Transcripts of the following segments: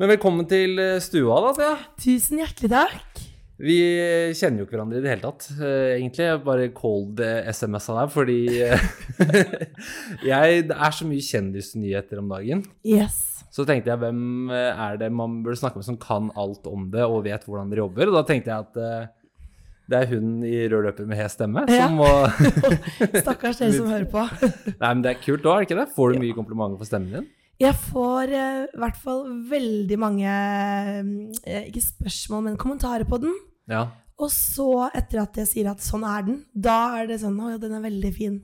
Men velkommen til eh, stua, da, Thea. Tusen hjertelig takk. Vi eh, kjenner jo ikke hverandre i det hele tatt, eh, egentlig. Jeg bare cold eh, SMS-a deg, fordi eh, jeg, det er så mye kjendisnyheter om dagen. Yes. Så tenkte jeg, hvem eh, er det man burde snakke med som kan alt om det, og vet hvordan dere jobber? Og da tenkte jeg at eh, det er hun i rød løper med hes stemme som Ja. må Stakkars dere som hører på. Nei, men det er kult òg, er det ikke det? Får du mye komplimenter for stemmen din? Jeg får eh, i hvert fall veldig mange eh, Ikke spørsmål, men kommentarer på den. Ja. Og så, etter at jeg sier at sånn er den, da er det sånn Å ja, den er veldig fin.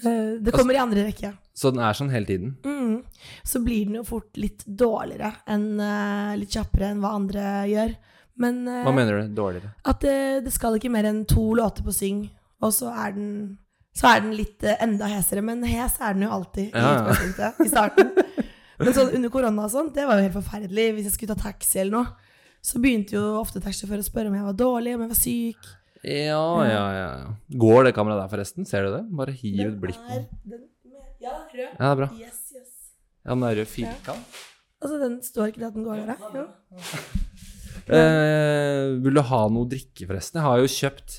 Eh, Det kommer i andre rekke. Så den er sånn hele tiden? Mm. Så blir den jo fort litt dårligere enn eh, Litt kjappere enn hva andre gjør. Men eh, Hva mener du? Dårligere? at eh, det, det skal ikke mer enn to låter på syng, og så er den, så er den litt eh, enda hesere. Men hes er den jo alltid i Ja, ja. utgangspunktet, i starten. Men sånn under korona og sånn, det var jo helt forferdelig. Hvis jeg skulle ta taxi eller noe, så begynte jo ofte taxisjåfører å spørre om jeg var dårlig, om jeg var syk. Ja, ja, ja. Går det kameraet der, forresten? Ser du det? Bare hiv et blikk. Den er- den- Ja, rød. Ja, det er bra. Yes, yes. Ja, den er rød firkant. Altså, den står ikke det at den går over deg? Jo. Eh, vil du ha noe drikke, forresten? Jeg har jo kjøpt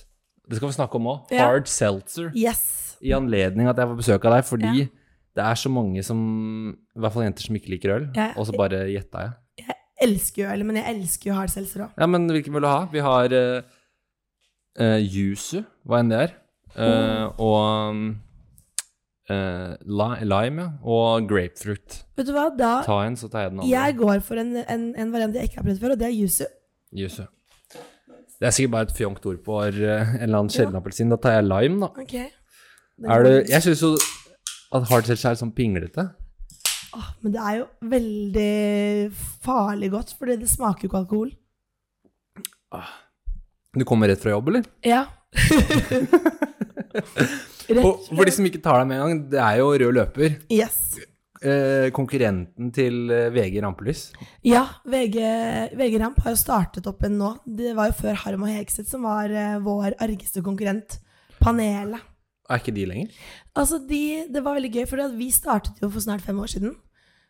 Det skal vi snakke om òg. Ja. Hard seltzer. Yes. I anledning at jeg får besøk av deg, fordi det er så mange som I hvert fall jenter som ikke liker øl. Ja. Og så bare gjetta jeg. Elsker jo øl, men jeg elsker jo hard seltzer òg. Ja, men hvilken vil du ha? Vi har eh, eh, Yuzu, hva enn det er. eh, Oh. og um, eh, li- lime, ja. Og grapefruit. Vet du hva, da Ta en, så tar jeg den andre. Jeg går for en, en, en variant jeg ikke har prøvd før, og det er yuzu. Yuzu. Det er sikkert bare et fjongt ord på eh, en eller annen sjelden appelsin. Da tar jeg lime, da. Ok. Den Er går det, ut. jeg syns jo at hard seltzer er sånn pinglete. Åh, men det er jo veldig farlig godt, fordi det smaker jo ikke alkohol. Du kommer rett fra jobb, eller? Ja. Rett Og for de som ikke tar deg med en gang, det er jo rød løper. Yes. Eh, konkurrenten til eh, VG Rampelys. Ja, VG, VG Ramp har jo startet opp en nå. Det var jo før Harm og Hegseth som var eh, vår argeste konkurrent. Panelet. Er ikke de lenger? Altså, de, det var veldig gøy, for vi startet jo for snart fem år siden.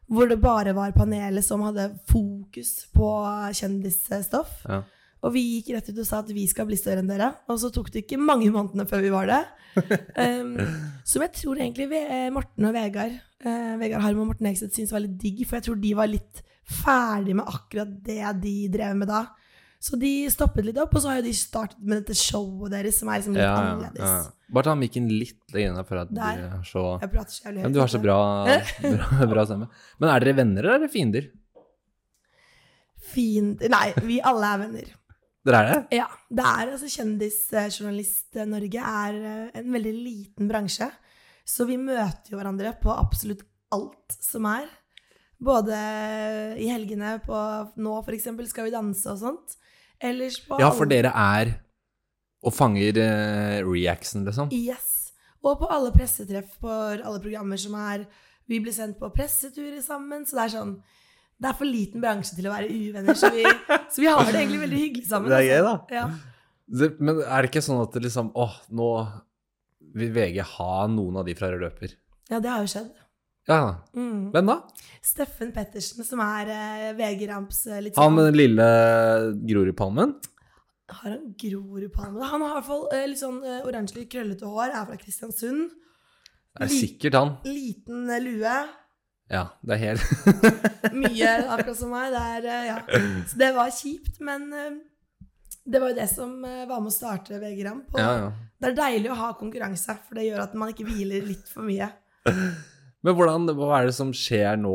Hvor det bare var panelet som hadde fokus på kjendisstoff. Ja. Og vi gikk rett ut og sa at vi skal bli større enn dere. Og så tok det ikke mange månedene før vi var det. Um, som jeg tror egentlig Ve- eh, Morten og Vegard eh, Vegard Harm og Morten Hegseth syntes var litt digg, for jeg tror de var litt ferdig med akkurat det de drev med da. Så de stoppet litt opp, og så har jo de startet med dette showet deres, som er liksom litt annerledes. Bare ta mikken litt lenger inn for at du Der. er så Jeg prater så jævlig ja, men Du har så bra, bra, bra stemme. Men er dere venner eller er dere fiender? Fint. Nei, vi alle er venner. Dere er det? Ja. Det er altså Kjendisjournalist-Norge er eh, en veldig liten bransje. Så vi møter jo hverandre på absolutt alt som er. Både i helgene på nå, for eksempel, skal vi danse og sånt. Ellers på Ja, for alle- dere er og fanger eh, reactsen, liksom. Yes. Og på alle pressetreff for alle programmer som er Vi blir sendt på presseturer sammen, så det er sånn Det er for liten bransje til å være uvenner, så vi, så vi har det egentlig veldig hyggelig sammen. Det er altså. gøy, Ja. Det, men er det ikke sånn at det liksom Åh, nå vil VG ha noen av de fra Rød løper. ja, det har jo skjedd. Ja, Mm. Hvem da? Steffen Pettersen, som er eh, VG Ramps eh, litt Han sånn med den lille Grorudpalmen? Har han Grorudpalme? Han har i hvert fall eh, litt sånn eh, oransjelig, krøllete hår, er fra Kristiansund. Det er Li- sikkert han. Liten eh, lue. Ja, det er helt Mye akkurat som meg. Det er, eh, ja. Så det var kjipt, men eh, det var jo det som eh, var med å starte VG Ramp. Og Ja, ja. Det er deilig å ha konkurranse, for det gjør at man ikke hviler litt for mye. Men hvordan, hva er det som skjer nå?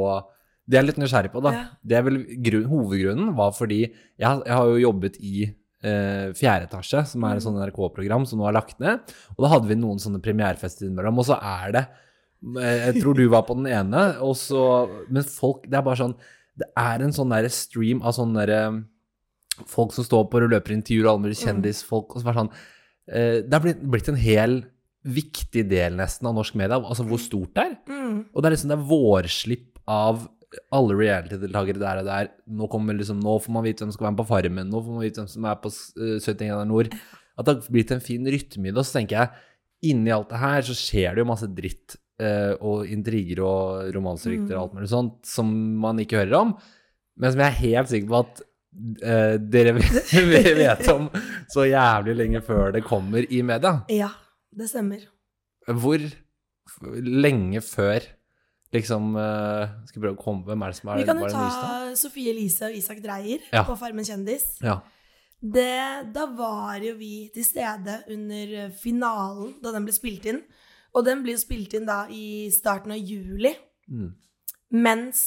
Det er jeg litt nysgjerrig på, da. Ja. Det er vel grunn, hovedgrunnen var fordi jeg, jeg har jo jobbet i eh, fjerde etasje, som Mm. er et sånt NRK-program som nå er lagt ned. Og da hadde vi noen sånne premierefester innimellom, og så er det eh, Jeg tror du var på den ene, og så Men folk Det er bare sånn Det er en sånn derre stream av sånne derre folk som står på løperintervjuer, alle mulige Mm. kjendisfolk, og så bare sånn eh, Det er blitt, blitt en hel viktig del nesten av norsk media, altså hvor stort det er. Mm. Og det er liksom det er vårslipp av alle reality-deltakere der og der. Nå, kommer liksom, nå får man vite hvem som skal være med på Farmen, nå får man vite hvem som er på eh, 71 grader nord. At det har blitt en fin rytme i det. Og så tenker jeg, inni alt det her så skjer det jo masse dritt eh, og intriger og romanserykter og alt mulig sånt som man ikke hører om. men som jeg er helt sikker på at eh, dere vet om så jævlig lenge før det kommer i media. Ja, det stemmer. Hvor f- lenge før liksom eh, Skal jeg prøve å komme Hvem er det som er Vi kan jo var det Nystad? ta Sofie Elise og Isak Dreyer Ja. på Farmen kjendis. Ja. Det, da var jo vi til stede under eh, finalen da den ble spilt inn. Og den ble jo spilt inn da i starten av juli, Mm. mens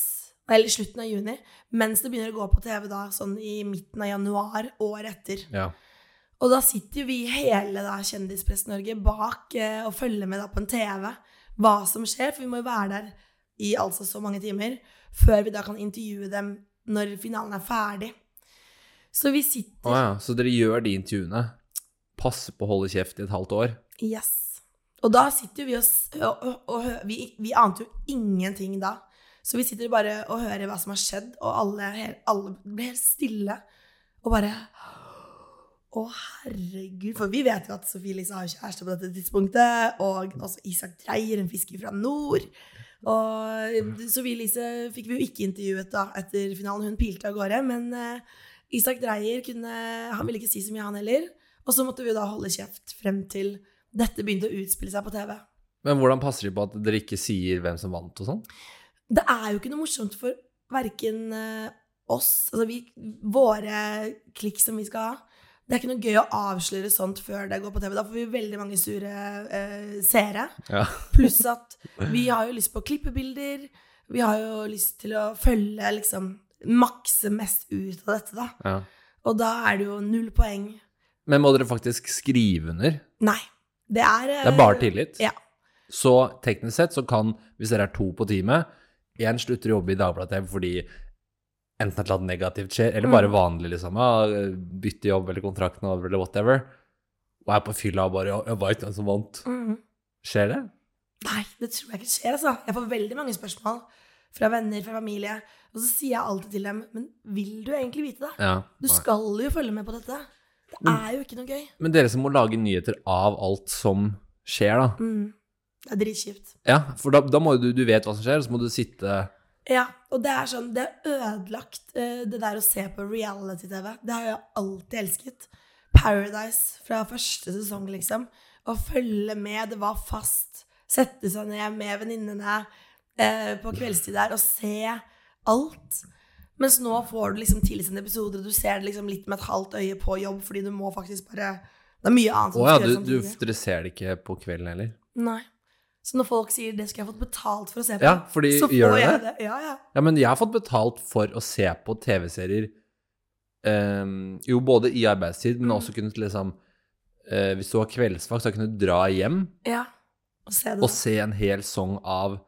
Eller slutten av juni. Mens det begynner å gå på TV da, sånn i midten av januar året etter. ja. Og da sitter jo vi hele da Kjendispress-Norge bak eh, og følger med da på en TV hva som skjer, for vi må jo være der i altså så mange timer før vi da kan intervjue dem når finalen er ferdig. Så vi Å sitter ja. Så dere gjør de intervjuene. Passer på å holde kjeft i et halvt år. Yes. Og da sitter jo vi og, s- og, og, og hø- vi, vi ante jo ingenting da. Så vi sitter bare og hører hva som har skjedd, og alle, he- alle blir helt stille. Og bare Å, herregud. For vi vet jo at Sofie Elise har jo kjæreste på dette tidspunktet. Og også Isak Dreyer, en fisker fra nord. Og Sofie Elise fikk vi jo ikke intervjuet da etter finalen. Hun pilte av gårde. Men eh, Isak Dreyer kunne, han ville ikke si så mye, han heller. Og så måtte vi jo da holde kjeft frem til dette begynte å utspille seg på TV. Men hvordan passer de på at dere ikke sier hvem som vant og sånn? Det er jo ikke noe morsomt for verken eh, oss, altså vi, våre klikk som vi skal ha. Det er ikke noe gøy å avsløre sånt før det går på TV. Da får vi veldig mange sure eh, seere. Ja. Pluss at vi har jo lyst på klippebilder. Vi har jo lyst til å følge, liksom Makse mest ut av dette, da. ja. Og da er det jo null poeng. Men må dere faktisk skrive under? Nei. Det er eh, Det er bare tillit. Ja. Så teknisk sett så kan, hvis dere er to på teamet, én slutter å jobbe i Dagbladet TV fordi enten et eller annet negativt skjer, eller Mm. bare vanlig, liksom. Ja, bytte jobb eller kontrakten over eller whatever. Og er på fylla og bare 'Jeg veit hvem som vant'. Mhm. Skjer det? Nei, det tror jeg ikke skjer, altså. Jeg får veldig mange spørsmål fra venner, fra familie. Og så sier jeg alltid til dem, men vil du egentlig vite det? Ja. Du skal jo følge med på dette. Det er jo ikke noe gøy. Men dere som må lage nyheter av alt som skjer, da. Mm. Det er dritkjipt. Ja, for da, da må jo du Du vet hva som skjer, og så må du sitte Ja, og det er sånn, det er ødelagt, eh, det der å se på reality-TV. Det har jeg alltid elsket. Paradise fra første sesong, liksom. Å følge med, det var fast. Sette seg ned med venninnene eh, på kveldstid der og se alt. Mens nå får du liksom tilsendt episoder, og du ser det liksom litt med et halvt øye på jobb, fordi du må faktisk bare Det er mye annet Å som ja, skal sånn du, gjøres du, samtidig. dere ser det ikke på kvelden heller. Nei. Så når folk sier 'det skulle jeg fått betalt for å se på', Ja, fordi så får gjør dere jeg det? det. Ja, ja. Ja, men jeg har fått betalt for å se på TV-serier ehm, Jo, både i arbeidstid, men Mm. også kunne liksom eh, Hvis du har kveldsvakt, så kunne du dra hjem Ja. Og se det. og se en hel song av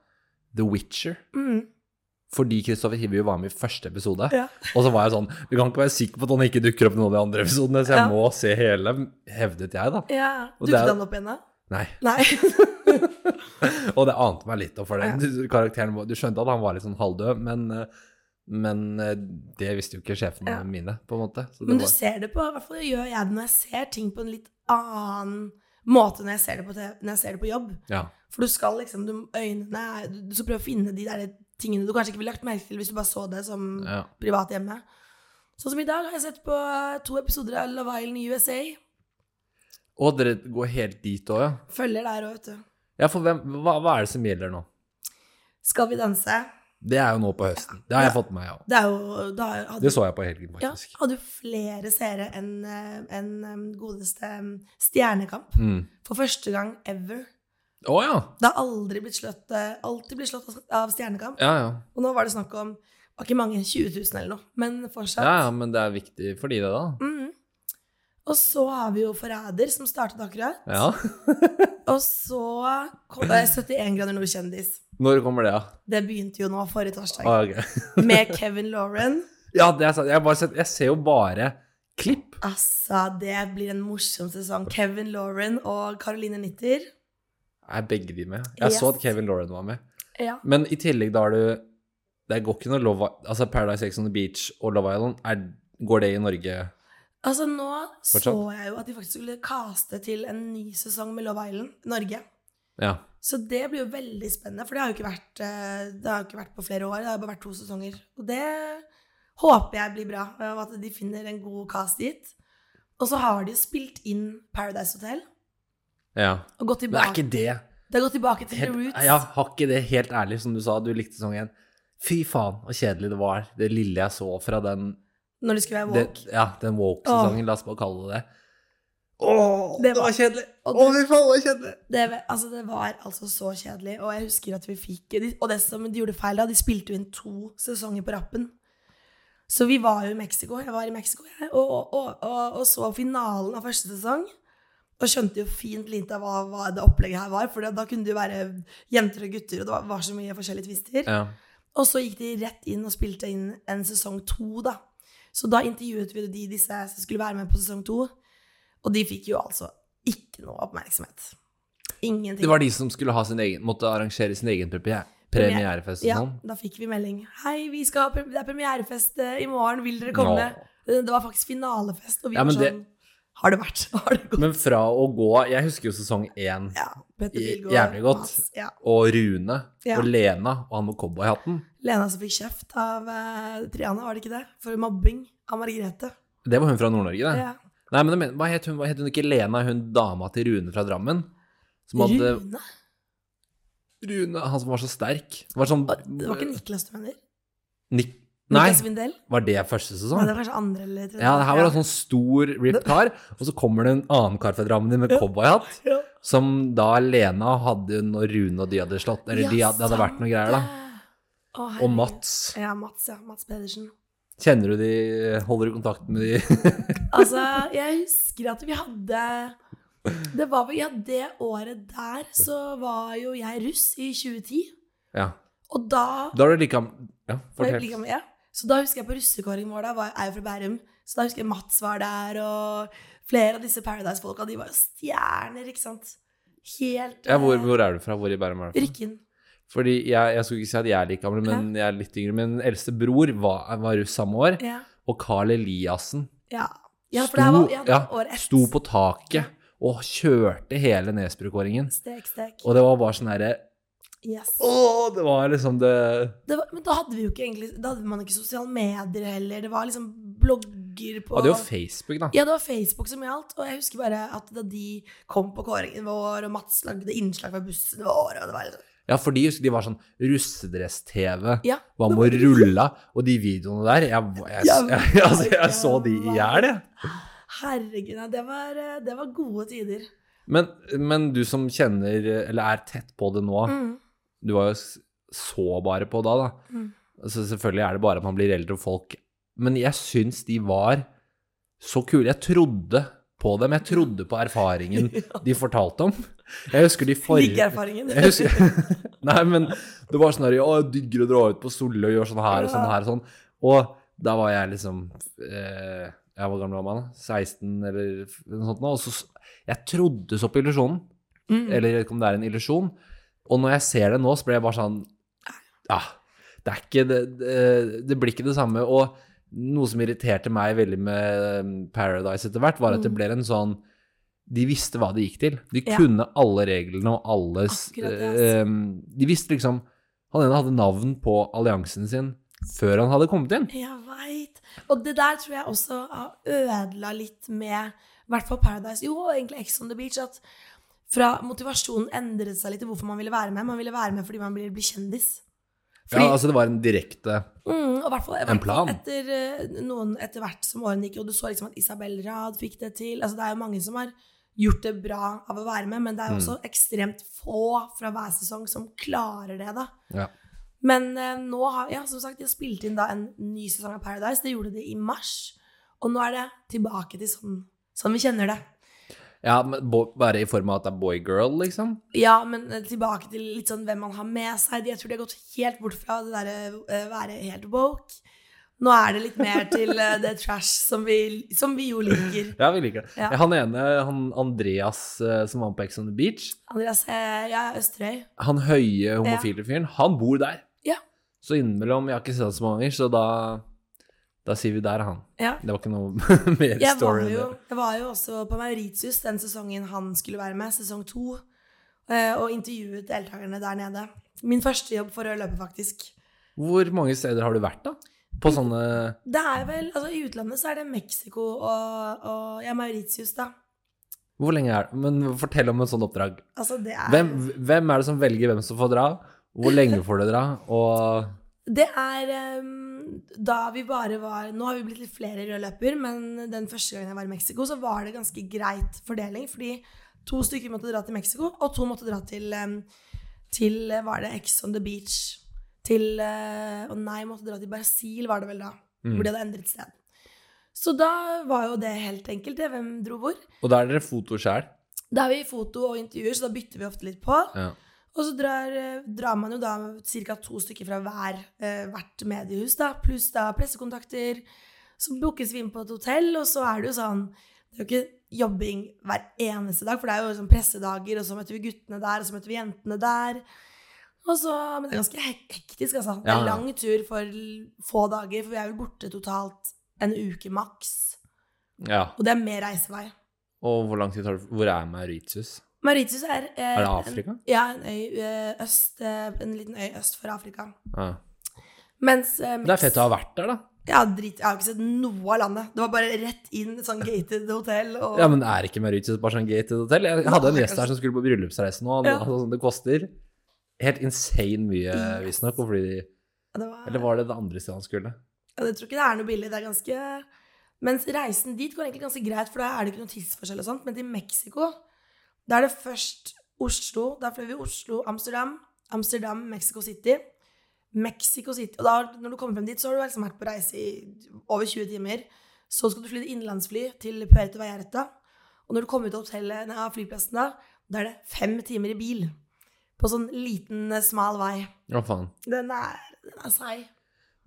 The Witcher. Mm. Fordi Kristoffer Hivju var med i første episode. Ja. Og så var jeg sånn Du kan ikke være sikker på at han ikke dukker opp i noen av de andre episodene, så jeg Ja. må se hele, hevdet jeg, da. ja. Og Dukket det er- han opp igjen da? Nei. Nei. Og det ante meg litt, da, for det. Ja. Du, karakteren, var- du skjønte at han var litt sånn halvdød, men, eh, men eh, det visste jo ikke sjefene Ja. mine, på en måte. Så det Men du var- ser det på, i hvert fall gjør jeg det når jeg ser ting på en litt annen måte når jeg ser det på, TV, når jeg ser det på jobb. ja. For du skal liksom, du, øynene, er- du, du skal prøve å finne de der tingene du kanskje ikke ville lagt merke til hvis du bare så det som Ja. privat hjemme. Sånn som i dag har jeg sett på to episoder av Love Island USA. Og dere går helt dit òg, ja? Følger der òg, vet du. Ja, for hvem, hva, hva er det som gjelder nå? Skal vi danse? Det er jo nå på høsten. Det har jeg fått med meg òg. Det er jo da hadde- Det så jeg på helgen, Ja, faktisk. hadde jo flere seere enn eh, enn, eh, godeste eh, Stjernekamp. Å mm. For første gang ever. Å, ja. Det har aldri blitt slått, eh, alltid blitt slått av Stjernekamp. Ja, ja. Og nå var det snakk om det var ikke mange, 20 000 eller noe, men fortsatt. ja, ja. Men det er viktig for de, det, da. Mhm. Og så har vi jo Forræder, som startet akkurat. Ja. Og så kom det 71 grader nord kjendis. Når kommer det, da? Det begynte jo nå forrige torsdag. Ah, ok. Med Kevin Lauren. Ja, det er sant. Jeg, har bare sett, jeg ser jo bare klipp. Altså, det blir en morsom sesong. Kevin Lauren og Caroline Nitter. Er begge de med? Jeg Yes. så at Kevin Lauren var med. Ja. Men i tillegg, da har du Det går ikke noe Love Altså Paradise Ex on the Beach og Love Island, er, går det i Norge? Altså nå så Fortsatt? jeg jo at de faktisk skulle caste til en ny sesong med Love Island Norge. Ja. Så det blir jo veldig spennende, for det har jo ikke vært, eh, det har jo ikke vært på flere år. Det har jo bare vært to sesonger. Og det håper jeg blir bra, og at de finner en god cast dit. Og så har de jo spilt inn Paradise Hotel. Ja. Og gått Men er tilbake, ikke det det har gått tilbake til The helt, Roots. Ja, har ikke det helt ærlig, som du sa, du likte sesong én. Fy faen, så kjedelig det var. Det lille jeg så fra den Når det skulle være det, walk. ja, den woke-sesongen, la oss bare kalle det det. Åh, Det var- kjedelig! og Å, fy faen, det var kjedelig! Det, altså, det var altså så kjedelig, og jeg husker at vi fikk de- Og det som de gjorde feil da, de spilte jo inn to sesonger på rappen. Så vi var jo i Mexico, jeg var i Mexico, jeg, og, og, og, og, og så finalen av første sesong. Og skjønte jo fint lite av hva, hva det opplegget her var, for da kunne det jo være jenter og gutter, og det var, var så mye forskjellige twister. Ja. Og så gikk de rett inn og spilte inn en sesong to, da. Så da intervjuet vi de disse som skulle være med på sesong to, og de fikk jo altså ikke noe oppmerksomhet. Ingenting. Det var de som skulle ha sin egen, måtte arrangere sin egen premiere, premierefest og ja, sånn. da fikk vi melding. Hei, vi skal, ha pre- det er premierefest eh, i morgen, vil dere komme? Eh, Det var faktisk finalefest, og vi Ja, men var det- sånn Har det vært? Har det gått? Men fra å gå Jeg husker jo sesong én Ja. Petter J- Pilgaard. jævlig godt. Mads, Ja. og Rune Ja. og Lena og han med cowboyhatten. Lena som fikk kjeft av eh, Triana, var det ikke det? For mobbing av Margrethe. Det var hun fra Nord-Norge, det. Ja. Nei, men jeg mener, hva het hun? Hva het hun ikke Lena, hun dama til Rune fra Drammen? Som hadde Rune, Rune? han som var så sterk. Det var sånn Det var ikke Niklas du mener? Nik Nei, Niklas Vindel? var det første Nei, sesong? det var kanskje andre eller tredje. Ja, det her var en sånn stor ripped kar, og så kommer det en annen kar fra Drammen med cowboyhatt, Ja. som da Lena hadde når Rune og de hadde slått, eller de hadde, det hadde vært noe greier, da. Å, Og herregud. Mats. Ja, Mats, ja. Mats Pedersen. Kjenner du de Holder du kontakt med de? Altså, jeg husker at vi hadde Det var vel Ja, det året der så var jo jeg russ i 2010. Ja. Og da Da er det like Ja, var jeg fortell. like med, ja. Så da husker jeg på russekåringen vår, da var, er jo fra Bærum, så da husker jeg Mats var der, og flere av disse Paradise-folka, de var jo stjerner, ikke sant? Helt Ja, hvor, eh, hvor er du fra? Hvor i Bærum er du fra? Rykken. Fordi jeg, jeg skulle ikke si at jeg er like gammel, men jeg er litt yngre. Min eldste bror var, var russ samme år, Ja. og Carl Eliassen Ja, ja for det her sto, var ja, det ja, var året etter. sto på taket og kjørte hele Nesbrukåringen. Stek, stek. Og det var bare sånn herre Yes. Å, det var liksom det Det var, men da hadde vi jo ikke egentlig Da hadde man ikke sosiale medier heller. Det var liksom blogger på Hadde jo Facebook, da. Ja, det var Facebook som gjaldt. Og jeg husker bare at da de kom på kåringen vår, og Mats lagde innslag fra bussen vår, og det var liksom Ja, for de, husker- de var sånn russedress-TV. Ja. Hva med å rulle? Og de videoene der Jeg, jeg, jeg, jeg, altså, jeg så de i hjel, jeg. Herregud, ja, det var, eh, det var gode tider. Men, men du som kjenner, eller er tett på det nå, Mm. du var jo s- så bare på da, da. Mm. Så selvfølgelig er det bare at man blir eldre og folk Men jeg syns de var så kule. Jeg trodde på dem. Jeg trodde på erfaringen de fortalte om. Jeg husker de Like forrige erfaringen. jeg husker, Nei, men det var sånn her Å, jeg digger å dra ut på Solli og gjøre sånn her og sånn her og sånn. Og da var jeg liksom eh, Jeg var gammel mann, 16 eller noe sånt nå. Og så s- Jeg trodde så på illusjonen. Mm. Eller jeg vet ikke om det er en illusjon. Og når jeg ser det nå, så blir jeg bare sånn Ja, det er ikke det, det, det blir ikke det samme. Og noe som irriterte meg veldig med um, Paradise etter hvert, var at det Mm. ble en sånn De visste hva de gikk til. De Ja. kunne alle reglene og alle s- Akkurat det, ass. eh, um, De visste liksom Han ene hadde navn på alliansen sin før han hadde kommet inn. Jeg veit. Og det der tror jeg også har ødela litt med i hvert fall Paradise. Jo, og egentlig Ex on the Beach. At fra motivasjonen endret seg litt til hvorfor man ville være med. Man ville være med fordi man blir, blir kjendis. Fordi, Ja, altså det var en direkte mm, og i hvert fall, i En hvert plan. fall Etter, eh, noen, etter hvert som årene gikk, og du så liksom at Isabel Rad fikk det til. Altså, det er jo mange som har gjort det bra av å være med, men det er Mm. jo også ekstremt få fra hver sesong som klarer det, da. ja. Men eh, nå har ja, som sagt, de har spilt inn da en ny sesong av Paradise. Det gjorde de i mars. Og nå er det tilbake til sånn, sånn vi kjenner det. ja, men bo- bare i form av at det er boy-girl, liksom. Ja, men eh, tilbake til litt sånn hvem man har med seg. Jeg tror de har gått helt bort fra det derre eh, være helt woke. Nå er det litt mer til eh, det trash som vi, som vi jo liker. Ja, vi liker det. Ja. Han ene, han Andreas eh, som var med på Ex on the Beach, Andreas eh, ja, Østerøy. han høye homofile fyren, han bor der. Ja. Så innimellom, jeg har ikke sett han så mange ganger, så da, da sier vi der er han. Ja. Det var ikke noe mer Jeg var, story enn jo, det. jeg var jo også på Mauritius den sesongen han skulle være med, sesong to, eh, og intervjuet deltakerne der nede. Min første jobb for rød løper, faktisk. Hvor mange steder har du vært, da? På sånne Det er vel, altså I utlandet så er det Mexico og, og ja, Mauritius, da. Hvor lenge er det? Men fortell om et sånt oppdrag. Altså, det er Hvem, hvem er det som velger hvem som får dra? Hvor lenge får dere dra? Og Det er ehm, da vi bare var Nå har vi blitt litt flere rød løper, men den første gangen jeg var i Mexico, så var det ganske greit fordeling, fordi to stykker måtte dra til Mexico, og to måtte dra til ehm, Til eh, Var det Ex on the Beach? Til eh, Å nei, måtte dra til Brasil, var det vel da. Mm. Hvor de hadde endret sted. Så da var jo det helt enkelt, det. Hvem dro hvor? Og da er dere foto sjæl. Da er vi i foto og intervjuer, så da bytter vi ofte litt på. Ja. Og så drar, eh, drar man jo da ca. to stykker fra hver, eh, hvert mediehus, da, pluss da pressekontakter. Så bookes vi inn på et hotell, og så er det jo sånn Det er jo ikke jobbing hver eneste dag, for det er jo sånn pressedager, og så møter vi guttene der, og så møter vi jentene der. Og så, Men det er ganske hek- hektisk, altså. Det Ja, er ja. lang tur for l- få dager, for vi er vel borte totalt en uke maks. ja. Og det er mer reisevei. Og hvor lang tid tar det Hvor er Mauritius? Mauritius er eh, Er det Afrika? Ja, en øy eh, øst, eh, en liten øy øst for Afrika. Ja. Mens eh, Det er fett å ha vært der, da. Ja, drit, jeg har ikke sett noe av landet. Det var bare rett inn sånn gated hotell. Og, Ja, men er ikke Mauritius bare sånn gated hotell? Jeg hadde en gjest her som skulle på bryllupsreise nå, og Ja. altså, det koster helt insane mye, visstnok. og fordi de- det var, Eller var det det andre stedet han skulle? ja, jeg tror ikke det er noe billig. Det er ganske Mens reisen dit går egentlig ganske greit, for da er det ikke noen tidsforskjell og sånt. Men til Mexico, da er det først Oslo. Da fløy vi Oslo, Amsterdam, Amsterdam, Mexico City. Mexico City. Og da, når du kommer frem dit, så har du liksom vært på reise i over 20 timer. Så skal du fly til innenlandsfly til Puerto Vallarta. Og når du kommer ut av hotellet, nei, av flyplassen da, da er det fem timer i bil. På sånn liten, eh, smal vei. Hva faen? Den er, den er seig.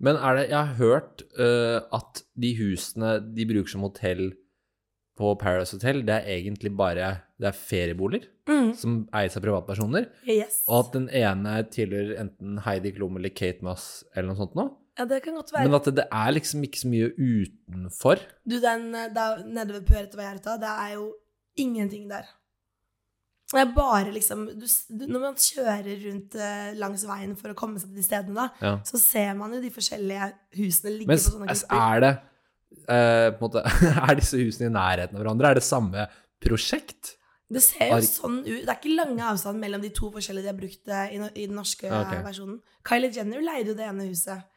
Men er det Jeg har hørt eh, at de husene de bruker som hotell på Paradise Hotel, det er egentlig bare Det er ferieboliger Mm. som eies av privatpersoner. Yes. Og at den ene tilhører enten Heidi Klum eller Kate Moss eller noe sånt noe. Ja, det kan godt være. Men at det, det er liksom ikke så mye utenfor. Du, den eh, der nede ved Puerto Vallarta, det er jo ingenting der. Det er bare liksom du, s- du, Når man kjører rundt eh, langs veien for å komme seg til de stedene, da, Ja. så ser man jo de forskjellige husene ligge Men på sånne s- grupper. er det eh, på en måte, Er disse husene i nærheten av hverandre? Er det samme prosjekt? Det ser jo Ark. sånn ut. Det er ikke lange avstand mellom de to forskjellige de har brukt eh, i, no, i den norske Ja, ok. eh, versjonen. Kylie Jenner leide jo det ene huset.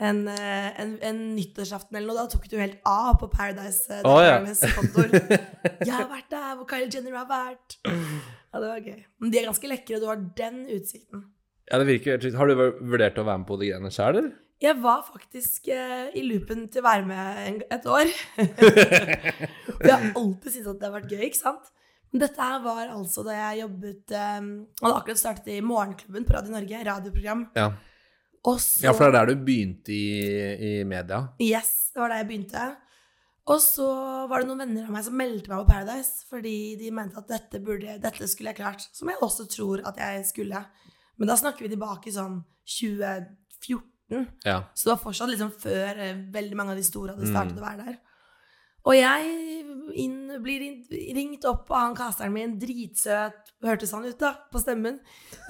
En, eh, en, en nyttårsaften eller noe. Da tok det jo helt av på Paradise eh, Å, ja. Datelines kontor. Jeg har vært der hvor Kylie Jenner har vært. Ja, det var gøy. Men de er ganske lekre, og du har den utsikten. Ja, det virker helt sykt. Har du vurdert å være med på de greiene sjøl, eller? Jeg var faktisk eh, i loopen til å være med en, et år. For jeg har alltid syntes at det har vært gøy, ikke sant? Men dette her var altså da jeg jobbet eh, Hadde akkurat startet i Morgenklubben på Radio Norge, radioprogram. Ja. Og så ja, for det er der du begynte i, i media. Yes, det var da jeg begynte. Og så var det noen venner av meg som meldte meg på Paradise fordi de mente at dette, burde, dette skulle jeg klart. Som jeg også tror at jeg skulle. Men da snakker vi tilbake sånn 2014. Ja. Så det var fortsatt liksom før eh, veldig mange av de store hadde startet å være der. Og jeg inn, blir inn- ringt opp av han casteren min, dritsøt, hørtes han ut da, på stemmen.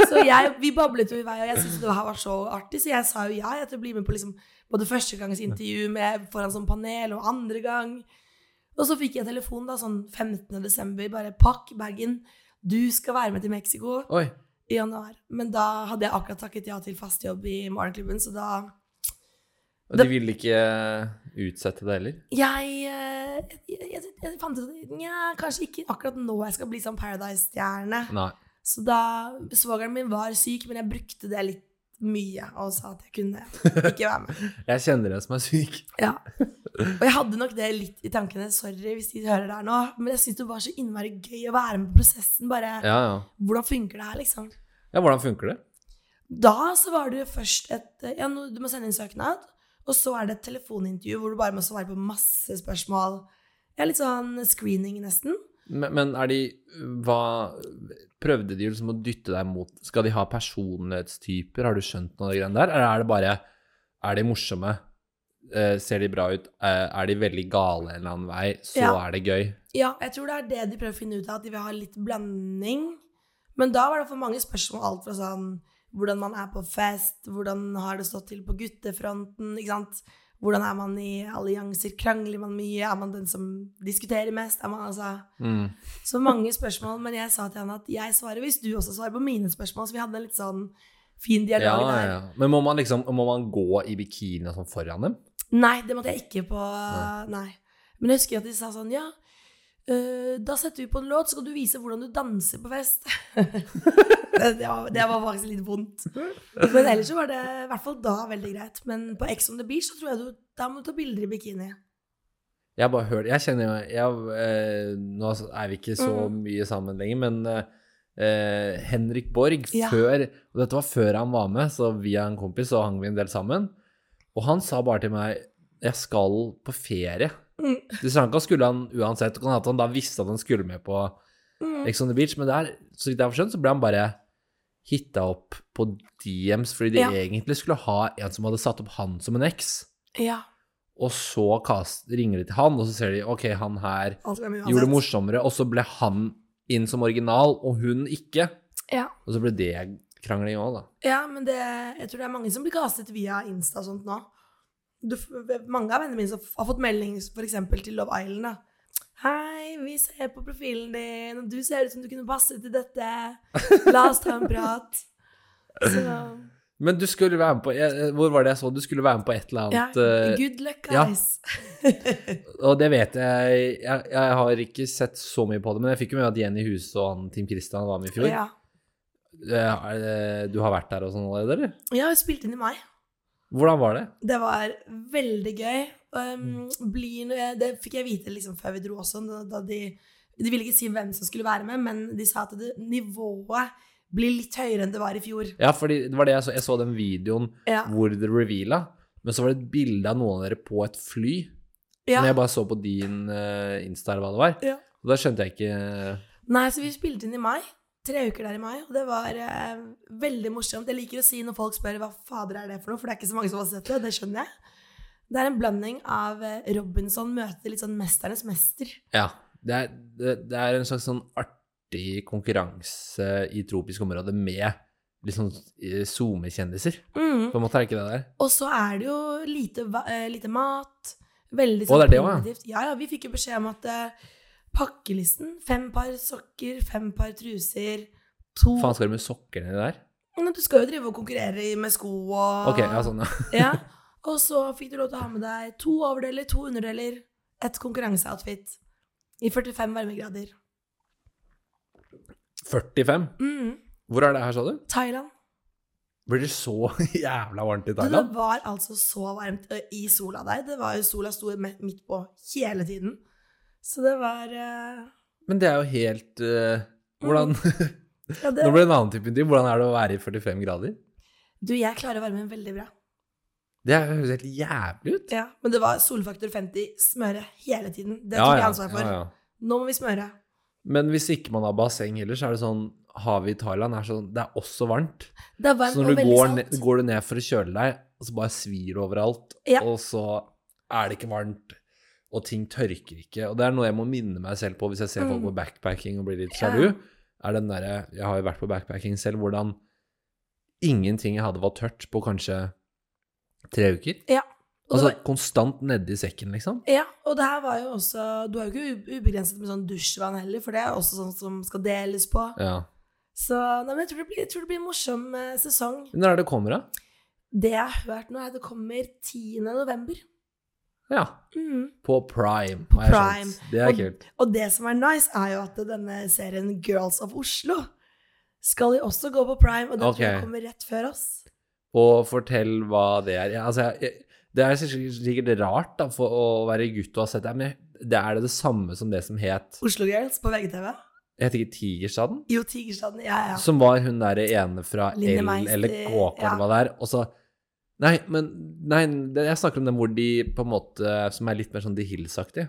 Så jeg, vi bablet jo i vei, og jeg syntes det her var så artig, så jeg sa jo ja jeg til å bli med på liksom, både første gangs intervju med foran sånn panel, og andre gang. Og så fikk jeg telefon da, sånn 15. desember, bare pakk bagen, du skal være med til Meksiko Oi. i januar. Men da hadde jeg akkurat takket ja til fast jobb i morgenklubben, så da Og de ville ikke utsette det heller? Jeg, eh, jeg, jeg, jeg fant ut at nja, kanskje ikke akkurat nå jeg skal bli sånn Paradise-stjerne. Nei. Så da Svogeren min var syk, men jeg brukte det litt mye og sa at jeg kunne ikke være med. Jeg kjenner en som er syk. Ja. Og jeg hadde nok det litt i tankene. Sorry hvis de hører det her nå, men jeg syns det var så innmari gøy å være med på prosessen. Bare Ja, ja. hvordan funker det her, liksom? Ja, hvordan funker det? Da så var det jo først et Ja, nå- du må sende inn søknad, og så er det et telefonintervju hvor du bare må svare på masse spørsmål. Ja, litt sånn screening, nesten. Men, men er de Hva Prøvde de liksom å dytte deg mot Skal de ha personlighetstyper? Har du skjønt noe av de greiene der? Eller er det bare Er de morsomme? Eh, ser de bra ut? Eh, er de veldig gale en eller annen vei? Så Ja. er det gøy. Ja, jeg tror det er det de prøver å finne ut av, at de vil ha litt blanding. Men da var det for mange spørsmål, alt fra sånn hvordan man er på fest, hvordan har det stått til på guttefronten, ikke sant. Hvordan er man i allianser? Krangler man mye? Er man den som diskuterer mest? Er man altså Mm. så mange spørsmål, men jeg sa til henne at jeg svarer hvis du også svarer på mine spørsmål. Så vi hadde en litt sånn fin Ja, dialog ja, der. ja. Men må man liksom må man gå i bikini og sånn foran dem? Nei, det måtte jeg ikke på. Nei. Men jeg husker at de sa sånn, ja, øh, da setter vi på en låt, så skal du vise hvordan du danser på fest. det, det, var, det var faktisk litt vondt. Men ellers så var det i hvert fall da veldig greit. Men på Ex on the Beach så tror jeg du, da må du ta bilder i bikini. Jeg har bare hørt Jeg kjenner jo jeg, eh, Nå er vi ikke så Mm. mye sammen lenger, men eh, Henrik Borg Ja. før Og dette var før han var med, så via en kompis så hang vi en del sammen. Og han sa bare til meg 'Jeg skal på ferie'. Mm. Det sa han ikke, han skulle han uansett. Det Kan hende at han da visste at han skulle med på Mm. Ex on the Beach, men der, så vidt jeg har skjønt, så ble han bare hitta opp på DMs fordi de Ja. egentlig skulle ha en som hadde satt opp han som en eks. Ja, Og så cast, ringer de til han, og så ser de ok, han her alt kan vi gjorde det uansett. morsommere, og så ble han inn som original, og hun ikke. Ja. Og så ble det krangling òg, da. Ja, men det, jeg tror det er mange som blir kastet via Insta og sånt nå. Du, f- mange av vennene mine som f- har fått melding for eksempel til Love Island da. Hei, vi ser på profilen din, og du ser ut som du kunne passe til dette. La oss ta en prat. Så, Men du skulle være med på jeg- eh, Hvor var det jeg så? Du skulle være med på et eller ja, annet eh, good luck, ja. guys. Og det vet jeg, jeg Jeg har ikke sett så mye på det, men jeg fikk jo med at Jenny Huse og han Team Christian var med i fjor. Ja, Eh, er det- Du har vært der og sånn allerede, eller? ja vi spilte inn i mai. Hvordan var det? Det var veldig gøy. Um, blir, det fikk jeg vite liksom før vi dro også. Da da de, de ville ikke si hvem som skulle være med, men de sa at det, nivået blir litt høyere enn det var i fjor. Ja, fordi det var det jeg så. Jeg så den videoen Ja. hvor det reveala, men så var det et bilde av noen av dere på et fly. ja. Men jeg bare så på din eh, Insta eller hva det var. Ja. Og da skjønte jeg ikke Nei, så vi spilte inn i mai. Tre uker der i mai, og det var eh, veldig morsomt. Jeg liker å si når folk spør hva fader er det for noe, for det er ikke så mange som har sett det, og det skjønner jeg. Det er en blanding av eh, Robinson møter litt sånn Mesternes mester. Ja. Det er, det, det er en slags sånn artig konkurranse i tropisk område med litt sånn eh, SoMe-kjendiser. Mm. På en måte er det ikke det der. Og så er det jo lite, va- eh, lite mat. Veldig Å, det er det også, ja. primitivt. Ja, ja, vi fikk jo beskjed om at eh, pakkelisten Fem par sokker, fem par truser, to Faen, skal du med sokker nedi der? Men Du skal jo drive og konkurrere i- med sko og Ok, ja, sånn, ja. ja. Og så fikk du lov til å ha med deg to overdeler, to underdeler, et konkurranseoutfit i 45 varmegrader. 45. Mm. Hvor er det her, sa du? Thailand. Blir det så jævla varmt i Du, det Thailand? var altså så varmt ø, i sola der. Det var jo Sola sto me- midt på hele tiden. Så det var eh, Men det er jo helt eh, Hvordan Mm. Nå ja, det, blir det en annen type intervju. Hvordan er det å være i 45 grader? Du, jeg klarer varmen veldig bra. Det er- høres helt jævlig ut. Ja, Men det var solfaktor 50, smøre hele tiden. Det Ja, tok jeg ja, ansvar for. ja, ja. Nå må vi smøre. Men hvis ikke man har basseng heller, så er det sånn Havet i Thailand er sånn Det er også varmt. Det er varmt Så når og du veldig går salt. ned, går du ned for å kjøle deg, og så bare svir det overalt, Ja. og så er det ikke varmt, og ting tørker ikke. Og det er noe jeg må minne meg selv på hvis jeg ser folk Mm. på backpacking og blir litt Ja. sjalu. Er den derre Jeg har jo vært på backpacking selv, hvordan ingenting jeg hadde var tørt på kanskje tre uker. Ja. Og det Altså var- konstant nedi sekken, liksom. Ja, og det her var jo også Du er jo ikke u- ubegrenset med sånn dusjvann heller, for det er også sånn som skal deles på. Ja. Så nei, men jeg tror det blir, jeg tror det blir en morsom eh, sesong. Når er det kommer, da? Det jeg har hørt nå, er at det kommer 10. november. Ja. Mm. På Prime. På har jeg Prime. skjønt. Det er Og- kult. Og det som er nice, er jo at denne serien Girls of Oslo skal jo også gå på Prime, og den tror Ok. jeg kommer rett før oss. Og fortell hva det er. Ja, altså, jeg, jeg, det er sikkert sikkert rart da, for å være gutt og ha sett det, men jeg- det er det det samme som det som het Oslo Girls på VGTV. Het ikke Tigerstaden? Jo, Tigerstaden. Ja, ja. Som var hun der ene fra Linda L Meister, eller KK eller ja. hva det er. Og så Nei, men nei, det- jeg snakker om den hvor de på en måte Som er litt mer sånn The Hills-aktig.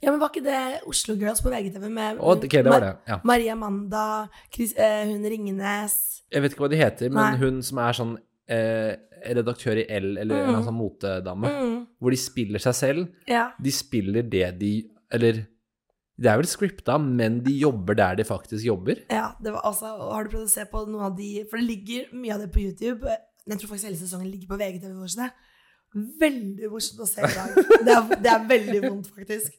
ja, men var ikke det Oslo Girls på VGTV med Å, Ok, det var det. Ja. Ma- Maria Amanda, Chris, eh, hun Ringnes Jeg vet ikke hva de heter, men Nei. hun som er sånn eh, redaktør i L eller en eller Mhm. annen sånn motedame, mm, hvor de spiller seg selv. Ja. de spiller det de Eller det er vel scripta, men de jobber der de faktisk jobber. ja det var, altså, har du prøvd å se på noen av de For det ligger mye av det på YouTube. eh, Jeg tror faktisk hele sesongen ligger på VGTV. for seg. veldig morsomt å se i dag. Det er, det er veldig vondt, faktisk.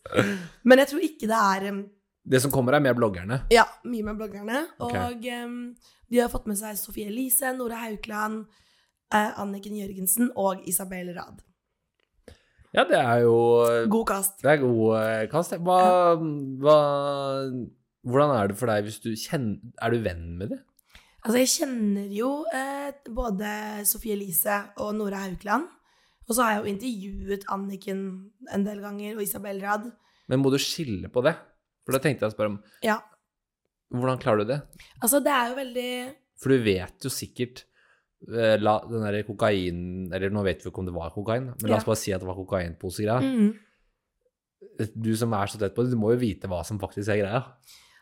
Men jeg tror ikke det er em, Det som kommer, er med bloggerne. Ja, mye med bloggerne. Ok. Og em, de har fått med seg Sofie Elise, Nora Haukeland, eh, Anniken Jørgensen og Isabel Rad. Ja, det er jo God kast. Det er god eh, kast. Hva, hva Hvordan er det for deg hvis du kjenner Er du venn med det? Altså, jeg kjenner jo eh, både Sofie Elise og Nora Haukeland. Og så har jeg jo intervjuet Anniken en del ganger, og Isabel Rad. Men må du skille på det? For da tenkte jeg å spørre om Ja. Hvordan klarer du det? Altså, det er jo veldig For du vet jo sikkert eh, La den der kokain Eller nå vet vi ikke om det var kokain, men la Ja. oss bare si at det var kokainposegreia. mm. Du som er så tett på det, du må jo vite hva som faktisk er greia.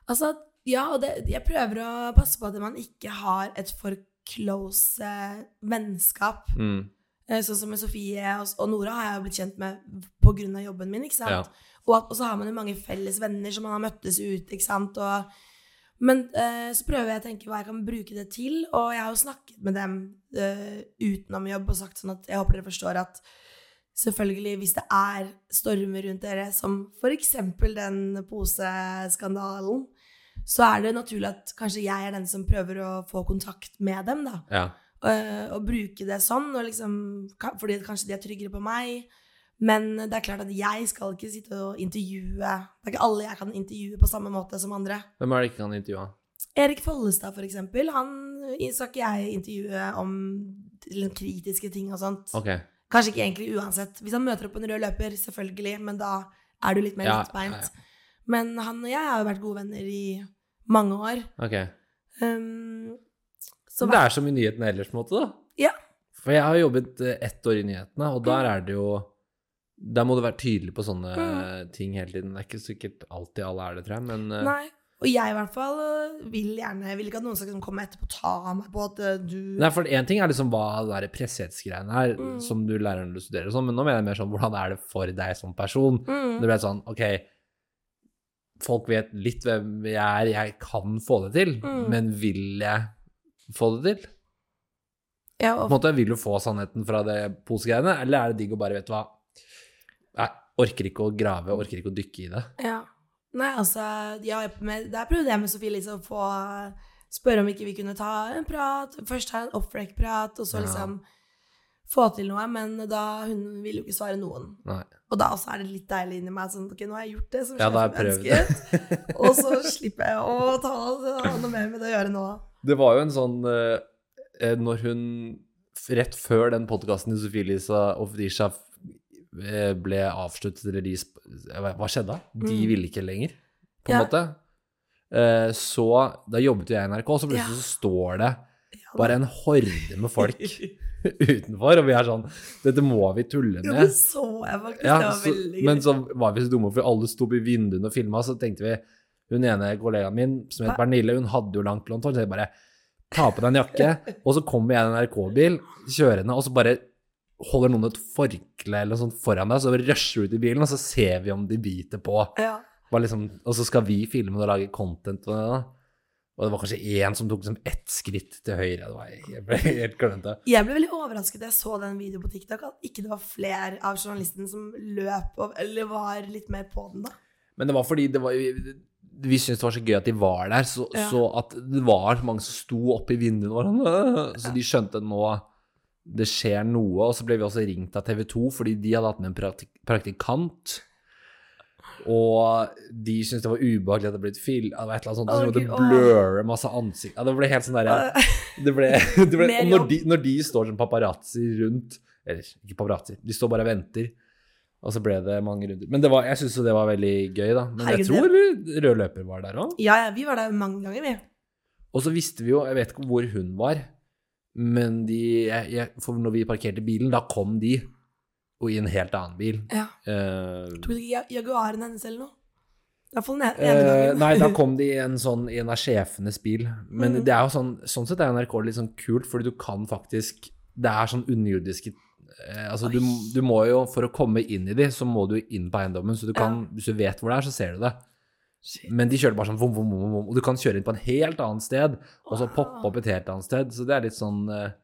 Altså, ja, og det, jeg prøver å passe på at man ikke har et for close eh, vennskap. Mm. Eh, Sånn som med Sofie og, og Nora har jeg jo blitt kjent med pga. jobben min. ikke sant? Ja. Og, at- og så har man jo mange felles venner som man har møttes ute, ikke sant. Og, men eh, så prøver jeg å tenke hva jeg kan bruke det til, og jeg har jo snakket med dem eh, utenom jobb og sagt sånn at jeg håper dere forstår at selvfølgelig hvis det er stormer rundt dere, som f.eks. den poseskandalen, så er det naturlig at kanskje jeg er den som prøver å få kontakt med dem, da. ja. Eh, å bruke det sånn, og liksom, ka- fordi kanskje de er tryggere på meg. Men det er klart at jeg skal ikke sitte og intervjue Det er ikke alle jeg kan intervjue på samme måte som andre. Hvem er det ikke kan intervjue? Erik Follestad, for eksempel, han skal ikke jeg intervjue om liksom, kritiske ting og sånt. Ok. Kanskje ikke egentlig uansett. Hvis han møter opp på en rød løper, selvfølgelig, men da er du litt mer Ja, lettbeint. ja, Men han og jeg har jo vært gode venner i mange år. ok. Um, så Men det er som i nyhetene ellers, på en måte, da. Ja. Mm. For jeg har jobbet eh, ett år i nyhetene, og der er det jo Der må du være tydelig på sånne eh, ting hele tiden. Det er ikke sikkert alltid alle er det, tror jeg, men eh, Mm. Nei. Og jeg i hvert fall øh, vil gjerne Vil ikke at noen skal kunne komme etterpå og ta meg på at øh, du Nei, for én ting er liksom hva det der pressehetsgreiene er, Mm. som du lærer når du studerer og sånn, men nå mener jeg mer sånn hvordan er det for deg som person? Mm. Det ble sånn, ok, folk vet litt hvem jeg er, jeg kan få det til, Mm. men vil jeg få det til? Ja, På en og, måte, vil du få sannheten fra det posegreiene, eller er det digg å bare, vet du hva, nei, orker ikke å grave, orker ikke å dykke i det. ja. Nei, altså ja, jeg- med, Der prøvde jeg med Sofie Elise å få øh, spørre om ikke vi kunne ta en prat. Først ta en off-break-prat, og så Ja. liksom få til noe. Men da hun ville jo ikke svare noen. Nei. Og da også er det litt deilig inni meg. Sånn, ok, nå har jeg gjort det som Ja, da har sjefen jeg ønsket. og så slipper jeg å ta ha noe mer med det å gjøre nå. Det var jo en sånn eh, eh, Når hun Rett før den podkasten til Sofie Lisa og Fridtjof eh, ble avsluttet, eller de sp- eh, Hva hva skjedde da? De Mm. ville ikke lenger, på en Ja. måte. Eh, Så Da jobbet jo jeg i NRK, og så plutselig Ja. så står det Ja, bare en horde med folk utenfor, og vi er sånn Dette må vi tulle Jo, det med. så jeg faktisk. det Ja, var så, veldig gøy. men så var vi så dumme, for alle sto opp i vinduene og filma, så tenkte vi Hun ene kollegaen min, som het Hva? Pernille, hun hadde jo langt blondt hår, så jeg bare Ta på deg en jakke, og så kommer jeg i en NRK-bil kjørende, og så bare holder noen et forkle eller noe sånt foran deg, så rusher du ut i bilen, og så ser vi om de biter på. ja. Bare liksom, og så skal vi filme det og lage content og det. da. Og det var kanskje én som tok liksom ett skritt til høyre. Det var, jeg ble helt klønete. Jeg ble veldig overrasket da jeg så den videoen på TikTok, at ikke det var flere av journalistene som løp og, eller var litt mer på den, da. Men det var fordi det var, vi, vi syntes det var så gøy at de var der, så, Ja. så at det var mange som sto oppe i vinduene våre. «Åh!» Så de skjønte nå det skjer noe. Og så ble vi også ringt av TV 2, fordi de hadde hatt med en praktik praktikant. Og de syntes det var ubehagelig at det ble et fil... Det var et eller annet sånt, og så Å, måtte Gud, de åh. bløre masse ansikt. Ja, det ble helt sånn derre det ble, det ble, Mer og når jobb. de, når de står som paparazzi rundt Eller ikke paparazzi, de står bare og venter. Og så ble det mange runder. Men det var, jeg syns jo det var veldig gøy, da. Men jeg tror Herregud, rød løper var der òg. Ja, ja, vi var der mange ganger, vi. Og så visste vi jo Jeg vet ikke hvor hun var, men de jeg, jeg, For når vi parkerte bilen, da kom de. Og i en helt annen bil. Ja. Eh, Tok ikke jag- Jaguaren hennes eller noe? I hvert fall den ene Eh, gangen. nei, da kom de i en sånn i en av sjefenes bil. Men Mhm. det er jo sånn Sånn sett er NRK litt sånn kult, fordi du kan faktisk Det er sånn underjordiske eh, Altså, du, Oi. du må jo For å komme inn i de, så må du inn på eiendommen, så du kan Hvis du vet hvor det er, så ser du det. Shit. Men de kjører bare sånn vom, vom, vom, vom, og du kan kjøre inn på en helt annet sted, og så Wow. poppe opp et helt annet sted. Så det er litt sånn eh,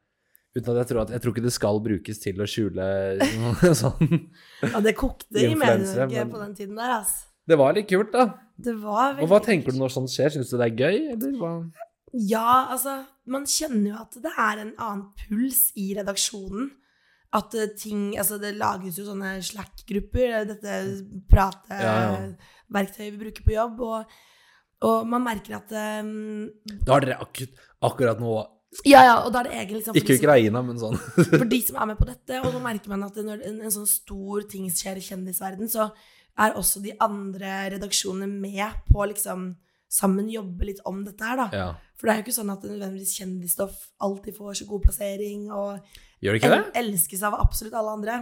Uten at jeg tror at Jeg tror ikke det skal brukes til å skjule noe sånn. Ja, det kokte i Influensere, Medie-Norge men- på den tiden der, ass. Det var litt kult, da. Det var veldig Og hva tenker du når sånt skjer? Syns du det er gøy, eller hva? Ja, altså, man kjenner jo at det er en annen puls i redaksjonen. At eh, ting Altså, det lages jo sånne Slack-grupper, eh, dette Ja, ja. prateverktøyet vi bruker på jobb, og, og man merker at eh, Da har dere akkurat, akkurat nå Ja, ja, og da er det egen liksom, Ikke for, de Ukraina, men sånn. som, for de som er med på dette, og så merker man at når en, en sånn stor ting skjer i kjendisverden, så er også de andre redaksjonene med på liksom Sammen jobbe litt om dette her, da. Ja. For det er jo ikke sånn at det nødvendigvis kjendisstoff alltid får så god plassering og Gjør det ikke el det? elskes av absolutt alle andre.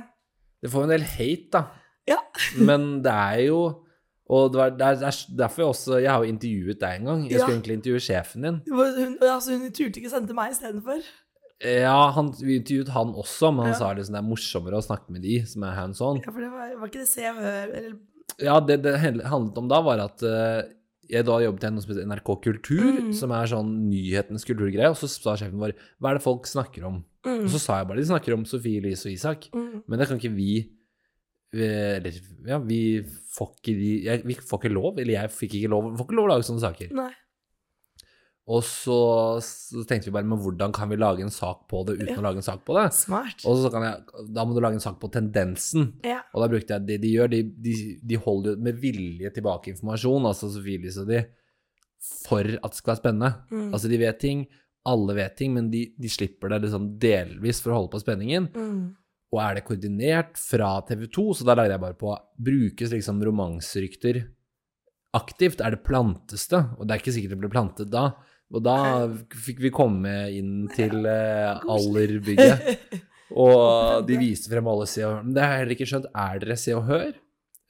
Det får jo en del hate, da. Ja. Men det er jo Og det var- det er det er derfor jeg også Jeg har jo intervjuet deg en gang. Jeg skulle Ja. egentlig intervjue sjefen din. Hun, altså, hun turte ikke sende til meg istedenfor. Ja, han, vi intervjuet han også, men han Ja. sa liksom det er morsommere å snakke med de som er hands on. Ja, for det var, var ikke det Se og Hør eller Ja, det det handlet om da, var at eh, jeg da jobbet i noe som heter NRK Kultur, Mm. som er sånn nyhetens kulturgreie, og så sa sjefen vår hva er det folk snakker om? mm, Og så sa jeg bare de snakker om Sofie Elise og Isak. mm. Men det kan ikke vi vi- Eller ja, vi får ikke, de- jeg, vi får ikke lov, eller jeg fikk ikke lov, får ikke lov å lage sånne saker. Nei. Og så, så tenkte vi bare, men hvordan kan vi lage en sak på det uten Ja. å lage en sak på det? Smart. Og så kan jeg, da må du lage en sak på tendensen. Ja. Og da brukte jeg det de gjør. De, de, de holder jo med vilje tilbake informasjon, altså Sofie Elise og de, for at det skal være spennende. Mm. Altså, de vet ting, alle vet ting, men de, de slipper det liksom delvis for å holde på spenningen. Mm. Og er det koordinert fra TV 2, så da lagde jeg bare på Brukes liksom romanserykter aktivt? Er det plantes det? Og det er ikke sikkert det ble plantet da. Og da fikk vi komme inn til eh, allerbygget. Og de viste frem alle Se og Hør. Men det har jeg heller ikke skjønt. Er dere Se og Hør?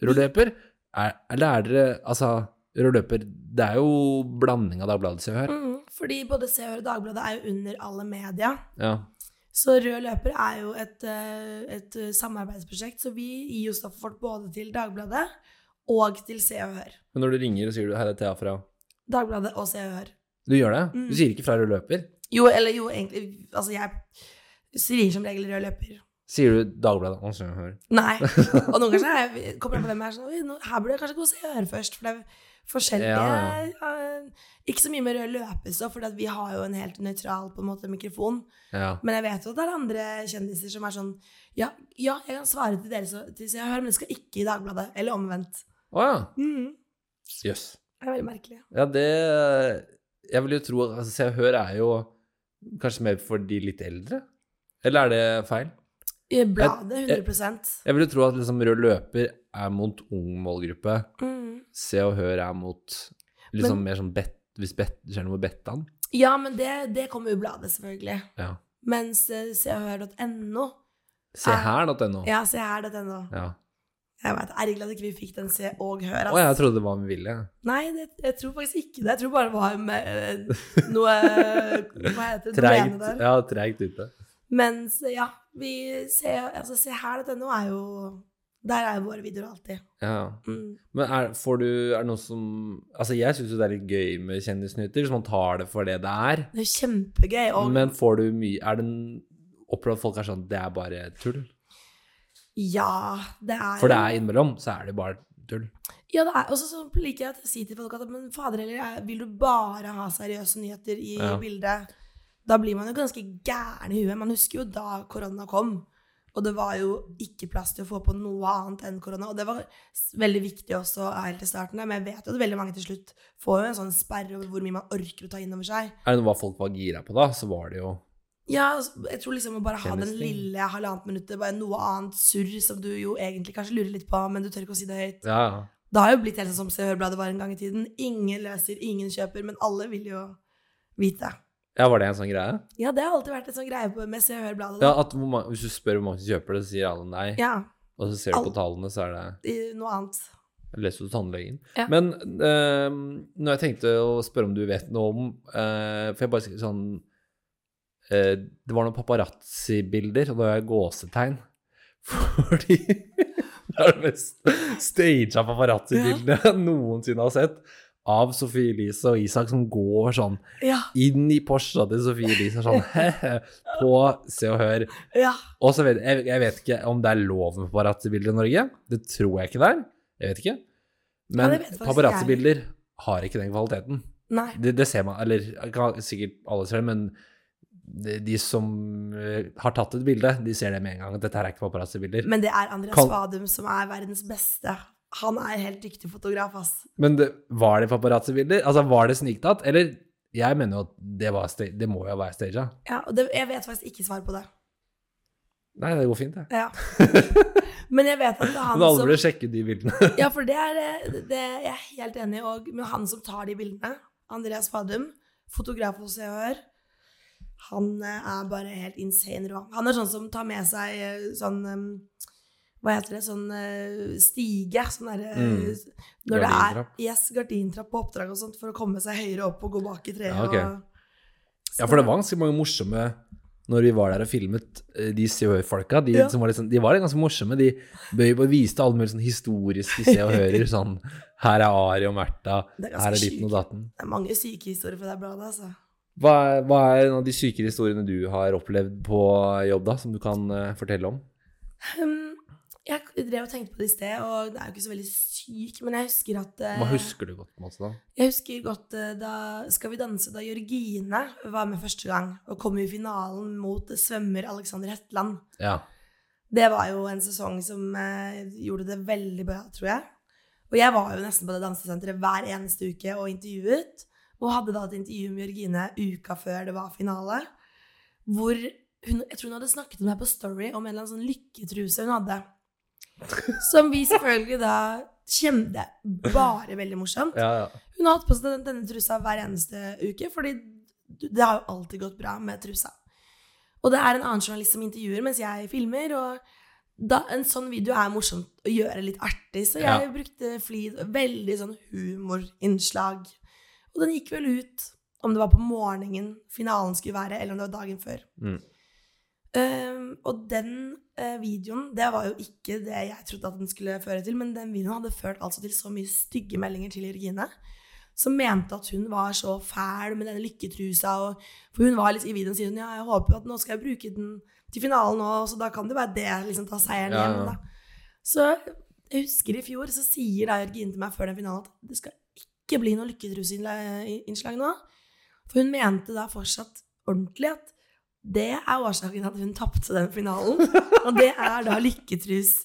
Rødløper? Er, eller er dere Altså, rødløper Det er jo blanding av Dagbladet Se og Hør. mm. Fordi både Se og Hør og Dagbladet er jo under alle media. Ja. Så Rød løper er jo et, eh, et eh, samarbeidsprosjekt, så vi gir jo stoffet vårt både til Dagbladet og til Se og Hør. Men når du ringer, sier du 'Hei, det er Thea fra Dagbladet og Se og Hør. Du gjør det? Mm. Du sier ikke 'fra rødløper'? Jo, eller jo, egentlig Altså, jeg sier som regel rød løper. Sier du Dagbladet og Se og Hør? Nei. Og noen ganger så er jeg, kommer jeg på det med her sånn «Oi, nå- Her burde jeg kanskje gå og se og høre først, for det er forskjellige Ja, eh, Ikke så mye med rød løpestoff, for vi har jo en helt nøytral på en måte, mikrofon. Ja. Men jeg vet jo at det er andre kjendiser som er sånn Ja, ja jeg kan svare til dere så, til Se og Hør, men det skal ikke i Dagbladet. Eller omvendt. Å ja. Mhm. Jøss. Det er veldig merkelig. Ja, det Jeg vil jo tro at altså, Se og Hør er jo kanskje mer for de litt eldre? Eller er det feil? I Bladet eh, 100 Jeg vil jo tro at liksom rød løper er mot ung målgruppe. Mhm. Se og Hør er mot liksom Men- mer sånn bet, hvis bet, det skjer noe med Bettan. Ja, men det, det kommer jo i Bladet, selvfølgelig. Ja. Mens eh, seoghør.no Se Er- her.no. Ja, se her, dette ennå. Ja. Jeg vet, er glad at ikke vi fikk den se og hør. Å, jeg trodde det var med vilje. Nei, det, jeg tror faktisk ikke det. Jeg tror bare det var med, eh, noe Hva heter det? Treigt. domenet der. Ja, treigt ute. Mens, ja, vi se, altså, se her, dette ennå er jo Der er jo våre videoer alltid. Ja. Mm. Men er, får du, er det noe som Altså, jeg syns jo det er litt gøy med kjendisnyheter, hvis man tar det for det det er. Det er kjempegøy. Og Men får du mye Er det en Opplever at folk er sånn Det er bare tull? ja, det er For det er innimellom, så er det bare tull. Ja, det er, og så så liker jeg å si til folk at men fader eller jeg, vil du bare ha seriøse nyheter i Ja. bildet, da blir man jo ganske gæren i huet. Man husker jo da korona kom, og det var jo ikke plass til å få på noe annet enn korona. Og det var s- veldig viktig også helt i starten, der, men jeg vet jo at veldig mange til slutt får jo en sånn sperre over hvor mye man orker å ta inn over seg. Er det noe hva folk var gira på da, så var det jo Ja, altså, jeg tror liksom å bare ha den Kjennes ting. lille halvannet minuttet, bare noe annet surr som du jo egentlig kanskje lurer litt på, men du tør ikke å si det høyt. Ja, ja. Det har jo blitt helt sånn som Se og Hør-bladet var en gang i tiden. Ingen leser, ingen kjøper, men alle vil jo vite. Ja, var det en sånn greie? Ja, det har alltid vært en sånn greie på- med Se og Hør-bladet. Ja, da. at hvor mange, Hvis du spør hvor mange som kjøper det, så sier alle nei. Ja, Og så ser du Al- på tallene, så er det i- noe annet. Leser du tannlegen? Ja. Men eh, når jeg tenkte å spørre om du vet noe om eh, For jeg bare sier sånn eh, Det var noen paparazzi-bilder, og da har jeg gåsetegn. Fordi det er det mest staged paparazzi-bildene jeg noensinne har sett. av Sofie Elise og Isak som går sånn Ja, inn i Porscha til Sofie Elise sånn på Se og Hør. ja. Og så vet jeg, jeg vet ikke om det er lov med paparazzibilder i Norge. Det tror jeg ikke det er. Jeg vet ikke. Ja, Men det vet faktisk paparazzibilder har ikke den kvaliteten. Nei. Det, det ser man, eller kan- sikkert alle ser det, men de, de som eh, har tatt et bilde, de ser det med en gang. at Dette her er ikke paparazzibilder. Men det er Andreas Kan- Fadum som er verdens beste. Han er helt dyktig fotograf, ass. Men det, var det paparazzibilder? Altså, var det sniktatt? Eller jeg mener jo at det, var, sta- det må jo være staged. Ja, og det, jeg vet faktisk ikke svar på det. Nei, det går fint, det. Ja. Men jeg vet at det er han Men alle som burde sjekke de bildene. Ja, for det er eh, det, Jeg er helt enig, og men han som tar de bildene, Andreas Fadum, fotograf hos Se og Hør, han eh, er bare helt insane rå. Han er sånn som tar med seg eh, sånn eh, Hva heter det? Sånn eh, stige. Sånn derre eh, Mm. Når det er Gardintrapp. yes, gardintrapp på oppdrag og sånt for å komme seg høyere opp og gå bak i treet. Ja, ok. og, Ja, for det var ganske mange morsomme når vi var der og filmet eh, de Se og Hør-folka. De, Ja. som var litt sånn- de var litt ganske morsomme. De bøy og viste alle mulige sånne historiske Se og Hører. Sånn her er Ari og Märtha, Det er ganske her er ditten og sjukt. datten. Det er mange syke historier fra det bladet, altså. Hva er, hva er en av de sykere historiene du har opplevd på jobb, da, som du kan eh, fortelle om? Hm, jeg drev og tenkte på det i sted, og det er jo ikke så veldig syk, men jeg husker at eh, Hva husker du godt, Mads? da? Jeg husker godt eh, da Skal vi danse, da Jørgine var med første gang og kom i finalen mot svømmer Alexander Hetland. Ja. Det var jo en sesong som eh, gjorde det veldig bra, tror jeg. Og jeg var jo nesten på det dansesenteret hver eneste uke og intervjuet. Og hadde da et intervju med Jørgine uka før det var finale. Hvor hun, jeg tror hun hadde snakket med meg på Story om en eller annen sånn lykketruse hun hadde. Som vi selvfølgelig da kjente bare veldig morsomt. ja, ja. Hun har hatt på seg den- denne trusa hver eneste uke, fordi det har jo alltid gått bra med trusa. Og det er en annen journalist som intervjuer mens jeg filmer, og da, en sånn video er morsomt å gjøre litt artig, så jeg Ja. brukte flid, veldig sånn humorinnslag. Og den gikk vel ut, om det var på morgenen finalen skulle være, eller om det var dagen før. Mm. Ehm, og den eh, videoen, det var jo ikke det jeg trodde at den skulle føre til, men den videoen hadde ført altså til så mye stygge meldinger til Jørgine, som mente at hun var så fæl med denne lykketrusa, og, for hun var litt i videoen sier hun, ja, jeg håper at nå skal jeg bruke den til finalen nå, så da kan det være det, liksom ta seieren Ja, ja. hjem da. Så jeg husker i fjor, så sier da Jørgine til meg før den finalen at det skal ikke bli noe lykketruseinnslag nå, for hun mente da fortsatt ordentlig at det er årsaken til at hun tapte den finalen. Og det er da lykketrus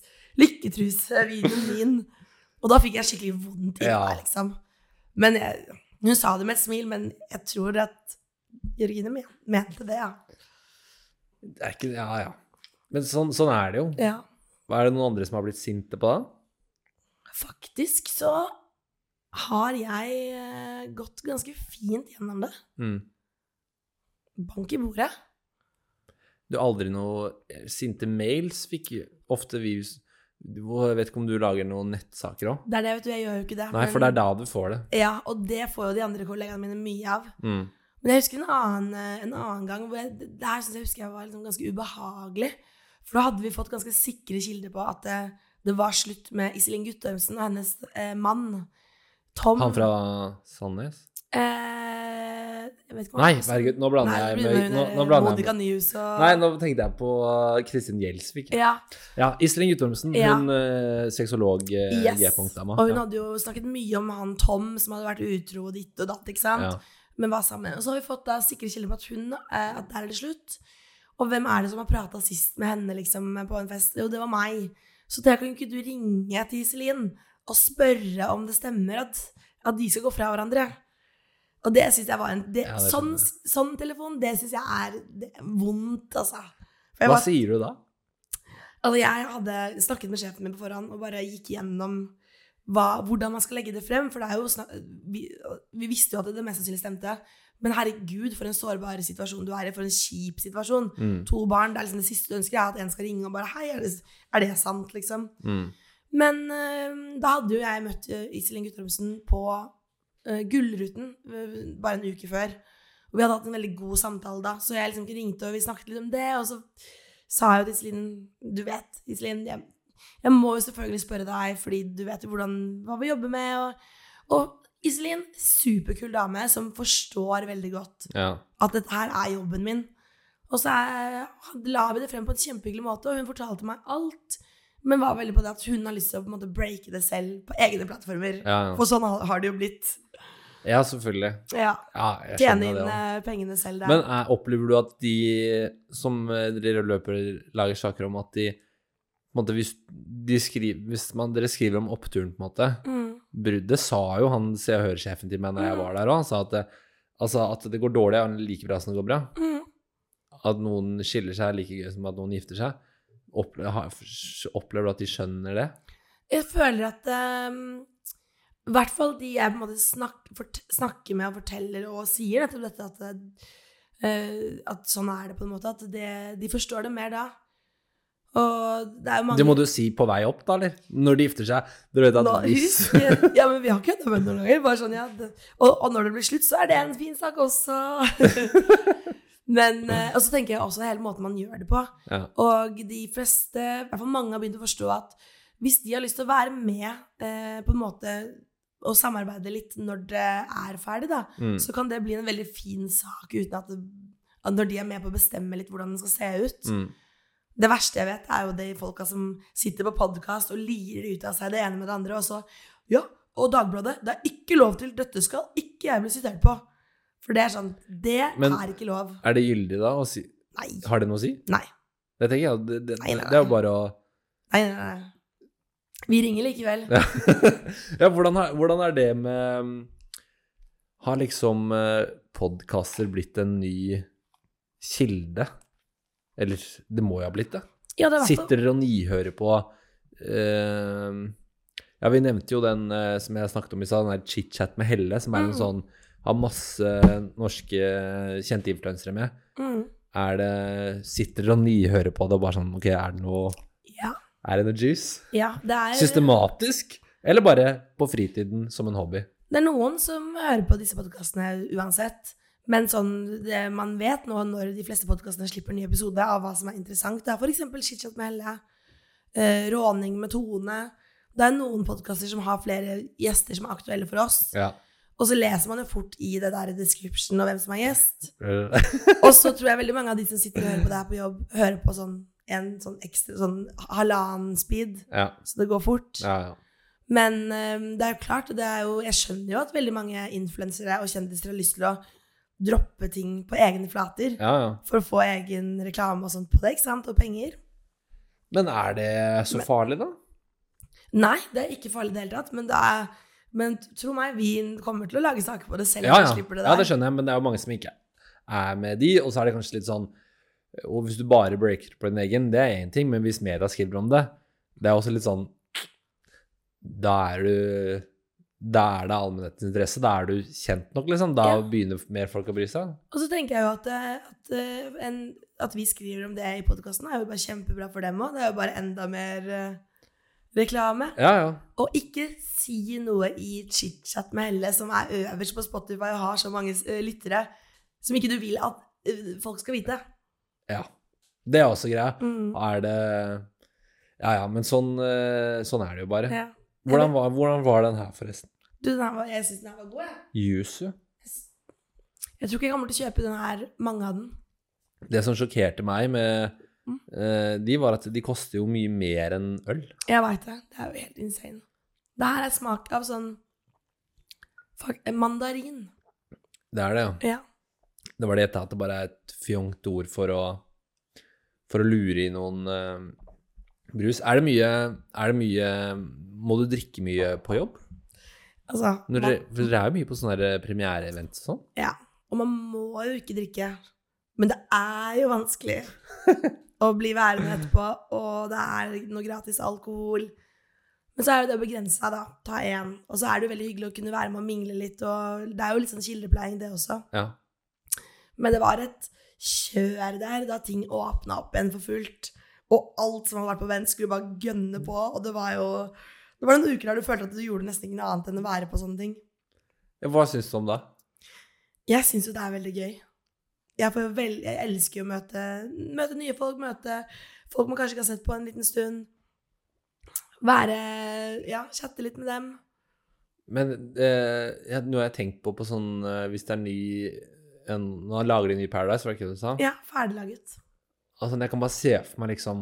lykketrusvideoen min. Og da fikk jeg skikkelig vondt i meg, Ja. liksom. Men jeg, hun sa det med et smil, men jeg tror at Jørgine men, mente det, ja. Det er ikke, ja, ja. Men sånn, sånn er det jo. ja. Er det noen andre som har blitt sinte på deg? Faktisk så har jeg eh, gått ganske fint gjennom det. Mm. Bank i bordet. Du har aldri noe eh, Sinte mails fikk ofte vi Du- Jeg vet ikke om du lager noen nettsaker òg? Det er det, vet du. Jeg gjør jo ikke det. Nei, for det er da du får det. Ja, og det får jo de andre kollegaene mine mye av. Mm. Men jeg husker en annen, eh, en annen gang hvor jeg, det her synes jeg husker jeg var liksom ganske ubehagelig. For da hadde vi fått ganske sikre kilder på at det, det var slutt med Iselin Guttormsen og hennes eh, mann Tom Han fra Sandnes? eh, jeg vet ikke hva Nei, han- herregud, nå blander Nei, jeg det blir med- hun nå- der, nå blander jeg Monica News og Nei, nå tenkte jeg på eh, Kristin Gjelsvik. ja. Ja, Iselin Guttormsen. Ja. Hun eh, sexolog eh, Yes. G-punktdama. Og hun Ja. hadde jo snakket mye om han Tom som hadde vært utro og ditt og datt, ikke sant? Ja. Men var sammen. Og så har vi fått da sikre kilder på at hun, eh, at der er det slutt. Og hvem er det som har prata sist med henne liksom, på en fest? Jo, det var meg. Så det kan jo ikke du ringe til Iselin og spørre om det stemmer at, at de skal gå fra hverandre. Og det synes jeg var en det, Ja, det sånn, skjønner sånn telefon, det syns jeg er det, er vondt, altså. For jeg Hva var sier du da? Altså, jeg hadde snakket med sjefen min på forhånd og bare gikk gjennom hva, hvordan man skal legge det frem. For det er jo snak vi, vi visste jo at det mest sannsynlig stemte. Men herregud, for en sårbar situasjon du er i. For en kjip situasjon. Mm. To barn, det er liksom det siste du ønsker, er at en skal ringe og bare Hei, er det, er det sant? liksom. Mm. Men eh, da hadde jo jeg møtt eh, Iselin Guttormsen på eh, Gullruten eh, bare en uke før. Og vi hadde hatt en veldig god samtale da, så jeg liksom ikke ringte, og vi snakket litt om det. Og så sa jeg jo til Iselin Du vet, Iselin, jeg, jeg må jo selvfølgelig spørre deg, fordi du vet jo hvordan, hva vi jobber med. Og, og Iselin, superkul dame som forstår veldig godt Ja. at dette her er jobben min. Og så er, la vi det frem på en kjempehyggelig måte, og hun fortalte meg alt. Men var veldig på det at hun har lyst til å på en måte breake det selv på egne plattformer. Ja, ja. For sånn har har det jo blitt. ja selvfølgelig. Ja, Ja, jeg Tjene skjønner inn det også. eh, pengene selv der. Men er, opplever du at de som eh, dere løper lager saker om, at de på en måte, hvis, de skriver, hvis man, dere skriver om oppturen, på en måte mm. Bru- Det sa jo han Se og Hør-sjefen til meg når jeg var der òg. Han sa at det, altså, at det går dårlig, er like bra som det går bra. Mm. At noen skiller seg, er like gøy som at noen gifter seg. Opple ha- opplever du at de skjønner det? Jeg føler at ehm, I hvert fall de jeg på en måte snak, fort, snakker med og forteller og sier nettopp dette at, eh, at sånn er det på en måte. At det, de forstår det mer da. Og det er jo mange Det må du si på vei opp, da, eller? Når de gifter seg. Du vet at Nå, hvis husk, ja, men vi har kødda med det noen ganger. Bare sånn, ja, det, og, og når det blir slutt, så er det en fin sak også. men, eh, Og så tenker jeg også hele måten man gjør det på. Ja. Og de fleste, i hvert fall mange, har begynt å forstå at hvis de har lyst til å være med eh, på en måte og samarbeide litt når det er ferdig, da, Mm. så kan det bli en veldig fin sak uten at, det, at når de er med på å bestemme litt hvordan den skal se ut. Mm. Det verste jeg vet, er jo de folka som sitter på podkast og lirer ut av seg det ene med det andre, og så Ja, og Dagbladet, det er ikke lov til dette skal ikke jeg bli sitert på. For det er sånn Det Men- er ikke lov. Er det gyldig, da? Å si, Nei. Nei, har det noe å si? Nei. Det tenker jeg, det, det, Nei, nei, det er jo nei. bare å nei, nei. Vi ringer likevel. Ja, ja hvordan, har, hvordan er det med um, Har liksom podkaster blitt en ny kilde? Eller det må jo ha blitt det? Ja, det er i hvert fall- Sitter dere og nyhører på eh, Ja, vi nevnte jo den eh, som jeg snakket om i stad, den der chit-chat med Helle, som er en Mm. sånn Har masse norske kjente influensere med. mm. Er det Sitter dere og nyhører på det og bare sånn OK, er det noe ja, Er det noe juice? ja, det er Systematisk? Eller bare på fritiden som en hobby? Det er noen som hører på disse podkastene uansett. Men sånn, det, man vet nå når de fleste podkastene slipper nye episoder av hva som er interessant. Det er f.eks. Chitchat med Helle, eh, Råning med Tone. Det er noen podkaster som har flere gjester som er aktuelle for oss. Ja. Og så leser man jo fort i det der i description og hvem som er gjest. Og så tror jeg veldig mange av de som sitter og hører på det her på jobb, hører på sånn en sånn ekstra sånn halvannen speed, ja. så det går fort. Ja, ja. Men eh, det er jo klart, og det er jo, jeg skjønner jo at veldig mange influensere og kjendiser har lyst til å droppe ting på egne flater ja, ja. for å få egen reklame og sånt på det, ikke sant, og penger. Men er det så farlig, da? Nei, det er ikke farlig i det hele tatt, men det er men tro meg, vi kommer til å lage saker på det selv om Ja, vi ja. slipper det der. ja, det skjønner jeg, men det er jo mange som ikke er med de, og så er det kanskje litt sånn Og hvis du bare breaker på din egen, det er én ting, men hvis media skriver om det, det er også litt sånn Da er du Da er det allmennhetens interesse. Da er du kjent nok, liksom. Da Ja. begynner mer folk å bry seg. Og så tenker jeg jo at, eh, at, eh, en, at vi skriver om det i podkasten, er jo bare kjempebra for dem òg. Det er jo bare enda mer eh, reklame. Ja, ja. Og ikke si noe i chit-chat med Helle, som er øverst på Spotify og har så mange eh, lyttere, som ikke du vil at eh, folk skal vite. ja. Det er også greia. Mm. Er det Ja, ja, men sånn, eh, sånn er det jo bare. Ja. Hvordan var, hvordan var den her, forresten? Du, den her var, jeg syns den her var god, jeg. Yuzu. Jeg tror ikke jeg kommer til å kjøpe den her, mange av den. Det som sjokkerte meg med Mm. eh, de, var at de koster jo mye mer enn øl. Jeg veit det. Det er jo helt insane. Det her er smak av sånn fuck, eh, mandarin. Det er det, ja. Ja. Det var det jeg at det bare er et fjongt ord for å, for å lure i noen eh, brus. Er det mye Er det mye Må du drikke mye på jobb? Altså Når man, dere, for dere er jo mye på sånne der premiereevent og sånn. Ja. Og man må jo ikke drikke. Men det er jo vanskelig å bli værende etterpå, og det er noe gratis alkohol. Men så er jo det begrensa, da. Ta én. Og så er det jo veldig hyggelig å kunne være med og mingle litt, og det er jo litt sånn kildepleie, det også. Ja. Men det var et kjør der da ting åpna opp igjen for fullt. Og alt som hadde vært på vent, skulle bare gønne på, og det var jo Det var noen uker der du følte at du gjorde nesten ikke noe annet enn å være på sånne ting. Ja, Hva syns du om det? Jeg syns jo det er veldig gøy. Jeg, får jo vel, jeg elsker jo å møte, møte nye folk, møte folk man kanskje ikke har sett på en liten stund. Være Ja, chatte litt med dem. Men eh, jeg- nå har jeg tenkt på, på sånn eh, Hvis det er ny en, Når han lager en ny Paradise, var det ikke det du sa? Ja, ferdiglaget. Altså, jeg kan bare se for meg liksom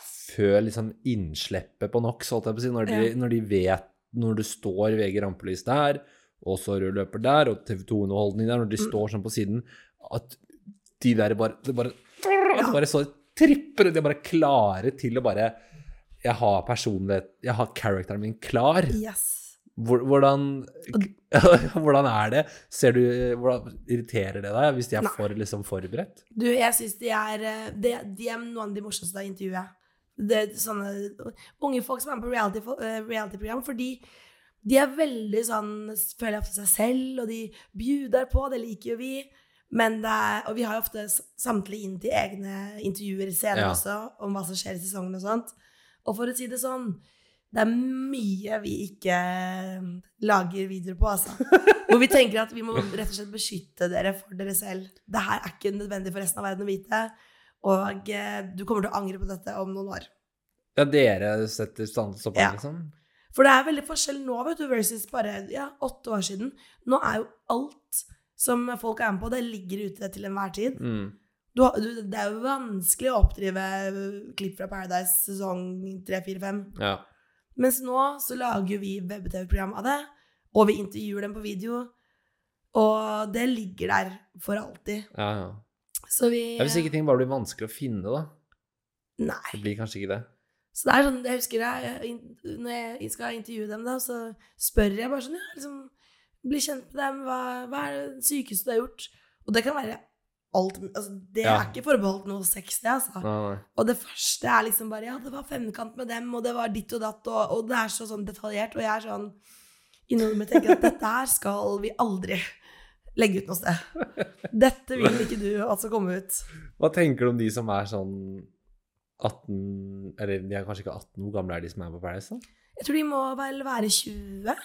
Før liksom innslippet på NOx, holdt jeg på å si, når de, Ja. når de vet Når du står VG rampelys der, og så rød løper der, og TV 2-underholdning der, når de Mm. står sånn på siden At de der bare Det bare, at det bare så tripper ut. De er bare klare til å bare Jeg har personlighet Jeg har characteren min klar. Yes. Hvor- Hvordan Hvordan er det? Ser du eh, hvordan, Irriterer det deg hvis de er Nei. for liksom forberedt? Du, jeg syns de er eh, De, de er noen av de morsomste av intervjuet. Det er sånne unge folk som er med på reality, eh, reality-program, fordi de er veldig sånn Føler jeg for seg selv, og de bjuder på, det liker jo vi. Men det er, og vi har jo ofte s- samtlige inn til egne intervjuer Ja. senere også, om hva som skjer i sesongen og sånt. Og for å si det sånn, det er mye vi ikke eh, lager videoer på, altså. Hvor vi tenker at vi må rett og slett beskytte dere for dere selv. Det her er ikke nødvendig for resten av verden å vite. Og eh, du kommer til å angre på dette om noen år. Ja, dere setter stand- stopp Ja. liksom? For det er veldig forskjell nå, vet du, versus bare ja, åtte år siden. Nå er jo alt som folk er med på, det ligger ute til enhver tid. Mm. Du, har- du, det er jo vanskelig å oppdrive klipp fra Paradise sesong 3, 4, 5. Ja. Mens nå så lager vi web-TV-program av det, og vi intervjuer dem på video. Og det ligger der for alltid. ja, ja. Så vi ja Hvis ikke ting bare blir vanskelig å finne, da. Nei. Det blir kanskje ikke det. Så det er sånn, jeg husker jeg, in- når jeg skal intervjue dem, da, så spør jeg bare sånn, ja, liksom, bli kjent med dem, hva, hva er det sykeste du har gjort? Og det kan være alt, altså, det Ja. er ikke forbeholdt noe sex, det, altså. Nei, nei. Og det første er liksom bare, ja, det var femkant med dem, og det var ditt og datt, og, og det er så sånn detaljert, og jeg er sånn, innom meg tenker at dette her skal vi aldri legge ut noe sted. Dette vil ikke du altså komme ut. Hva tenker du om de som er sånn 18 Eller de er kanskje ikke 18, hvor gamle er de som er på Paradise? da? Jeg tror de må vel være 20,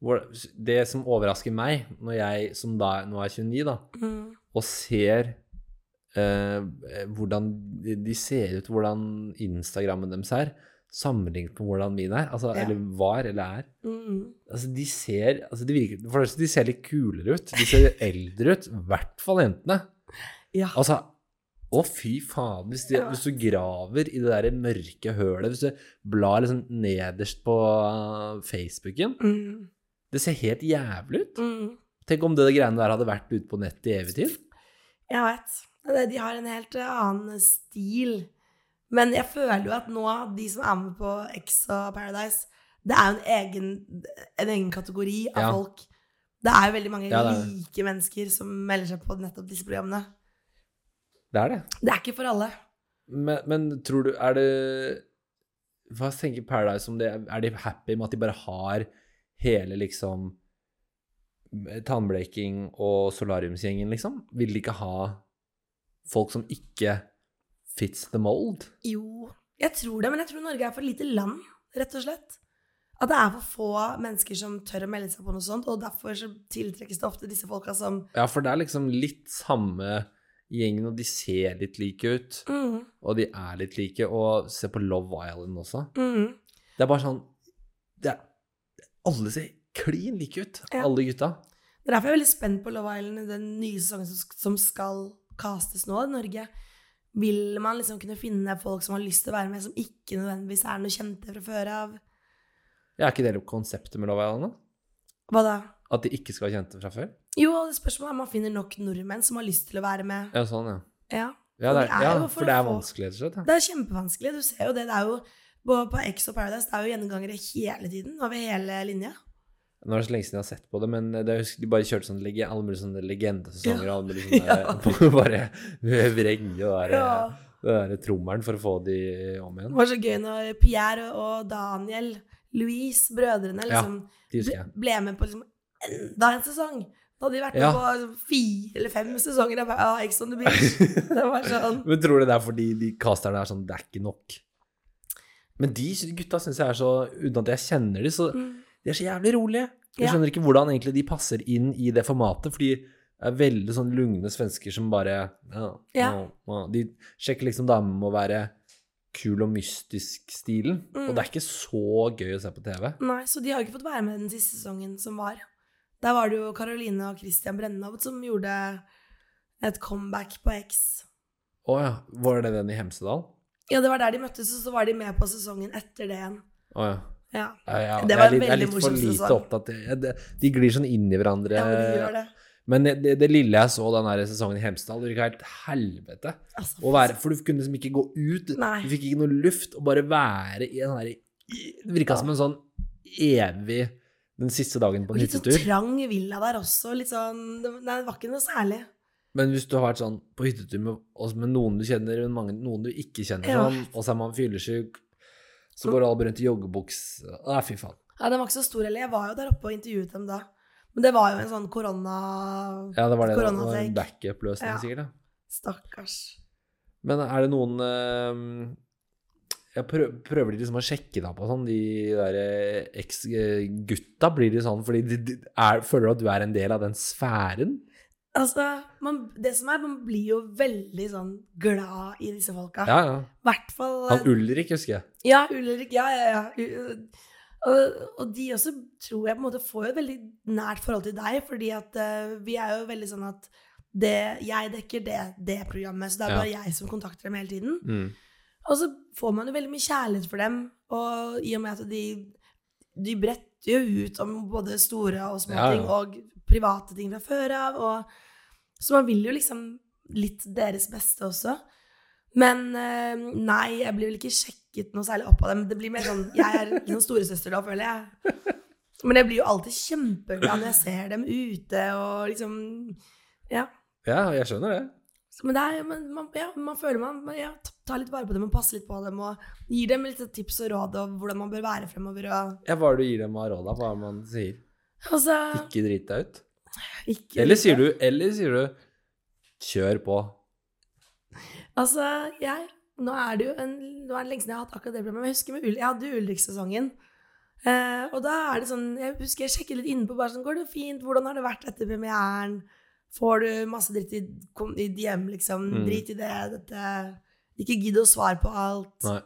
Hvor, det som overrasker meg, når jeg som da nå er 29, da, mm. og ser eh, hvordan de- de ser ut, hvordan Instagrammen deres er, sammenlignet med hvordan min er, altså, Ja. eller var eller er Mm. Altså, de ser altså, de virker, For det første, de ser litt kulere ut. De ser eldre ut. I hvert fall jentene. Ja. Altså, å fy faen. Hvis, de, hvis du graver i det der mørke hølet, hvis du blar liksom nederst på eh, Facebooken Mm. Det ser helt jævlig ut. Mm. Tenk om det greiene der hadde vært ute på nettet i evig tid. Jeg vet. Det- De har en helt eh, annen stil. Men jeg føler jo at nå, de som er med på X og Paradise, det er jo en egen, en egen kategori av Ja. folk. Det er jo veldig mange Ja, det er det. like mennesker som melder seg på nettopp disse programmene. Det er det. Det er ikke for alle. Men, men tror du Er det Hva tenker Paradise om det? Er de happy med at de bare har hele liksom tannbleking og solariumsgjengen, liksom? Vil de ikke ha folk som ikke fits the mold? Jo, jeg tror det, men jeg tror Norge er for lite land, rett og slett. At det er for få mennesker som tør å melde seg på noe sånt, og derfor så tiltrekkes det ofte disse folka som Ja, for det er liksom litt samme gjengen, og de ser litt like ut, mm, og de er litt like, og se på Love Island også. mm. Det er bare sånn det er, Alle ser klin like ut, Ja. alle gutta. Det er derfor jeg er veldig spent på Love Island, den nye sesongen som, som skal kastes nå i Norge. Vil man liksom kunne finne folk som har lyst til å være med, som ikke nødvendigvis er noe kjente fra før av? Ja, Er ikke det konseptet med Love Island, da? Hva da? At de ikke skal være kjente fra før? Jo, det spørsmålet er om man finner nok nordmenn som har lyst til å være med. Ja, sånn, ja. Ja. Ja, det er, For det er ja jo for for det å er få- vanskelig, rett og slett. Ja. Det er kjempevanskelig. Du ser jo det. Det er jo på, på X og Paradise det er jo gjengangere hele tiden, over hele linja. Nå er det så lenge siden jeg har sett på det, men det, jeg husker de bare kjørte sånne, lege- alle mulige sånne legendesesonger og alle mulige sånne Bare vrenge og der, Ja. det der trommelen for å få de om Det igjen. var så gøy når Pierre og Daniel, Louise, Ja. brødrene, liksom De husker ble, jeg. ble med på liksom enda en sesong. Da hadde de vært med Ja. på liksom fire eller fem sesonger av av Ex on the Beach. sånn Det var sånn Men tror du det er fordi de casterne er sånn Det er ikke nok. Men de gutta syns jeg er så Uten at jeg kjenner de, så mm, de er så jævlig rolige. Jeg Ja. skjønner ikke hvordan egentlig de passer inn i det formatet, for de er veldig sånn lugne svensker som bare ja, ja. Ja. ja. De sjekker liksom damer med å være kul og mystisk-stilen. Mm. Og det er ikke så gøy å se på TV. Nei, så de har jo ikke fått være med den siste sesongen som var. Der var det jo Karoline og Christian Brennhovet som gjorde et comeback på X. Å ja. Var det den i Hemsedal? Ja, det var der de møttes, og så var de med på sesongen etter det igjen. Å ja. Ja, Ja, ja, Det var jeg er litt- jeg en er veldig litt for morsom lite sesong. opptatt i- jeg- det- De glir sånn inn i hverandre. ja men de gjør det. Men det, det lille jeg så den her sesongen i Hemsedal, det virka helt helvete. Altså, Å være, for du kunne liksom ikke gå ut. Nei. Du fikk ikke noe luft. Og bare være i den her Det virka som en sånn evig Den siste dagen på en og litt sånn hyttetur. trang villa der også. Litt sånn det- Nei, det var ikke noe særlig. Men hvis du har vært sånn på hyttetur med, også med noen du kjenner, men mange, noen du ikke kjenner, Ja. sånn, og så er man fyllesyk, så går alle rundt i joggebuks Nei, fy faen. Ja, Den var ikke så stor heller. Jeg var jo der oppe og intervjuet dem da. Men det var jo en sånn korona... Ja, det var det. da. Det var en Koronatrekk. backup-løsning, Ja. sikkert. da. Stakkars. Men er det noen eh, jeg prøver, prøver de liksom å sjekke deg på sånn, de der eh, eks-gutta? Blir de sånn fordi de, de er, føler du at du er en del av den sfæren? Altså, man, det som er, man blir jo veldig sånn glad i disse folka. Ja, ja. hvert fall Han Ulrik, husker jeg. Ja, Ulrik. Ja, ja, ja. U- Og, og de også tror jeg på en måte får jo et veldig nært forhold til deg, fordi at eh, vi er jo veldig sånn at det, jeg dekker det, det programmet, så det er Ja. bare jeg som kontakter dem hele tiden. Og så får man jo veldig mye kjærlighet for dem, og i og med at de, de bretter jo ut om både store og små Ja, ja. ting, og private ting fra før av, og så man vil jo liksom litt deres beste også. Men eh, nei, jeg blir vel ikke sjekket noe særlig opp av dem. Det blir mer sånn, jeg er litt sånn storesøster da, føler jeg. Men jeg blir jo alltid kjempeglad når jeg ser dem ute, og liksom, ja. Ja, jeg skjønner det. Så, Men det er, men man, ja, man føler man, man ja, t- tar litt vare på dem og passer litt på dem og gir dem litt tips og råd om hvordan man bør være fremover. Og, Ja, hva er det du gir dem av råd, da? Hva er det man sier? og så, Ikke drit deg ut? ikke, Eller sier du, eller sier du Kjør på. Altså, jeg, nå er det jo en, nå er det lenge siden jeg har hatt akkurat det problemet, men jeg husker med Ul jeg hadde jo Ulrik-sesongen. Eh, og da er det sånn, jeg husker jeg sjekket litt innpå, bare sånn, går det fint, hvordan har det vært etter premieren? Får du masse dritt i, kom, i DM, liksom, Mm. drit i det, dette, ikke gidd å svare på alt. Nei.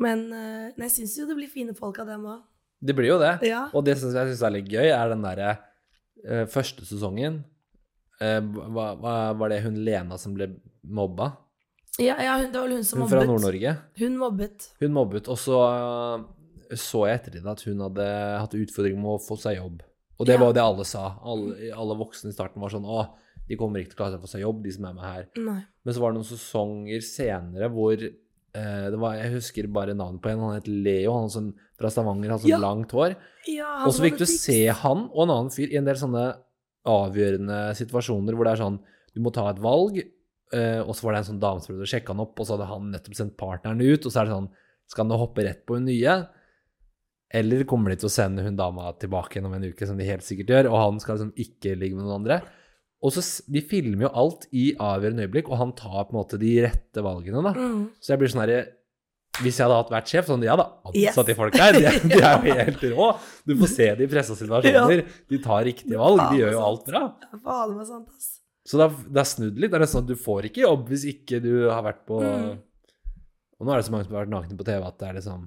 Men, eh, men jeg syns jo det blir fine folk av dem òg. Det blir jo det. Ja. Og det synes jeg synes er litt gøy, er den derre eh, første sesongen eh, hva, hva, Var det hun Lena som ble mobba? Ja, ja, hun, det var vel hun som Hun mobbet. fra Nord-Norge. Hun mobbet. Hun mobbet, og så eh, så jeg etter det at hun hadde hatt utfordringer med å få seg jobb. Og det Ja. var jo det alle sa. Alle, alle voksne i starten var sånn Å, de kommer ikke til å klare seg å få seg jobb, de som er med her. Nei. Men så var det noen sesonger senere hvor eh, det var, Jeg husker bare navnet på en. Han het Leo, han som, fra Stavanger, hadde sånn Ja. langt hår. Ja, han Og så som fikk du hadde tics. se han og en annen fyr i en del sånne avgjørende situasjoner hvor det er sånn Du må ta et valg, eh, og så var det en sånn dame som prøvde å sjekke han opp, og så hadde han nettopp sendt partneren ut, og så er det sånn Skal han nå hoppe rett på hun nye? Eller kommer de til å sende hun dama tilbake igjen om en uke, som de helt sikkert gjør, og han skal liksom ikke ligge med noen andre? Og så s- De filmer jo alt i avgjørende øyeblikk, og han tar på en måte de rette valgene, da. Mm. Så jeg blir sånn herre Hvis jeg hadde hatt vært sjef, sånn ja da, Yes. ansatt de folk der, de, de er jo helt rå. Du får se de i pressa situasjoner. De tar riktige valg, de gjør jo alt bra. Ja, Fader meg sant, ass. Så det er, det er snudd litt. Det er nesten sånn at du får ikke jobb hvis ikke du har vært på Mm. Og nå er det så mange som har vært nakne på TV at det er liksom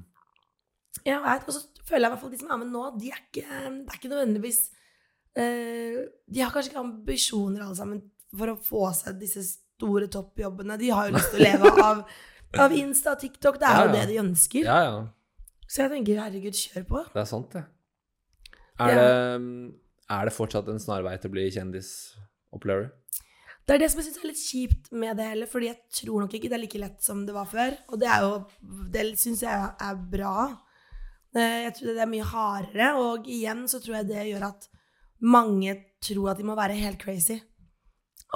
Ja, jeg vet, og så føler jeg i hvert fall de som er med nå, de er ikke, det er ikke nødvendigvis eh, De har kanskje ikke ambisjoner alle sammen for å få seg disse store toppjobbene. De har jo lyst til å leve av, av Insta og TikTok. Det er Ja, jo ja. det de ønsker. Ja, ja. Så jeg tenker herregud, kjør på. Det er sant, det. Er, det, er det fortsatt en snarvei til å bli kjendis og player? Det er det som jeg syns er litt kjipt med det hele, fordi jeg tror nok ikke det er like lett som det var før. Og det er jo Det syns jeg er bra. Eh, Jeg tror det er mye hardere, og igjen så tror jeg det gjør at mange tror at de må være helt crazy.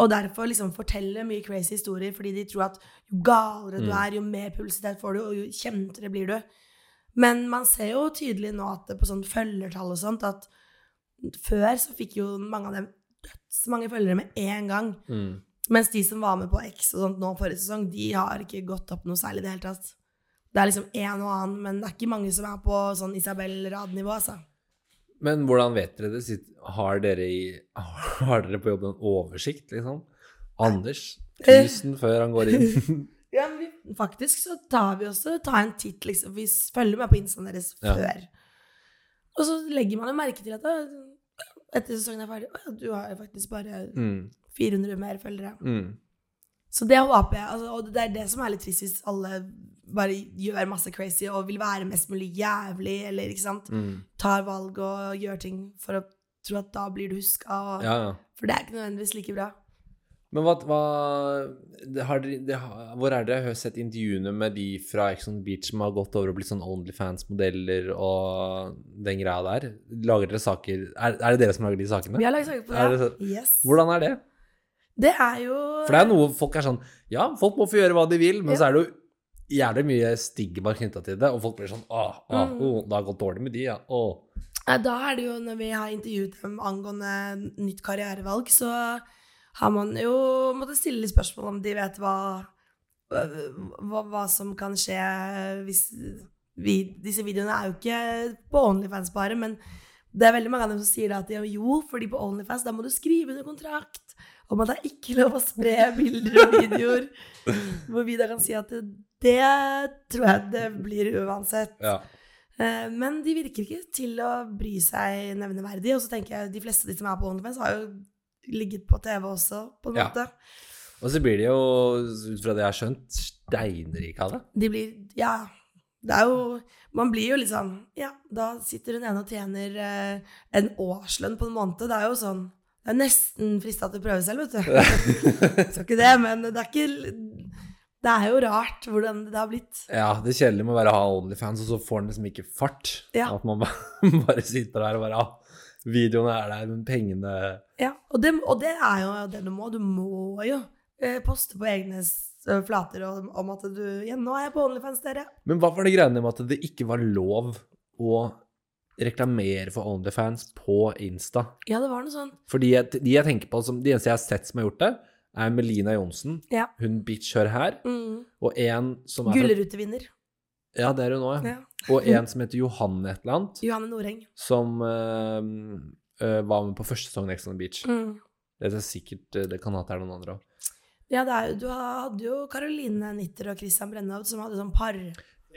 Og derfor liksom forteller mye crazy historier, fordi de tror at jo galere du Mm. er, jo mer publisitet får du, og jo kjentere blir du. Men man ser jo tydelig nå at det på sånn følgertall og sånt, at før så fikk jo mange av dem dødsmange følgere med en gang. Mm. Mens de som var med på X og sånt nå forrige sesong, de har ikke gått opp noe særlig i det hele tatt. Det er liksom en og annen, men det er ikke mange som er på sånn Isabel-radnivå, altså. Men hvordan vet dere det? Sitt- Har dere, i, har dere på jobb en oversikt, liksom? Anders, tusen før han går inn. Ja, men vi, faktisk så tar vi også tar en titt, liksom. Vi s- følger med på instaen deres Ja. før. Og så legger man jo merke til at «Å, etter sesongen er ferdig, «Å, du har faktisk bare Mm, 400 mer følgere. mm. Så det håper jeg. Altså, og det er det som er litt trist, hvis alle bare gjør masse crazy og vil være mest mulig jævlig, eller ikke sant, Mm. tar valg og gjør ting for å tro at da blir du huska. Og, Ja, ja. For det er ikke nødvendigvis like bra. Men hva, hva det har, dere- det har, Hvor er dere har sett intervjuene med de fra Ex on the Beach som har gått over og blitt sånn Onlyfans-modeller og den greia der? Lager dere saker Er, er det dere som lager de sakene? Vi har lagd saker på Er det. det så- Yes. Hvordan er det? Det er jo For det er noe folk er sånn Ja, folk må få gjøre hva de vil, men så er det jo jævlig mye stigma knytta til det, og folk blir sånn Åh, åh, Mm. åh, det har gått dårlig med de, ja. Åh. Nei, Da er det jo når vi har intervjuet dem angående nytt karrierevalg, så har man jo måttet stille litt spørsmål om de vet hva, hva, hva som kan skje hvis vi, Disse videoene er jo ikke på Onlyfans bare, men det er veldig mange av dem som sier det at de, jo, fordi på Onlyfans da må du skrive under kontrakt om at det er ikke lov å spre bilder og videoer. Hvor vi da kan si at det, det tror jeg det blir uansett. Ja. Eh, Men de virker ikke til å bry seg nevneverdig. Og så tenker jeg de fleste av de som er på OnlyFans, har jo ligget på TV også, på en Ja. måte. Og så blir de jo, ut fra det jeg har skjønt, steinrike av det. De blir Ja. Det er jo Man blir jo litt sånn Ja, da sitter hun ene og tjener eh, en årslønn på en måned. Det er jo sånn Det er nesten frista til å prøve selv, vet du. Skal ikke det, men det er ikke Det er jo rart hvordan det har blitt. Ja, det kjedelige med å bare ha Onlyfans, og så får den liksom ikke fart. Ja. At man bare, bare sitter der og bare ah, Videoene er der, men pengene Ja, og det, og det er jo det du må. Du må jo eh, poste på egne s- eh, flater om, om at du Ja, nå er jeg på OnlyFans, dere. Men hva var det greiene med at det ikke var lov å reklamere for Onlyfans på Insta? Ja, det var noe sånt. Fordi jeg, de jeg tenker på som De eneste jeg har sett som har gjort det, er Melina Johnsen. Ja. Hun bitch hør her. Mm. Og en som er fra- Gullrutevinner. Ja, det er hun òg, ja. Ja. Og en som heter Johanne et eller annet, Johanne Noreng. som eh, eh, var med på første sesong av Ex on the Beach. Mm. Det er sikkert eh, Det kan hende at det er noen andre òg. Ja, det er, jo- du hadde jo Caroline Nitter og Christian Brennaud som hadde sånn par.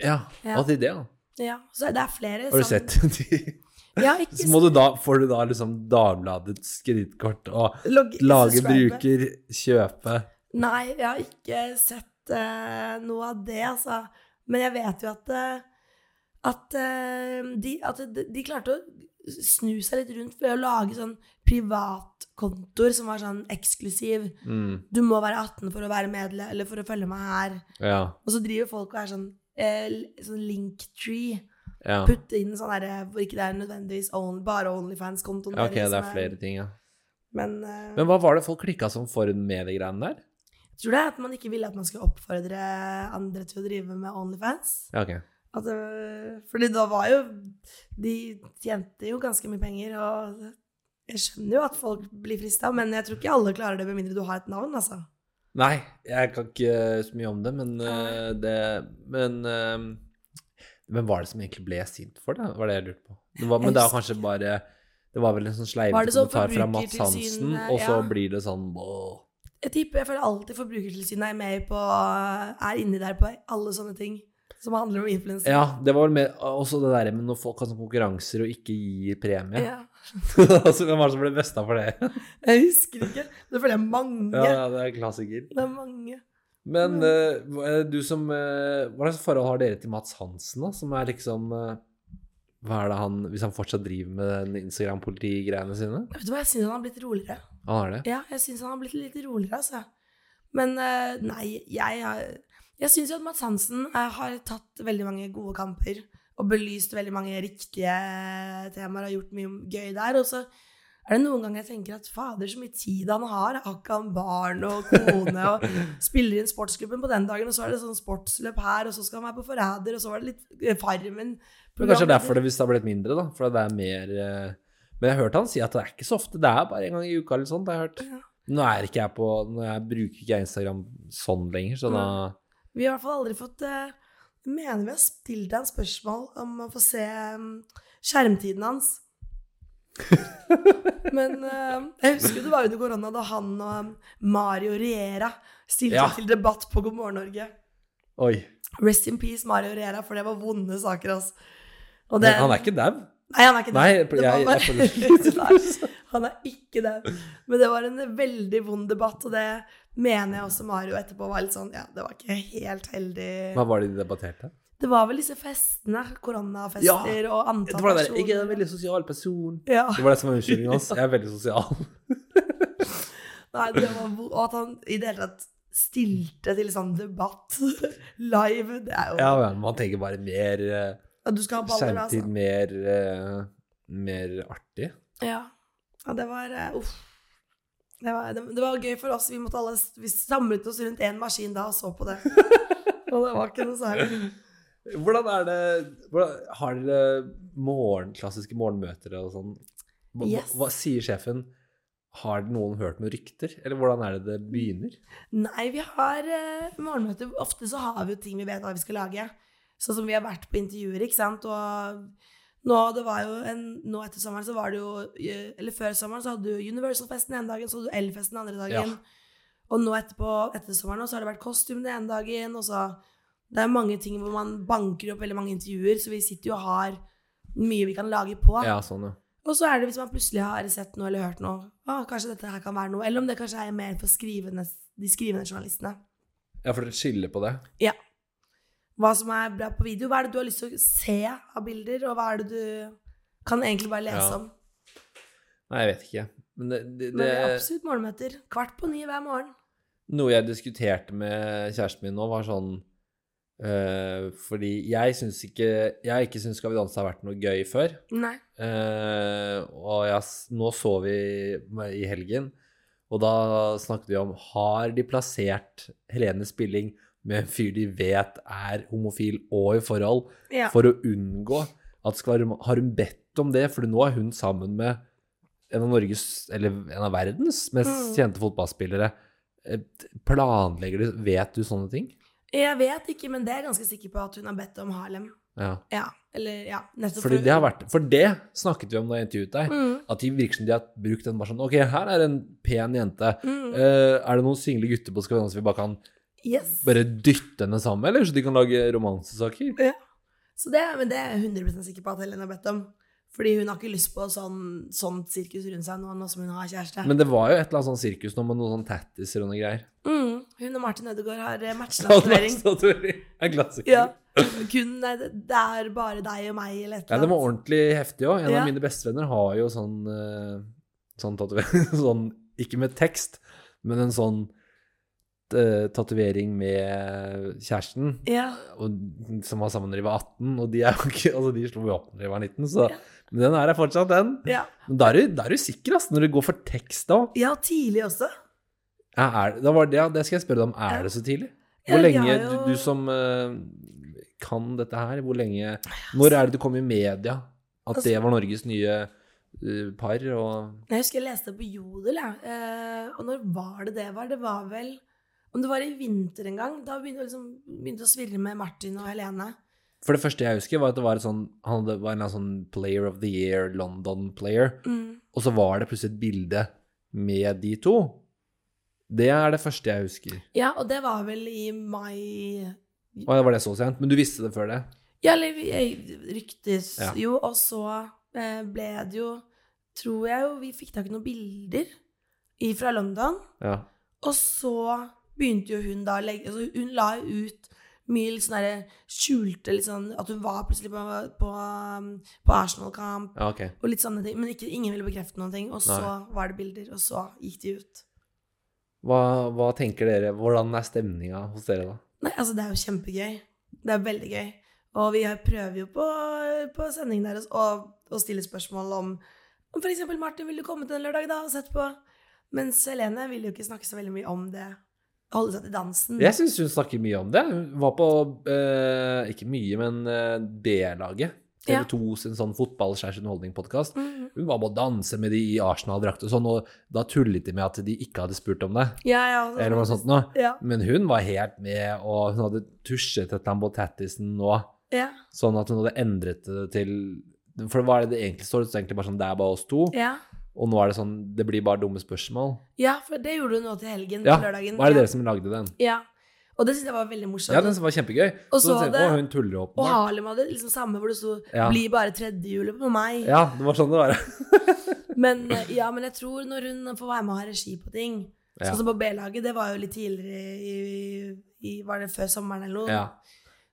Ja, Ja. hva til det, da? Ja, så det er flere. Har du sammen- sett de? Ja, ikke Så må du da, får du da liksom Dagbladets kredittkort og logge- lage, subscribe. bruker, kjøpe Nei, jeg har ikke sett eh, noe av det, altså. Men jeg vet jo at, eh, at, eh, de, at de, de klarte å snu seg litt rundt ved å lage sånn privatkontoer som var sånn eksklusiv. mm, Du må være 18 for å være medlem, eller for å følge meg her. Ja. Og så driver folk og er sånn, eh, l- sånn linktree. ja. Putte inn sånn derre hvor ikke det er nødvendigvis only, bare Onlyfans-kontoen. Ok, det er som flere ting, ja. Men, eh, Men hva var det folk klikka som for med de greiene der? jeg tror det er at man ikke ville at man skulle oppfordre andre til å drive med Onlyfans. Ja, ok. At det, Altså, fordi da var jo De tjente jo ganske mye penger, og jeg skjønner jo at folk blir frista, men jeg tror ikke alle klarer det med mindre du har et navn, altså. Nei, jeg kan ikke så mye om det, men Nei. eh, det Men eh, Hvem var det som egentlig ble sint for det? Var det jeg lurte på. Det var, men Jeg det var husker kanskje bare Det var vel en sånn Var det sleivete sånn kommentar fra Mats Hansen, forbrukertilsyn, eh, og så ja. blir det sånn «Åh». Jeg tipper jeg føler alltid Forbrukertilsynet er med på Er inni der på alle sånne ting som handler om influensere. Ja, det var vel mer også det der med når folk har sånne konkurranser og ikke gir premie. Ja. Altså, Hvem var det som ble besta for det? Jeg husker ikke. Det føler jeg er mange. ja, ja, det er en klassiker. Det er mange. Men eh, hva- du som eh, Hva slags forhold har dere til Mats Hansen, da? Som er liksom eh, Hva er det han Hvis han fortsatt driver med den Instagram-politi-greiene sine? Vet du hva, jeg syns han har blitt roligere. Han har det? Ja, jeg syns han har blitt litt roligere, altså. Men eh, nei, jeg har Jeg syns jo at Mads Hansen eh, har tatt veldig mange gode kamper og belyst veldig mange riktige temaer og gjort mye gøy der. Og så er det noen ganger jeg tenker at fader, så mye tid han har. Har ikke han barn og kone og spiller inn sportsklubben på den dagen, og så er det sånn sportsløp her, og så skal han være på Forræder, og så var det litt eh, Farmen. Men kanskje det er derfor det hvis det har blitt mindre, da. For det er mer eh, Men jeg har hørt han si at det er ikke så ofte. Det er bare en gang i uka eller sånt. har Jeg Ja. hørt. Nå er ikke jeg på Nå jeg bruker ikke jeg Instagram sånn lenger, så da Vi har i hvert fall aldri fått eh, Mener vi har stilt deg en spørsmål om å få se mm, skjermtiden hans. Men eh, jeg husker det var under korona, da han og Mario Riera mm, stilte Ja. til debatt på God morgen Norge. Å, Oi. Rest in peace Mario Rera, for det var vonde saker, altså. Og Men det- han er ikke dau? Nei, han er ikke det. Nei, det jeg- jeg var bare, føler- Nei, han er ikke det. Men det var en veldig vond debatt, og det mener jeg også Mario etterpå var litt sånn Ja, det var ikke helt heldig. Hva var det de debatterte? Det var vel disse festene, koronafester og antall Det var det der 'jeg er en veldig sosial person'. Ja. Det var det som var unnskyldningen hans. Jeg er veldig sosial. Nei, det var, vo- og at han i det hele tatt stilte til sånn debatt live, det er jo Ja, men man tenker bare mer eh, Ja, Du skal ha baller, da, skjermtid, altså. mer, eh, mer artig. Ja. ja, det var eh, Uff. Det var, det, det var gøy for oss. Vi, måtte alle, s- vi samlet oss rundt én maskin da og så på det. Og det var ikke noe særlig. Hvordan er det hvordan, Har dere morgen, klassiske morgenmøter og sånn? Hva, Yes. hva, hva sier sjefen? Har noen hørt noen rykter? Eller hvordan er det det begynner? Nei, vi har eh, morgenmøter. Ofte så har vi jo ting vi vet hva vi skal lage. Sånn som vi har vært på intervjuer, ikke sant. Og nå, det var jo en, nå etter sommeren så var det jo eh, Eller før sommeren så hadde du Universal-festen den ene dagen, så hadde du Elfesten den andre dagen. Og nå etterpå, etter sommeren nå, så har det vært kostyme den ene dagen, og så Det er mange ting hvor man banker opp veldig mange intervjuer, så vi sitter jo og har mye vi kan lage på. Ja, sånn, ja. Og så er det hvis man plutselig har sett noe eller hørt noe. Å, kanskje dette her kan være noe. Eller om det kanskje er mer for skrivende, de skrivende journalistene. Ja, for dere skylder på det? Hva som er bra på video. Hva er det du har lyst til å se av bilder, og hva er det du kan egentlig bare lese Ja. om? Nei, jeg vet ikke. Men det, det, Men det, det er absolutt morgenmøter. Kvart på ni hver morgen. noe jeg diskuterte med kjæresten min nå, var sånn eh, Fordi jeg syns ikke Jeg ikke syns Skal vi danse har vært noe gøy før. Nei. Eh, og jeg, s- nå så vi med- i helgen, og da snakket vi om har de plassert Helene Spilling med en fyr de vet er homofil og i forhold, Ja. for å unngå at skal være, Har hun bedt om det? For nå er hun sammen med en av Norges, eller en av verdens mest Mm. kjente fotballspillere. Eh, Planlegger du Vet du sånne ting? Jeg vet ikke, men det er jeg ganske sikker på at hun har bedt om Harlem. Ja. Ja. Eller, ja. Nettopp Fordi det har vært, for det snakket vi om da jeg intervjuet deg. Mm, At de virker som de har brukt den bare sånn Ok, her er en pen jente. mm. Eh, er det noen single gutter på Skal vi danse vi bare kan Yes. bare dytte henne sammen, eller? Så de kan lage romansesaker? Så det, men det er jeg 100 sikker på at Helene har bedt om. Fordi hun har ikke lyst på sånn, sånt sirkus rundt seg nå, nå som hun har kjæreste. Men det var jo et eller annet sånn sirkus nå med noen sånn tattiser og noe greier. mm, hun og Martin Ødegaard har eh, matchnavnering. Statuering. En klassiker. ja. Kun eh, det det er bare deg og meg eller et Nei, eller det var annet. ordentlig heftig òg. En Ja. av mine bestevenner har jo sånn eh, Sånn tatovering Sånn, ikke med tekst, men en sånn uh, tatovering med kjæresten. Ja. og, som var sammen da de var 18, og de, er jo ikke, altså de slo jo opp når de var 19, så Men den her er fortsatt den. Ja. Men da er du, da er du sikker, ass, når du går for tekst da. ja, tidlig også. Ja, er, da var det, ja, det skal jeg spørre deg om, er det så tidlig? Ja, Hvor de lenge, har du, jo- du som eh, kan dette her, hvor lenge Når er det du kom i media at Altså det var Norges nye eh, par, og Jeg husker jeg leste det på Jodel, jeg. Eh, og når var det det var? Det var vel Om det var i vinter en gang, da begynte det liksom, begynte å svirre med Martin og Helene. For det første jeg husker, var at det var, et sånn, han hadde, var en eller annen sånn Player of the Year, London-player. Mm. Og så var det plutselig et bilde med de to. Det er det første jeg husker. Ja, og det var vel i mai Og det var det så sent, men du visste det før det. Ja, eller vi- jeg- ryktes Ja. jo, og så eh, ble det jo Tror jeg jo vi fikk tak i noen bilder i- fra London. Ja. Og så begynte jo hun da å legge altså Hun la jo ut mye litt sånn derre skjulte litt sånn At hun var plutselig på, på, um, på Arsenal-kamp ja, ok. og litt sånne ting. Men ikke, ingen ville bekrefte noen ting. Og så Nei. var det bilder, og så gikk de ut. Hva, hva tenker dere? Hvordan er stemninga hos dere da? Nei, altså det er jo kjempegøy. Det er veldig gøy. Og vi har- prøver jo på, på sendingen deres å, å stille spørsmål om om for eksempel Martin, vil du komme til en lørdag da og sett på? Mens Helene vil jo ikke snakke så veldig mye om det. Holde seg til dansen. Jeg syns hun snakker mye om det. Hun var på eh, ikke mye, men eh, B-laget. Ja. TV2 sin sånn fotball-underholdning-podkast. Mhm. Hun var på å danse med de i Arsenal-drakt og sånn, og da tullet de med at de ikke hadde spurt om det. Ja, ja. altså- Eller noe sånt noe. Ja, Men hun var helt med, og hun hadde tusjet et eller annet på tattisen nå. ja, Sånn at hun hadde endret det til For hva er det det egentlig står? Det står egentlig bare sånn Det er bare oss to. ja. Og nå er det sånn Det blir bare dumme spørsmål. Ja, for det gjorde du nå til helgen Ja. på lørdagen. Hva er det Ja. dere som lagde den? Ja. Og Og det syns jeg var veldig morsomt. Ja, den som var kjempegøy. Og så så tenkte jeg, det- Å, hun tuller jo og åpenbart. Harlem hadde liksom samme hvor det sto Ja. 'bli bare tredjehjulet på meg'. Ja, det var sånn det var. Men eh, ja, men jeg tror når hun får være med og ha regi på ting Ja. Sånn som på B-laget, det var jo litt tidligere i, i Var det før sommeren eller noe? Ja,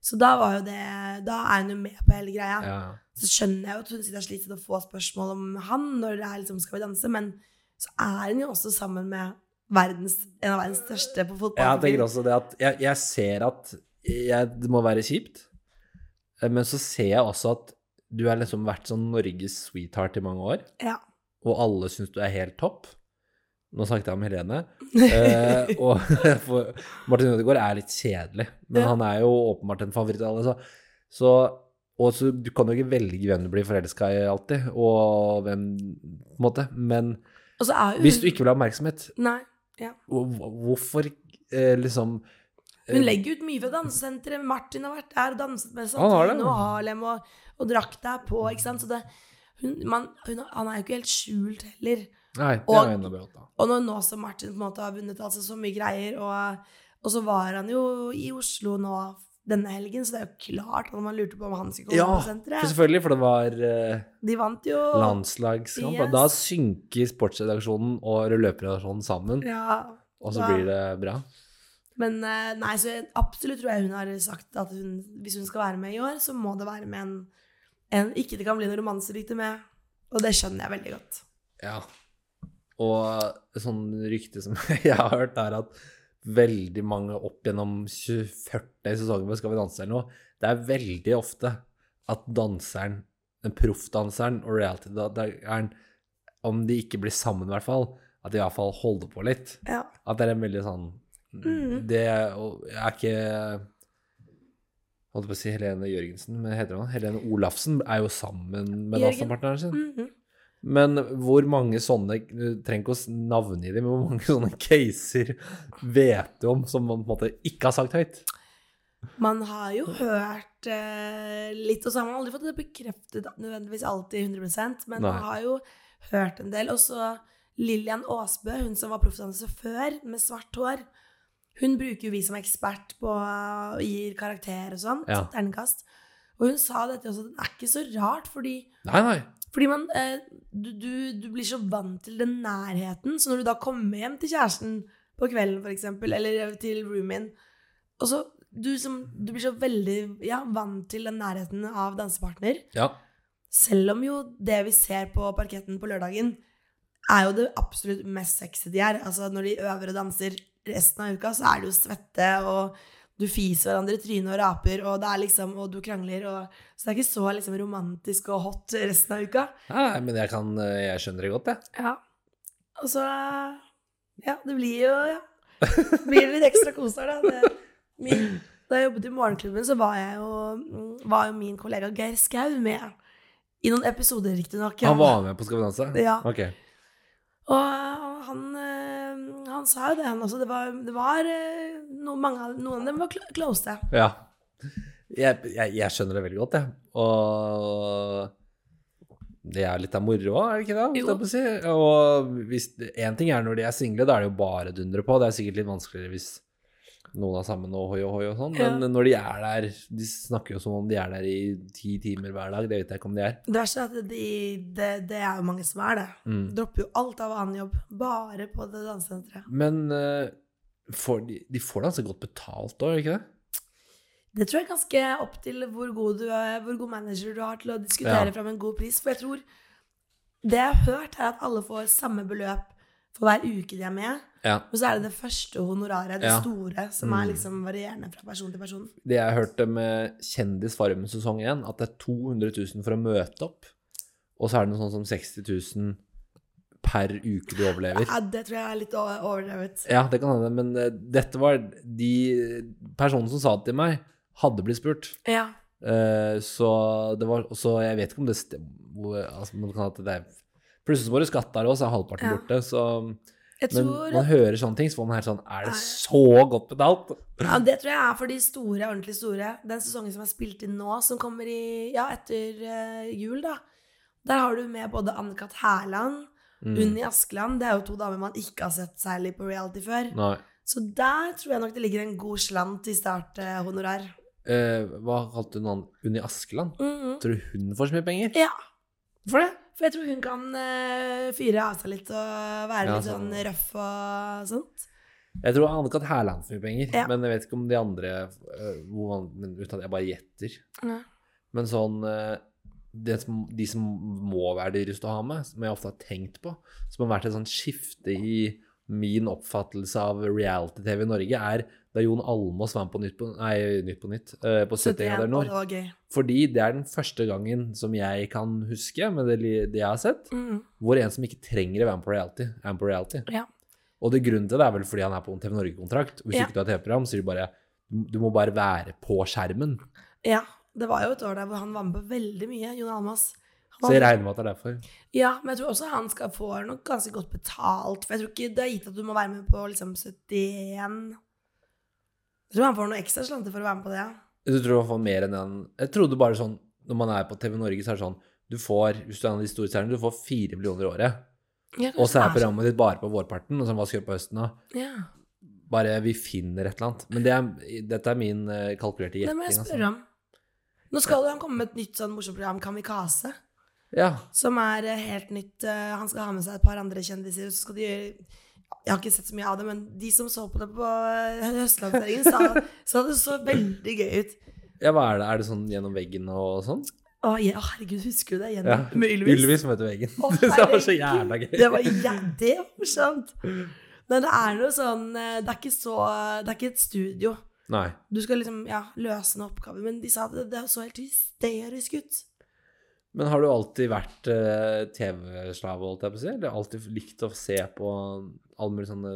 Så da var jo det Da er hun jo med på hele greia. ja. Så skjønner jeg jo at hun sitter og sliter og får spørsmål om han når det er liksom Skal vi danse, men så er hun jo også sammen med verdens, en av verdens største på Jeg tenker fotballfyr. også det at jeg, jeg ser at jeg, det må være kjipt, eh, men så ser jeg også at du har liksom vært sånn Norges sweetheart i mange år, Ja. og alle syns du er helt topp. Nå snakket jeg om Helene. Eh, og for Martin Ødegaard er litt kjedelig, men Ja. han er jo åpenbart en favoritt av alle. Så, så, og så du kan jo ikke velge hvem du blir forelska i alltid, og hvem på en måte. Men Og så er jo hun hvis du ikke vil ha oppmerksomhet, Nei. hvor- hvorfor eh, liksom Hun legger ut mye fra dansesenteret. Martin har vært der og danset med Han har det. Santine og Harlem og, og drakk deg på, ikke sant. Så det, hun, man, hun, han er jo ikke helt skjult heller. Nei, det Og- er jo enda bedre. da. Og når nå som Martin på en måte har vunnet altså, så mye greier, og, og så var han jo i Oslo nå denne helgen, så det er jo klart at man lurte på om han skulle komme Ja, på for senteret. selvfølgelig, for det var eh, De vant jo. landslagskamp. og Yes. Da synker sportsredaksjonen og løperredaksjonen sammen, Ja. og så da- blir det bra. Men eh, nei, så jeg, absolutt tror jeg hun har sagt at hun, hvis hun skal være med i år, så må det være med en, en Ikke det kan bli noen romanserykte med. Og det skjønner jeg veldig godt. Ja. Og sånn rykte som jeg har hørt, er at veldig mange opp gjennom 40 sesonger med Skal vi danse eller noe, det er veldig ofte at danseren, den proffdanseren og reality-danseren, om de ikke blir sammen i hvert fall, at de i hvert fall holder på litt. Ja. At det er en veldig sånn Mhm. Det er og jeg er ikke Holdt på å si Helene Jørgensen, men heter hun Helene Olafsen er jo sammen med Jørgen. dansepartneren sin. Mhm. Men hvor mange sånne Du trenger ikke å navngi dem, men hvor mange sånne caser vet du om som man på en måte ikke har sagt høyt? Man har jo hørt eh, litt, og så har man aldri fått det bekreftet nødvendigvis alltid 100 men Nei. man har jo hørt en del. Og så Lillian Aasbø, hun som var proffdanser før, med svart hår, hun bruker jo vi som ekspert på og gir karakter og sånn, Ja. terningkast. Og hun sa dette også, det er ikke så rart, fordi Nei, nei. fordi man, eh, du, du, du blir så vant til den nærheten, så når du da kommer hjem til kjæresten på kvelden, for eksempel, eller til roomien, og så du, som, du blir så veldig ja, vant til den nærheten av dansepartner, Ja. selv om jo det vi ser på parketten på lørdagen, er jo det absolutt mest sexy de er. Altså når de øver og danser resten av uka, så er det jo svette, og du fiser hverandre i trynet og raper, og, det er liksom, og du krangler, og, så det er ikke så liksom, romantisk og hot resten av uka. Nei, nei, men jeg, kan, eh, jeg skjønner det godt, jeg. Ja. Og så eh, Ja, det blir jo ja. Det blir litt ekstra kos her, da. Det, min, da jeg jobbet i Morgenklubben, så var, jeg jo, var jo min kollega Geir Skau med i noen episoder, riktignok. Han var med på Skal vi danse? Ja. Ok. Og han, eh, han sa jo det, han også. Det var, det var eh, no, mange, av- noen av dem var cl- close. Ja. Jeg, jeg, jeg skjønner det veldig godt, jeg. Og det er litt av moro òg, er det ikke det? holdt Jo. jeg på å Si. Og hvis, en ting er når de er single, da er det jo bare dundre på. Det er sikkert litt vanskeligere hvis noen er sammen og hoi og hoi og sånn. Men Ja. når de er der De snakker jo som om de er der i ti timer hver dag. Det vet jeg ikke om de er. Det verste er at de, det, det er jo mange som er det. Mm. Dropper jo alt av annen jobb bare på det dansesenteret. Men eh, får de, de får det altså godt betalt òg, ikke det? Det tror jeg er ganske opp til hvor god, du er, hvor god manager du har til å diskutere Ja. fram en god pris. For jeg tror Det jeg har hørt, er at alle får samme beløp for hver uke de er med. Ja. Men så er det det første honoraret, det Ja. store, som er Mm. liksom varierende fra person til person. det jeg hørte med Kjendisfarmen sesong 1, at det er 200 000 for å møte opp, og så er det noe sånn som 60 000 per uke du overlever. Ja, det tror jeg er litt o- overdrevet. Ja, det kan hende, men eh, dette var de personene som sa det til meg, hadde blitt spurt. Ja. Eh, Så det var Så jeg vet ikke om det stemmer altså, men det kan hende at det er Plutselig så var det skatt der òg, så er halvparten Ja. borte. Så, Jeg men tror, man hører sånne ting, så får man helt sånn Er Nei. det så godt betalt? ja, det tror jeg er for de store, ordentlig store. Den sesongen som er spilt inn nå, som kommer i, ja, etter eh, jul, da. Der har du med både Anne-Kat. Hærland, Mm. Unni Askeland. Det er jo to damer man ikke har sett særlig på reality før. Nei. Så der tror jeg nok det ligger en god slant i starthonorar. Eh, hva kalte du noen Unni Askeland? Mhm. Tror du hun får så mye penger? Ja. For det? For jeg tror hun kan eh, fyre av seg litt og være Ja, litt sånn sånn. røff og sånt. Jeg tror Anne-Kat. Hærland får mye penger, Ja. men jeg vet ikke om de andre eh, hvor man, men Uten at jeg bare gjetter. Ja. Men sånn eh, det som, De som må være dyrest å ha med, som jeg ofte har tenkt på, som har vært et sånt skifte i min oppfattelse av reality-TV i Norge, er da Jon Almaas var med på Nytt på Nei, Nytt på Nytt, eh, på 71 grader og nord. det var gøy. Fordi det er den første gangen som jeg kan huske, med det, li- det jeg har sett, Mhm. hvor en som ikke trenger å være med på reality, er med på reality. Ja. Og det grunnen til det er vel fordi han er på en TV Norge-kontrakt. Hvis Ja. ikke du har TV-program, så sier de bare du må bare være på skjermen. ja. Det var jo et år der hvor han var med på veldig mye, Jon Almaas. Han Så jeg var- regner med at det er derfor. Ja, men jeg tror også han skal få nok ganske godt betalt. For jeg tror ikke det er gitt at du må være med på liksom 71 Jeg tror han får noe ekstra slanter for å være med på det. ja. Du tror han får mer enn en Jeg trodde bare sånn når man er på TV Norge, så er det sånn du får, hvis du er en av de store stjernene, du får fire millioner i året. Og så er programmet ditt bare på vårparten, og så hva skal vi gjøre på høsten da? Ja. Bare vi finner et eller annet. Men det er, dette er min eh, kalkulerte Det gjetting. må jeg altså. spørre om. Nå skal jo han komme med et nytt sånn morsomt program, Kamikaze, Ja. som er eh, helt nytt. Eh, Han skal ha med seg et par andre kjendiser, og så skal de gjøre Jeg har ikke sett så mye av det, men de som så på det på eh, høstlanseringen, sa, sa det så veldig gøy ut. ja, hva er det? Er det sånn gjennom veggen og sånn? Å, ja, herregud, husker du det? Gjennom, Ja. Med Ylvis. Ylvis møter veggen. Å, det var så herregud. jævla gøy. Det var, ja, det var morsomt. Men det er noe sånn eh, Det er ikke så Det er ikke et studio. Nei. Du skal liksom ja, løse en oppgave. Men de sa at det, det så helt hysterisk ut. Men har du alltid vært eh, TV-slave, holdt jeg på å si? Eller alltid likt å se på alle mulige sånne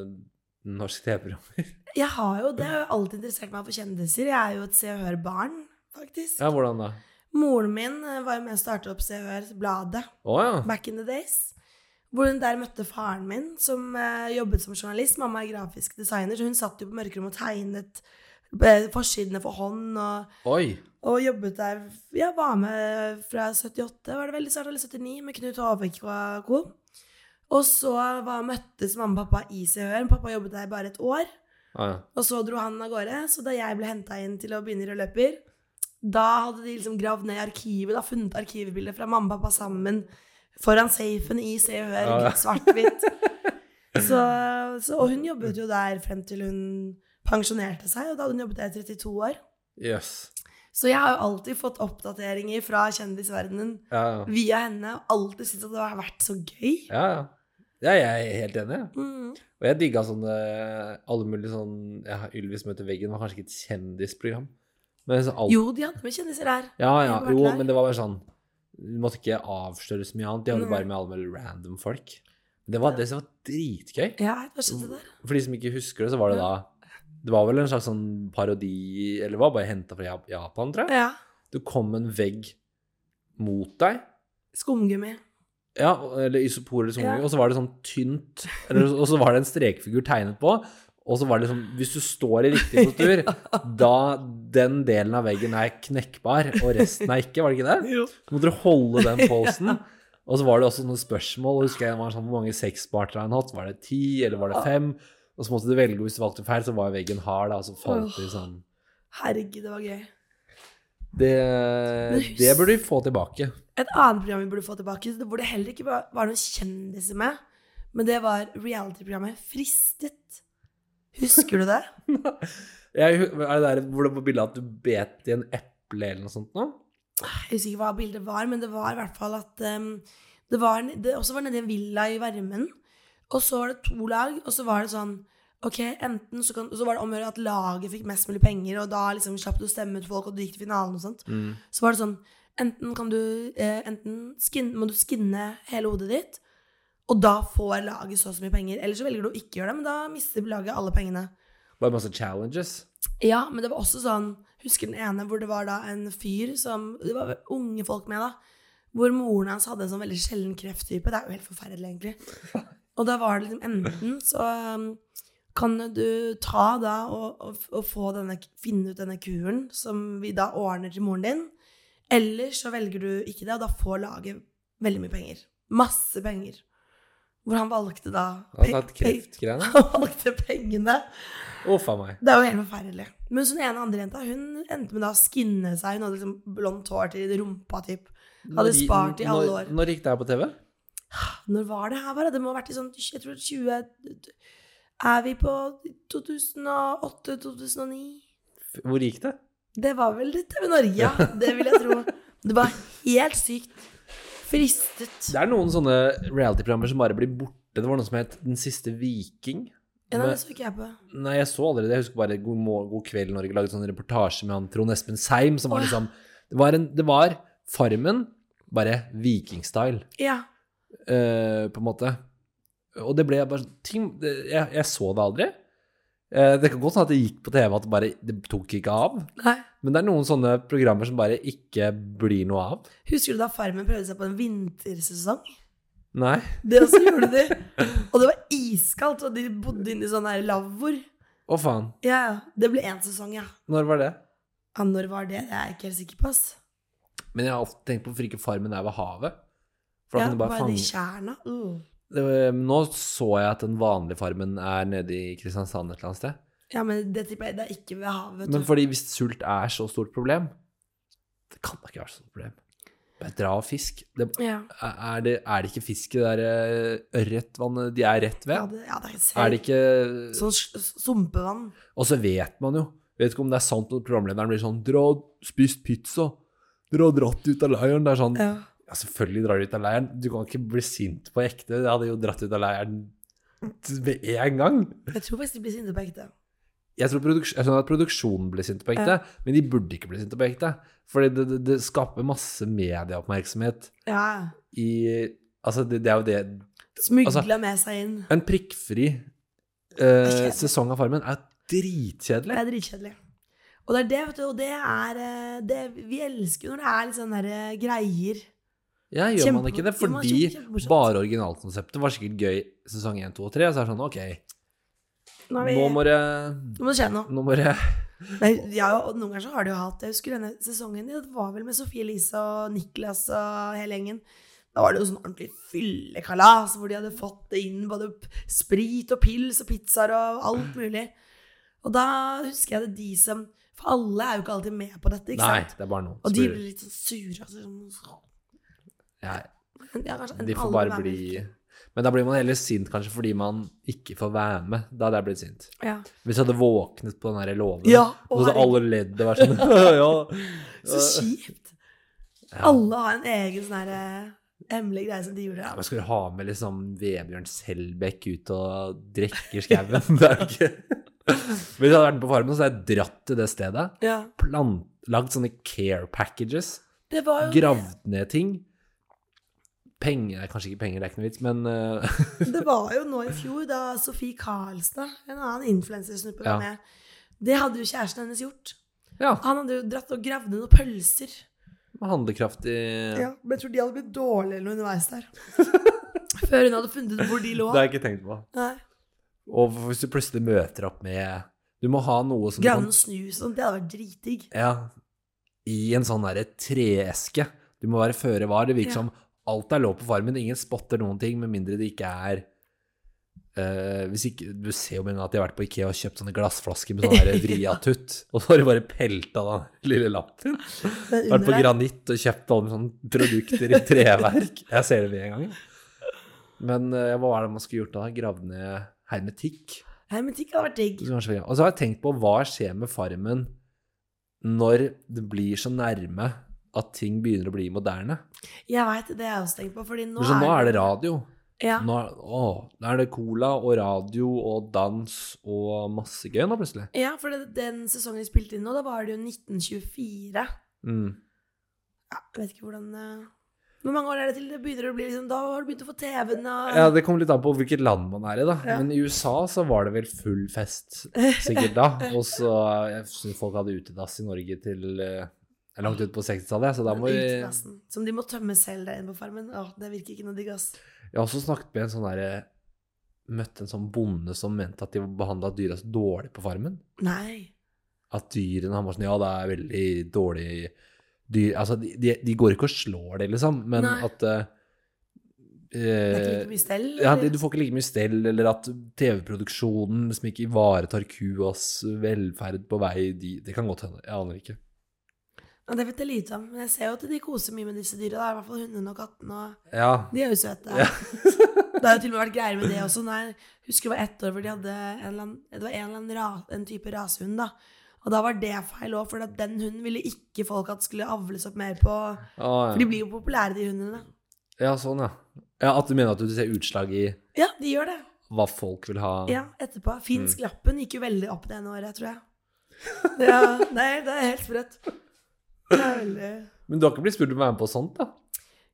norske TV-programmer? Jeg har jo det. Jeg har jo alltid interessert meg for kjendiser. Jeg er jo et Se og Hør-barn, faktisk. Ja, hvordan da? Moren min eh, var jo med å starte opp Se og Hør-bladet Å ja. back in the days. Hvor hun der møtte faren min, som eh, jobbet som journalist. Mamma er grafisk designer, så hun satt jo på mørkerommet og tegnet eh, forsidene for hånd. og Oi. Og jobbet der Jeg var med fra 78, var det veldig snart, eller 79, med Knut Håvik og co. Og så var, møttes mamma og pappa i CHR. Pappa jobbet der bare et år. Ja, ja. Og så dro han av gårde. Så da jeg ble henta inn til å begynne i rød løper, da hadde de liksom gravd ned i arkivet, da funnet arkivbilder fra mamma og pappa sammen foran safen i Se og Hør, Ja, ja. svart-hvitt. Så, så, og hun jobbet jo der frem til hun pensjonerte seg, og da hadde hun jobbet der i 32 år. Jøss. Så jeg har jo alltid fått oppdateringer fra kjendisverdenen Ja, ja. via henne, og alltid syntes at det har vært så gøy. ja, ja. Ja, jeg er helt enig. jeg. Mm. Og jeg digga sånne alle mulige sånn ja, Ylvis møter veggen var kanskje ikke et kjendisprogram. Men så alt Jo, de hadde med kjendiser her. Ja, ja. Har du vært Jo, der? men det var bare sånn Du måtte ikke avsløre så mye annet. De hadde Nei. bare med alle mulige random folk. Det var, det som var dritgøy. Ja, hva skjedde der? For de som ikke husker det, så var det da Det var vel en slags sånn parodi Eller det var bare henta fra Jap- Japan, tror jeg. Ja, Du kom en vegg mot deg. skumgummi. Ja, eller isopor eller sånn, Ja. og så var det sånn tynt eller, Og så var det en strekfigur tegnet på. Og så var det liksom Hvis du står i riktig postur, da Den delen av veggen er knekkbar, og resten er ikke, var det ikke det? Jo. Så måtte du holde den posen. Og så var det også noen spørsmål. og husker jeg det var sånn, Hvor mange sexpartnere har han hatt? Var det ti, eller var det fem? Og så måtte du velge, og hvis du valgte feil, så var veggen hard. da, Og så falt det sånn Herregud, det var gøy. Det, hus- det burde vi få tilbake. Et annet program vi burde få tilbake, hvor det heller ikke var var noen kjendiser med, men det var reality-programmet Fristet. Husker du det? Jeg, er det der hvor det var bilde av at du bet i en eple eller noe sånt nå? Jeg husker ikke hva bildet var, men det var i hvert fall at ehm, det, var, det også var nede i en villa i varmen. Og så var det to lag, og så var det sånn Ok, enten så, kan, så var det om å gjøre at laget fikk mest mulig penger, og da liksom slapp du å stemme ut folk, og du gikk til finalen og sånt. Så var det sånn Enten kan du eh, Enten skin, må du skinne hele hodet ditt, og da får laget så og så mye penger. Eller så velger du å ikke gjøre det, men da mister laget alle pengene. Bare masse challenges. Ja, men det var også sånn Husker den ene hvor det var da en fyr som Det var unge folk med, da. Hvor moren hans hadde en sånn veldig sjelden krefttype. Det er jo helt forferdelig, egentlig. Og da var det liksom enten så um, kan du ta da og, og, og få denne, finne ut denne kuren som vi da ordner til moren din. Eller så velger du ikke det, og da får laget veldig mye penger. Masse penger. Hvor han valgte da Han pe- har tatt pe- kreftgreiene. Han valgte pengene. Å, faen meg. Det er jo helt forferdelig. Men så den ene andre jenta hun endte med da å skinne seg. Hun hadde liksom blondt hår til rumpa. Typ. Hadde Når- spart i alle når- år. Når gikk det her på TV? Når var det her, bare? Det må ha vært i sånn jeg tror 20 Er vi på 2008-2009? F- Hvor gikk det? Det var vel det TV Norge, ja. Det vil jeg tro. Det var helt sykt. Fristet. Det er noen sånne reality-programmer som bare blir borte. Det var noe som het Den siste viking. Ja, nei, Men- det så ikke jeg på. Nei, jeg så allerede. Jeg husker bare God, Mor- God kveld Norge laget sånn reportasje med han Trond Espen Seim, som var Åh. liksom Det var, en, det var Farmen, bare vikingstyle, Ja. eh, på en måte. Og det ble bare sånn- ting det, jeg, jeg så det aldri. Eh, det kan godt hende at det gikk på TV, at det bare det tok ikke av. Nei. Men det er noen sånne programmer som bare ikke blir noe av. Husker du da Farmen prøvde seg på en vintersesong? Nei. Det også gjorde de. Og det var iskaldt, og de bodde inne i sånne her lavvoer. Å, faen. Ja, ja. Det ble én sesong, ja. Når var det? ja. Når var det? Det er jeg ikke helt sikker på. ass. Men jeg har ofte tenkt på hvorfor ikke Farmen er ved havet. For da Ja, kan du var bare det i fange tjerna? Uh. Det- ehm, Nå så jeg at den vanlige Farmen er nede i Kristiansand et eller annet sted. Ja, men det tipper jeg det er ikke ved havet. Men Men, fordi hvis sult er så stort problem Det kan da ikke være så stort problem. Bare dra og fisk. Det, ja. er, det, er det ikke fisk i det der eh, ørretvannet de er rett Ja, ved? det, ja, det er, Er det ikke ikke Sånn s- sumpevann. Og så vet man jo Vet ikke om det er sant når programlederen blir sånn Dra og spist pizza. Dra og dratt ut av leiren. Det er sånn Ja. Ja, selvfølgelig drar du ut av leiren. Du kan ikke bli sint på ekte. Jeg hadde jo dratt ut av leiren med en gang. Jeg tror faktisk de blir sinte på ekte. Jeg, tror produks jeg skjønner at produksjonen blir sinte på ekte, Ja. men de burde ikke bli sinte på ekte. Fordi det, det, det skaper masse medieoppmerksomhet Ja. i Altså, det, det er jo det Smugla Altså- med seg inn. En prikkfri er eh, kjedelig. sesong av Farmen er Det dritkjedelig. er dritkjedelig. Og det er det, vet du. Og det er eh, det, Vi elsker jo når det er litt sånne der, eh, greier. Ja, gjør man ikke det? Kjempe- jo, Fordi det var kjempe- kjempemorsomt. bare originalkonseptet var sikkert gøy sesong 1, 2 og 3. Og så er det sånn, OK, Nå, er vi, nå må det nå må det skje noe. Nå må det Nei, ja, og noen ganger så har de jo hatt Jeg husker denne sesongen Det var vel med Sofie Elise og Niklas og hele gjengen. Da var det jo sånn ordentlig fyllekalas hvor de hadde fått inn både p- sprit og pils og pizzaer og alt mulig. Og da husker jeg det de som For alle er jo ikke alltid med på dette, ikke Nei, sant? det er bare noen. Og som de blir- blir litt sånn sure. Altså, sånn, Ja, ja, kanskje en De får alle bare være med. bli Men da blir man heller sint kanskje fordi man ikke får være med. Da hadde jeg blitt sint. Ja. Hvis jeg hadde våknet på den der låven, ja så og hadde alle ledd og vært sånn ja. så kjipt. Øh. Ja. Alle har en egen sånn her eh, hemmelig greie som de gjorde. Ja, men skal du ha med liksom Vebjørn Selbekk ut og drekke i skauen? Det er jo ikke Hvis jeg hadde vært med på Farmen, så hadde jeg dratt til det stedet. Ja. Plant, lagd sånne care packages. Det var jo Gravd ned ting. Penger nei, Kanskje ikke penger, det er ikke noe vits, men eh, Det var jo nå i fjor, da Sofie Karlstad, en annen influensersnuppe, var Ja. med. Det hadde jo kjæresten hennes gjort. ja. Han hadde jo dratt og gravd ned noen pølser. Handlekraftig Ja, men jeg tror de hadde blitt dårlige eller noe underveis der. Før hun hadde funnet ut hvor de lå. Det har jeg ikke tenkt på. Nei. Og hvis du plutselig møter opp med Du må ha noe som du Gravd kan noen snus og sånn, det hadde vært dritdigg. Ja. I en sånn derre treeske. Du må være føre var. Det virker Ja. som alt er lov på farmen. Ingen spotter noen ting, med mindre det ikke er eh, hvis ikke, Du ser jo med en gang at de har vært på Ikea og kjøpt sånne glassflasker med sånn der vriatutt, og så har de bare pelta den lille lappen. Men Vært på under der, granitt og kjøpt alle sånne produkter i treverk. Jeg ser det med en gang. jeg. Men eh, hva var det man skulle gjort da? Gravd ned hermetikk? hermetikk hadde vært digg. Så kanskje- Og så har jeg tenkt på hva skjer med Farmen når det blir så nærme at ting begynner å bli moderne. Jeg veit, det har jeg også tenkt på, fordi nå, så nå er det radio. Ja, Nå er, å, nå er det cola og radio og dans og masse gøy nå plutselig. ja for det, den sesongen de spilte inn nå, da var det jo 1924. Mm. Ja, jeg vet ikke hvordan eh, Hvor mange år er det til det begynner å bli liksom Da har du begynt å få TV-en og Ja, Det kommer litt an på hvilket land man er i, da. Ja. Men i USA så var det vel full fest sikkert da. Og så jeg synes folk hadde utedass i Norge til eh, langt ut på 60-tallet, så da må vi Utedassen, Som de må tømme selv der inne på farmen. Åh, det virker ikke noe digg, ass. Jeg har også snakket med en sånn derre Møtte en sånn bonde som mente at de behandla dyra så dårlig på farmen. Nei. At dyrene han var sånn Ja, det er veldig dårlig dyr Altså, de, de, de går ikke og slår det, liksom, men Nei. at eh, Det er ikke like mye stell? ja, eller? det, Du får ikke like mye stell, eller at TV-produksjonen liksom ikke ivaretar kuas velferd på vei dit. Det kan godt hende. Jeg aner ikke. Ja, det vet jeg lite om, men jeg ser jo at de koser mye med disse dyra. da, I hvert fall hundene og kattene. og Ja. De er jo søte. Ja. Det har jo til og med vært greier med det også. Når jeg husker det var ett år hvor de hadde en eller annen, det var en eller annen ra, en type rasehund. da. Og da var det feil òg, for at den hunden ville ikke folk at skulle avles opp mer på. Ah, For de ja. blir jo populære, de hundene. ja, sånn, ja. ja. At du mener at du ser utslag i Ja, de gjør det. hva folk vil ha? Ja, etterpå. Finsk Mm. lappen gikk jo veldig opp det ene året, tror jeg. Ja, nei, det er helt sprøtt. Det er veldig... Men du har ikke blitt spurt om å være med på sånt, da?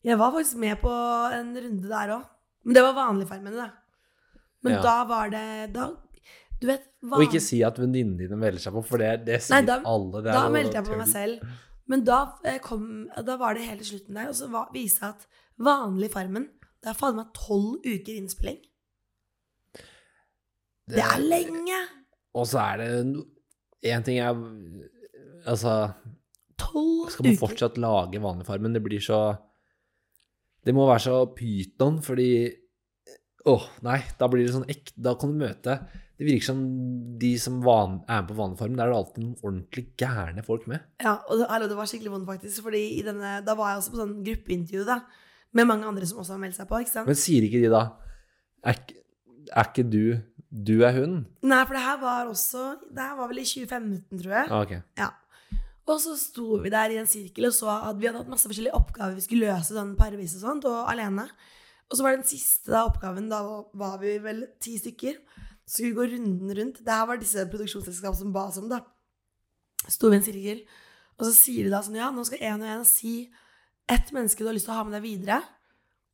Jeg var faktisk med på en runde der òg. Men det var vanlige farmene, da. Men Ja. da var det da, Du vet Og van- ikke si at venninnene dine melder seg på, for det, det sier Nei, da- alle. Det er Da jo meldte jeg på tull. meg selv. Men da, eh, kom, da var det hele slutten der. Og så var, viste det at vanlig Farmen Det er faen meg tolv uker innspilling. Det er lenge! Og så er det no- En ting er Altså, Tolv skal man uker. fortsatt lage vanlig farmen? Det blir så Det må være så pyton, fordi Åh, nei, da blir det sånn ekte Da kan du møte Det virker som de som van, er med på vanlig farmen, der er det alltid noen ordentlig gærne folk med. Ja, og det, eller, det var skikkelig vondt, faktisk. Fordi i denne, da var jeg også på sånn gruppeintervju da, med mange andre som også har meldt seg på. ikke sant? Men sier ikke de da Er, ikke- er ikke du Du er hun? Nei, for det her var også Det her var vel i 2015, tror jeg. Ah, ok. Og så sto vi der i en sirkel og så at vi hadde hatt masse forskjellige oppgaver vi skulle løse sånn parvis og sånt, og alene. Og så var den siste da, oppgaven, da var vi vel ti stykker, så skulle vi gå runden rundt. Det her var disse produksjonsselskap som ba oss om, da. Sto vi i en sirkel, og så sier de da sånn, ja, nå skal en og en si ett menneske du har lyst til å ha med deg videre,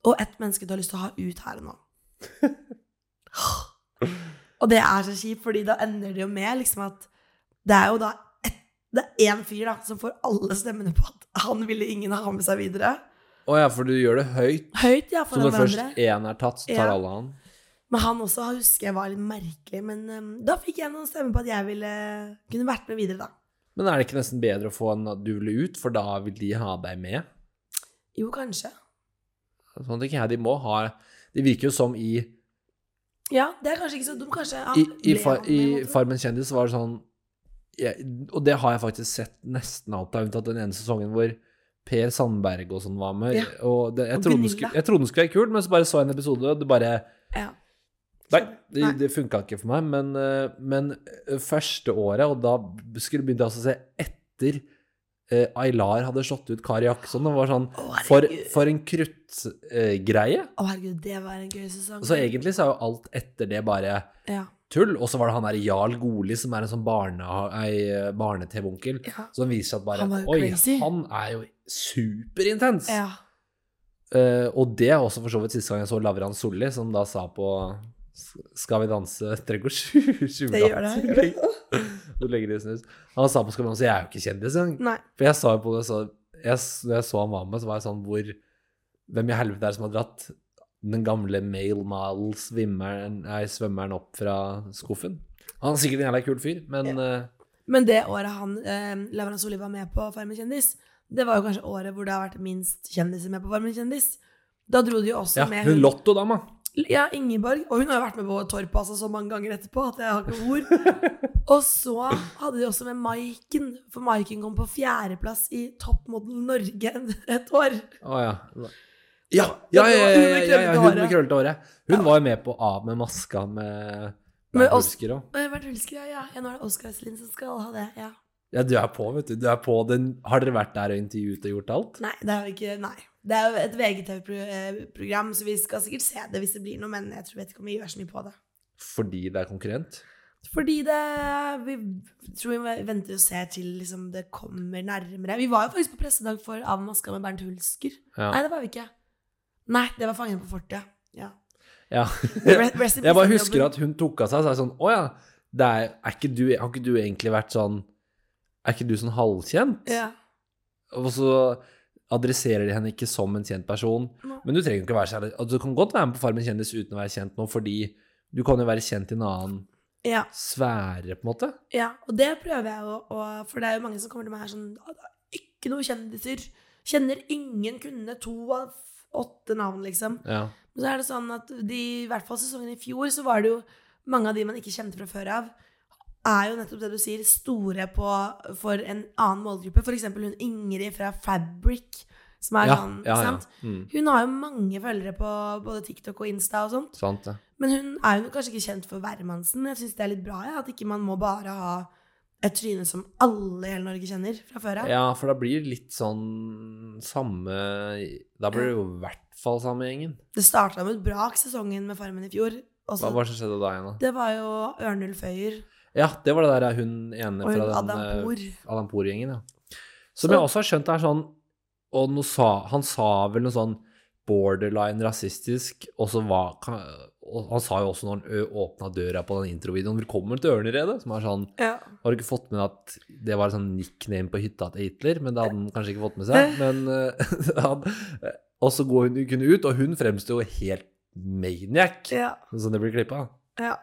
og ett menneske du har lyst til å ha ut her og nå. og det er så kjipt, fordi da ender det jo med liksom at det er jo da ett det er én fyr da, som får alle stemmene på at han ville ingen ha med seg videre. Å ja, for du gjør det høyt. Høyt, ja, Så foran når hverandre. først én er tatt, så tar Ja. alle han? Men han også han husker jeg var litt merkelig. Men um, da fikk jeg noen stemmer på at jeg ville kunne vært med videre, da. Men er det ikke nesten bedre å få en at du vil ut, for da vil de ha deg med? Jo, kanskje. Sånn tenker jeg, de må ha Det virker jo som i Ja, det er kanskje ikke så dumt. Kanskje han I, i, ble far, han med, i måtte- Farmen kjendis var det sånn jeg, Og det har jeg faktisk sett nesten alt av, unntatt den ene sesongen hvor Per Sandberg og sånn var med. Ja. Og det, jeg, trodde Og den Gunilla. skulle, jeg trodde den skulle være kul, men så bare så jeg en episode, og det bare Ja. Nei, det, Nei. det funka ikke for meg. Men, eh, men eh, første året, og da skulle jeg begynte jeg altså å se etter eh, Aylar hadde slått ut Kari Jakkesson, og var sånn Å, herregud. For, for en kruttgreie. Å, herregud, det var en gøy sesong. så egentlig så er jo alt etter det bare Ja. tull. Og så var det han der Jarl Goli, som er en sånn barne, ei, eh, barne-TV-onkel, Ja. som viser at bare Han var jo Oi, crazy." han er jo superintens! ja. Eh, og det er også for så vidt siste gang jeg så Lavran Solli, som da sa på S- Skal vi danse trenger å Det gjør det. Du legger det i snus. Han sa på Skal vi danse Jeg er jo ikke kjendis engang. Nei. For jeg sa jo på det så, jeg, Når jeg så han var med, så var jeg sånn Hvor Hvem i helvete er det som har dratt den gamle male model svimmeren, nei, svømmeren opp fra skuffen? Han er sikkert en jævla kul fyr, men eh, Men det året han eh, Lavrans Solli var med på Farmen kjendis, det var jo kanskje året hvor det har vært minst kjendiser med på Farmen kjendis. Da dro de jo også ja, med hun lottodama. Ja, Ingeborg. Og hun har jo vært med på Torp altså, så mange ganger etterpå at jeg har ikke ord. Og så hadde de også med Maiken, for Maiken kom på fjerdeplass i Toppmodell Norge et år. Å ja. Ja, ja, ja, ja, Hun med ja, ja, krøllete ja, hun med håret. krøllete håret. Hun var jo med på Av med maska med Med Bernt oss. Hulsker òg. Og jeg har vært hulsker, ja, ja. ja. Nå er det Oskar Østlin som skal ha det. ja. Ja, du er på, vet du. du er på den. Har dere vært der og intervjuet og gjort alt? Nei, det er jo ikke Nei. Det er jo et VGTV-program, eh, så vi skal sikkert se det hvis det blir noe, men jeg tror vet ikke om vi gjør så mye på det. Fordi det er konkurrent? Fordi det Vi tror vi venter og ser til liksom, det kommer nærmere. Vi var jo faktisk på pressedag for Av maska med Bernt Hulsker. Ja. Nei, det var vi ikke. Nei, det var Fangen på fortet. Ja. ja. Rest- rest in Jeg bare peace, husker at hun tok av seg og sa sånn Å ja, det er, er ikke du, har ikke du egentlig vært sånn Er ikke du sånn halvkjent? ja. Og så adresserer de henne ikke som en kjent person. Nei. Men du trenger jo ikke være kjent. Altså, Du kan godt være med på Farmen kjendis uten å være kjent nå, fordi du kan jo være kjent i en annen ja. sfære, på en måte. Ja. Og det prøver jeg å, å For det er jo mange som kommer til meg her sånn «Ah, det er Ikke noe kjendiser. Kjenner ingen kunne to av åtte navn, liksom. Ja. Men så er det sånn at de, i hvert fall sesongen i fjor, så var det jo mange av de man ikke kjente fra før av, er jo nettopp det du sier, store på, for en annen målgruppe. For eksempel hun Ingrid fra Fabric, som er Ja, sånn, ja, ja. sant? Mm. Hun har jo mange følgere på både TikTok og Insta og sånt. Sant, det. Men hun er jo kanskje ikke kjent for hvermannsen. Jeg syns det er litt bra, ja, at ikke man må bare ha et tryne som alle i hele Norge kjenner fra før av. Ja, for da blir det litt sånn samme Da blir det jo i hvert fall samme gjengen. Det starta med et brak sesongen med Farmen i fjor. Og Hva så, var det som skjedde da igjen, da? det var jo Ørnulf Øyer Ja, det var det der hun ene og hun fra den Adam eh, Poor. Adam Poor-gjengen, ja. Som Så- jeg også har skjønt er sånn Og nå sa, han sa vel noe sånn borderline rasistisk, og så var ka- og Han sa jo også når han åpna døra på den introvideoen 'Velkommen til Ørneredet', som er sånn Ja. Har du ikke fått med at det var en sånn nickname på hytta til Hitler? Men det hadde han kanskje ikke fått med seg. Men, eh, han, og så går hun kunne ut, og hun fremstår jo helt maniac, Ja, sånn som det blir klippa. ja.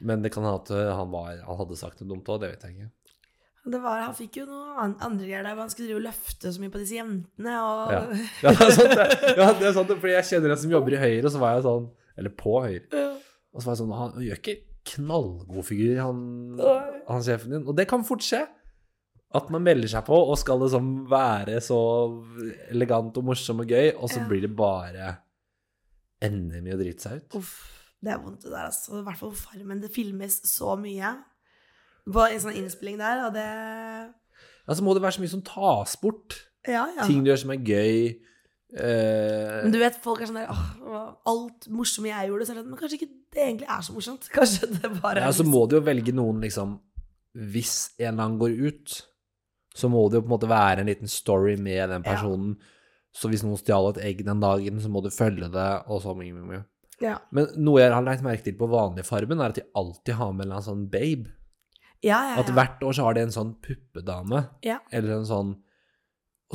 Men det kan hende at eh, han, var, han hadde sagt noe dumt òg, det vet jeg ikke. Det var, han fikk jo noe an- andre greier der hvor han skulle drive og løfte så mye på disse jentene. Og, Ja. Ja, det er sant, det. Ja, det er sant, det, fordi jeg kjenner en som jobber i Høyre, og så var jeg sånn Eller på Høyre. Og så var jeg sånn Han gjør ikke knallgod figur, han, Nei. han sjefen din. Og det kan fort skje. At man melder seg på, og skal liksom være så elegant og morsom og gøy, og så Ja. blir det bare ender med å drite seg ut. Uff, det er vondt det der, altså. I hvert fall Farmen. Det filmes så mye på en sånn innspilling der, og det Ja, så Altså, må det være så mye som tas bort. Ja, ja. Ting du gjør som er gøy. eh, Men du vet, folk er sånn der Åh, Alt morsomme jeg gjorde, så er det sånn Men kanskje ikke det egentlig er så morsomt? Kanskje det bare Ja, er så må du jo velge noen, liksom Hvis en eller annen går ut, så må det jo på en måte være en liten story med den Ja. personen. Så hvis noen stjal et egg den dagen, så må du følge det, og så mye, mye, mye. ja. Men noe jeg har lagt merke til på vanlige Farmen, er at de alltid har med en eller annen sånn babe. Ja, ja, At ja. hvert år så har de en sånn puppedame, Ja. eller en sånn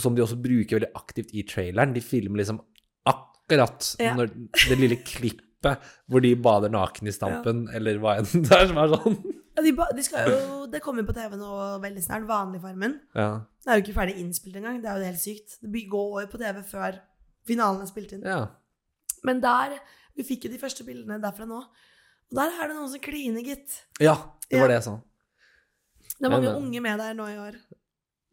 Som de også bruker veldig aktivt i traileren. De filmer liksom akkurat Ja. når det lille klippet hvor de bader naken i stampen, eller hva enn det er som er sånn. Ja, de, ba- de skal jo, det kommer på TV nå veldig snart, Vanligfarmen. Ja. Det er jo ikke ferdig innspilt engang, det er jo helt sykt. Det by- går jo på TV før finalen er spilt inn. Ja. Men der, vi fikk jo de første bildene derfra nå, og der er det noen som kliner, gitt. ja, det var Ja. det jeg sa. Det er mange Ja, men- unge med der nå i år.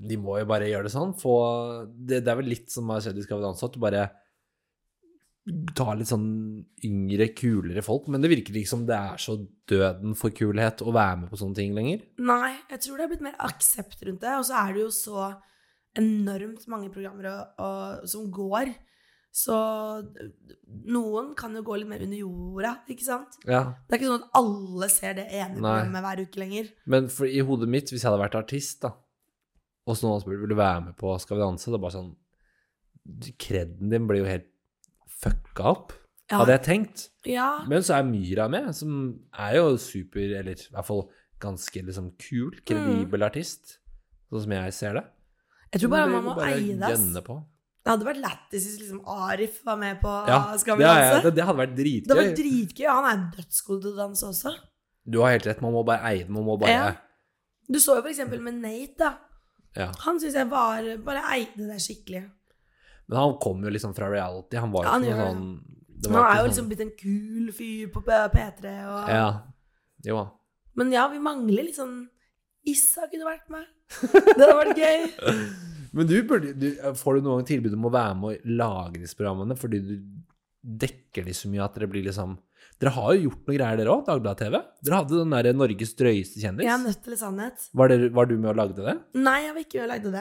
De må jo bare gjøre det sånn. Få det, det er vel litt som har skjedd i Skal vi danse, at du bare tar litt sånn yngre, kulere folk. Men det virker ikke som det er så døden for kulhet å være med på sånne ting lenger. Nei, jeg tror det er blitt mer aksept rundt det, og så er det jo så enormt mange programmer og, og, som går, så noen kan jo gå litt mer under jorda, ikke sant? Ja. Det er ikke sånn at alle ser det ene Nei. programmet hver uke lenger. Men for, i hodet mitt, hvis jeg hadde vært artist, da, og så noen hadde spurt vil du være med på Skal vi danse, det er bare sånn Kreden din blir jo helt fucka opp, Ja. hadde jeg tenkt. Ja, Men så er Myra med, som er jo super, eller i hvert fall ganske liksom kul, kredibel artist. Sånn som jeg ser det. Mm. jeg tror bare Men man må eie det. ass. gønne på. Det hadde vært lættis hvis liksom Arif var med på Ja, Ah, Skal vi det, er, danse. det, det hadde vært Det var dritgøy. dritgøy. Han er dødsgod til å danse også. Du har helt rett, man må bare eie det. Man må bare Ja. Ja. Du så jo for eksempel med Nate, da. ja. Han syns jeg var bare eide det skikkelig. Men han kom jo liksom fra reality. Han var jo Ja, han ikke noe gjør det. sånn det Han var er ikke jo sånn- liksom blitt en kul fyr på P- P3 og Ja. Jo da. Men ja, vi mangler litt sånn Issa kunne vært med. Det hadde vært gøy. Men du burde du, Får du noen gang tilbud om å være med og lage disse programmene fordi du dekker de så mye at dere blir liksom Dere har jo gjort noe greier, dere òg, Dagbladet TV. Dere hadde den derre Norges drøyeste kjendis. Jeg er nødt til litt sannhet. Var, dere, var du med og lagde det? Nei, jeg var ikke med og lagde det.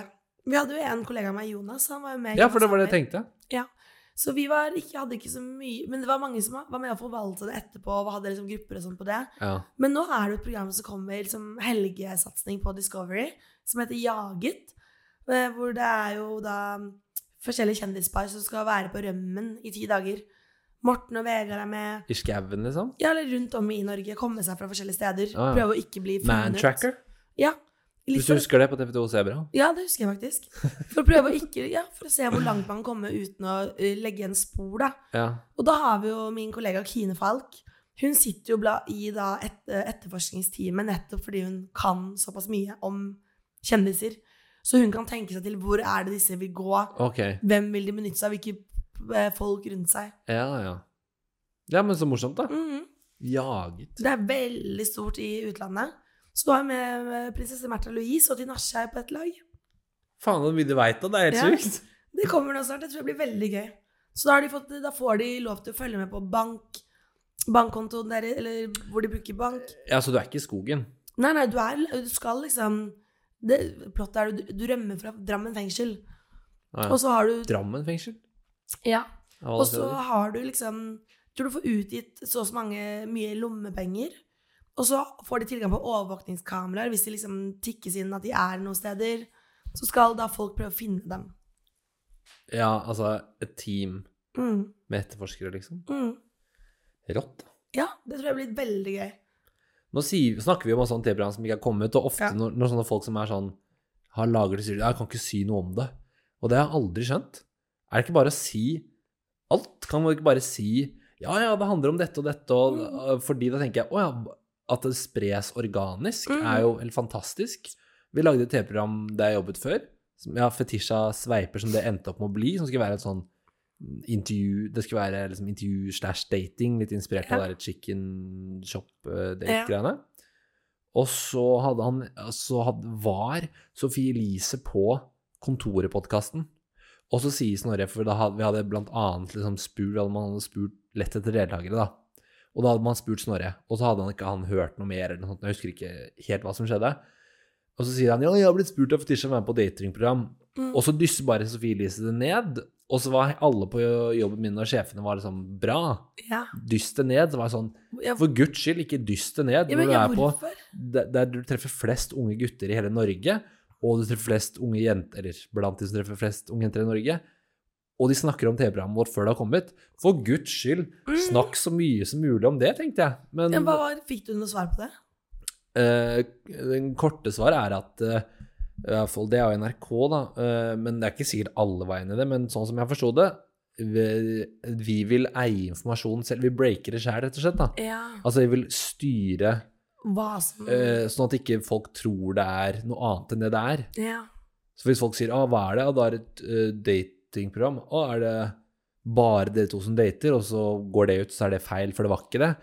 Vi hadde jo en kollega av meg, Jonas. Han var jo med. Ja, Jonas for det var det Hammer. jeg tenkte. Så vi var ikke, hadde ikke så mye Men det var mange som var med å forvalte det etterpå, og hadde liksom grupper og sånn på det. Ja. Men nå er det et program som kommer som helgesatsning på Discovery, som heter Jaget. eh, Hvor det er jo da forskjellige kjendispar som skal være på rømmen i ti dager. Morten og Vegard er med. I skauen, liksom? Ja, eller rundt om i Norge. Komme seg fra forskjellige steder. Ah, ja. Prøve å ikke bli funnet. Mantracker? Ja. Litt Hvis du for, husker det på TV2 Sebra? ja, det husker jeg faktisk. For å prøve å ikke Ja, for å se hvor langt man kan komme uten å eh, legge igjen spor, da. Ja. Og da har vi jo min kollega Kine Falk. Hun sitter jo bla- i da et, eh, etterforskningsteamet nettopp fordi hun kan såpass mye om kjendiser. Så hun kan tenke seg til hvor er det disse vil gå, Ok. hvem vil de benytte seg av, hvilke eh, folk rundt seg. Ja, ja. Ja, men så morsomt, da. Mhm. Jaget. Det er veldig stort i utlandet. Så du har med med prinsesse Märtha Louise og Din Aschei på et lag. Faen, så mye du veit da. Det er helt Ja. sjukt. Det kommer nå snart. Det tror jeg blir veldig gøy. Så da, har de fått, da får de lov til å følge med på bank, bankkontoen der, eller hvor de bruker bank. Ja, så du er ikke i skogen? Nei, nei, du, er, du skal liksom det, Plottet er du, du rømmer fra Drammen fengsel, Ah, og ja. så har du Drammen fengsel? Ja. Ja, hva Og så tror du? har du liksom jeg Tror du får utgitt så og så mange mye lommepenger. Og så får de tilgang på overvåkningskameraer hvis det liksom tikkes inn at de er noen steder. Så skal da folk prøve å finne dem. ja, altså et team Mm, med etterforskere, liksom. mm. Rått. da. Ja, det tror jeg blir veldig gøy. Nå sier, snakker vi om sånne TV-program som ikke er kommet, og ofte Ja. når, når sånne folk som er sånn har lager det, sier de jeg kan ikke si noe om det. Og det har jeg aldri skjønt. Er det ikke bare å si alt? Kan man ikke bare si ja, ja, det handler om dette og dette, og Mm. fordi da tenker jeg å ja, at det spres organisk Mm. er jo helt fantastisk. Vi lagde et TV-program der jeg jobbet før, som ja, Fetisha Sveiper, som det endte opp med å bli, som skulle være et sånn intervju Det skulle være liksom intervju slash dating, litt inspirert av Ja. det der chicken shop-date-greiene. Og så hadde han Så hadde, var Sophie Elise på Kontoret-podkasten. Og så sier Snorre, for da hadde, vi hadde blant annet liksom spurt, hadde man hadde spurt lett etter deltakere, da. Og da hadde man spurt Snorre, og så hadde han ikke han hørt noe mer, eller noe sånt, jeg husker ikke helt hva som skjedde. Og så sier han, ja, jeg har blitt spurt av Fetisha å være med på datingprogram. Mm. Og så dysser bare Sophie Elise det ned, og så var alle på jobben min, og sjefene var liksom, bra, Ja. dyst det ned, så var jeg sånn, Ja, for guds skyld, ikke dyst det ned, ja, når men, du ja, er på hvorfor? der, der du treffer flest unge gutter i hele Norge, og du treffer flest unge jenter, eller blant de som treffer flest unge jenter i Norge, og de snakker om TV-programmet vårt før det har kommet. For guds skyld, Mm. snakk så mye som mulig om det, tenkte jeg. Men Ja, hva var, fikk du noe svar på det? eh, den korte svaret er at eh, i hvert fall det er jo NRK, da, eh, men det er ikke sikkert alle var enig i det. Men sånn som jeg forsto det, vi, vi vil eie informasjonen selv. Vi breaker det sjøl, rett og slett. da. Ja. Altså, vi vil styre Hva som Eh, sånn at ikke folk tror det er noe annet enn det det er. Ja. Så hvis folk sier ah, 'hva er det', ah, da er det et eh, datingprogram. Å, er det bare dere to som dater, og så går det ut, så er det feil, for det var ikke det.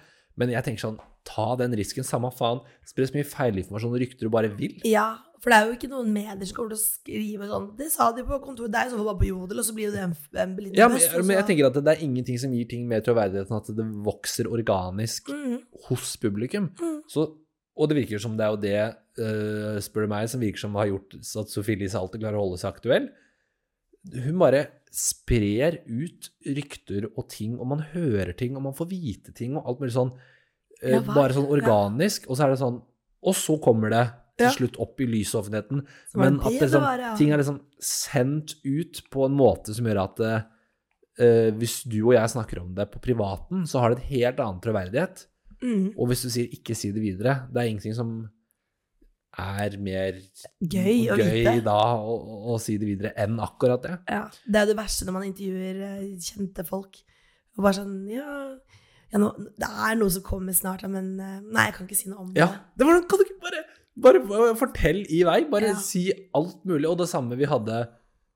Men jeg tenker sånn, ta den risken, samme faen. Spre så mye feilinformasjon og rykter du bare vil. ja. For det er jo ikke noen medier som kommer til å skrive sånn Det sa de på kontoret, det er jo sånn bare på Jodel, og så blir jo det sånn en, en liten Ja, men, fest, og men jeg så- tenker at det, det er ingenting som gir ting mer troverdighet enn at det vokser organisk Mhm. hos publikum. Mm. Så, og det virker som det er jo det, eh, spør du meg, som virker som har gjort så at Sophie Elise alltid klarer å holde seg aktuell. Hun bare sprer ut rykter og ting, og man hører ting, og man får vite ting, og alt mulig sånn. eh, Ja, hva? bare sånn organisk, og så er det sånn Og så kommer det til Ja. slutt opp i lyset og offentligheten. Så var det Men at det det det liksom, var, ja. ting er liksom sendt ut på en måte som gjør at eh, hvis du og jeg snakker om det på privaten, så har det et helt annet troverdighet. Mhm. Og hvis du sier 'ikke si det videre', det er ingenting som er mer Gøy å Mm, gøy vite. da å, å- å si det videre enn akkurat det. Ja, det er jo det verste når man intervjuer eh, kjente folk. Og bare sånn Ja, ja nå, det er noe som kommer snart, ja, men eh, Nei, jeg kan ikke si noe om det. Ja, det var, kan du ikke bare, bare fortell i vei? Bare Ja. si alt mulig. Og det samme vi hadde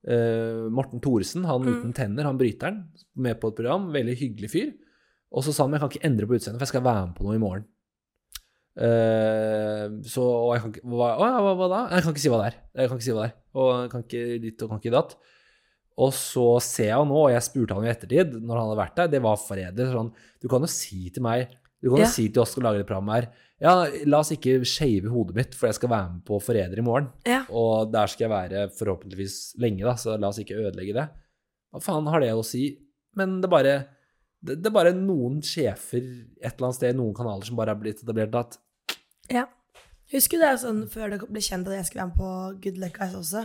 eh, Morten Thoresen, han Mm. uten tenner, han bryteren, med på et program. Veldig hyggelig fyr. Og så sa han jeg kan ikke endre på utseendet, for jeg skal være med på noe i morgen. Eh, så og jeg kan ikke hva, å, ja, hva, hva da? Nei, Jeg kan ikke si hva det er. Jeg kan ikke si hva det er. Og jeg kan ikke ditt og kan ikke datt. Og så ser jeg jo nå, og jeg spurte han i ettertid, når han hadde vært der, det var forræder. Sånn, du kan jo si til meg Du kan Ja. jo si til oss som lager det programmet her Ja, la oss ikke shave hodet mitt, for jeg skal være med på Forræder i morgen. Ja. Og der skal jeg være forhåpentligvis lenge, da, så la oss ikke ødelegge det. Hva faen har det å si? Men det er bare det, det er bare noen sjefer et eller annet sted i noen kanaler som bare har blitt etablert at Husker du det er sånn før det ble kjent at jeg skulle være med på Good Luck Guys også?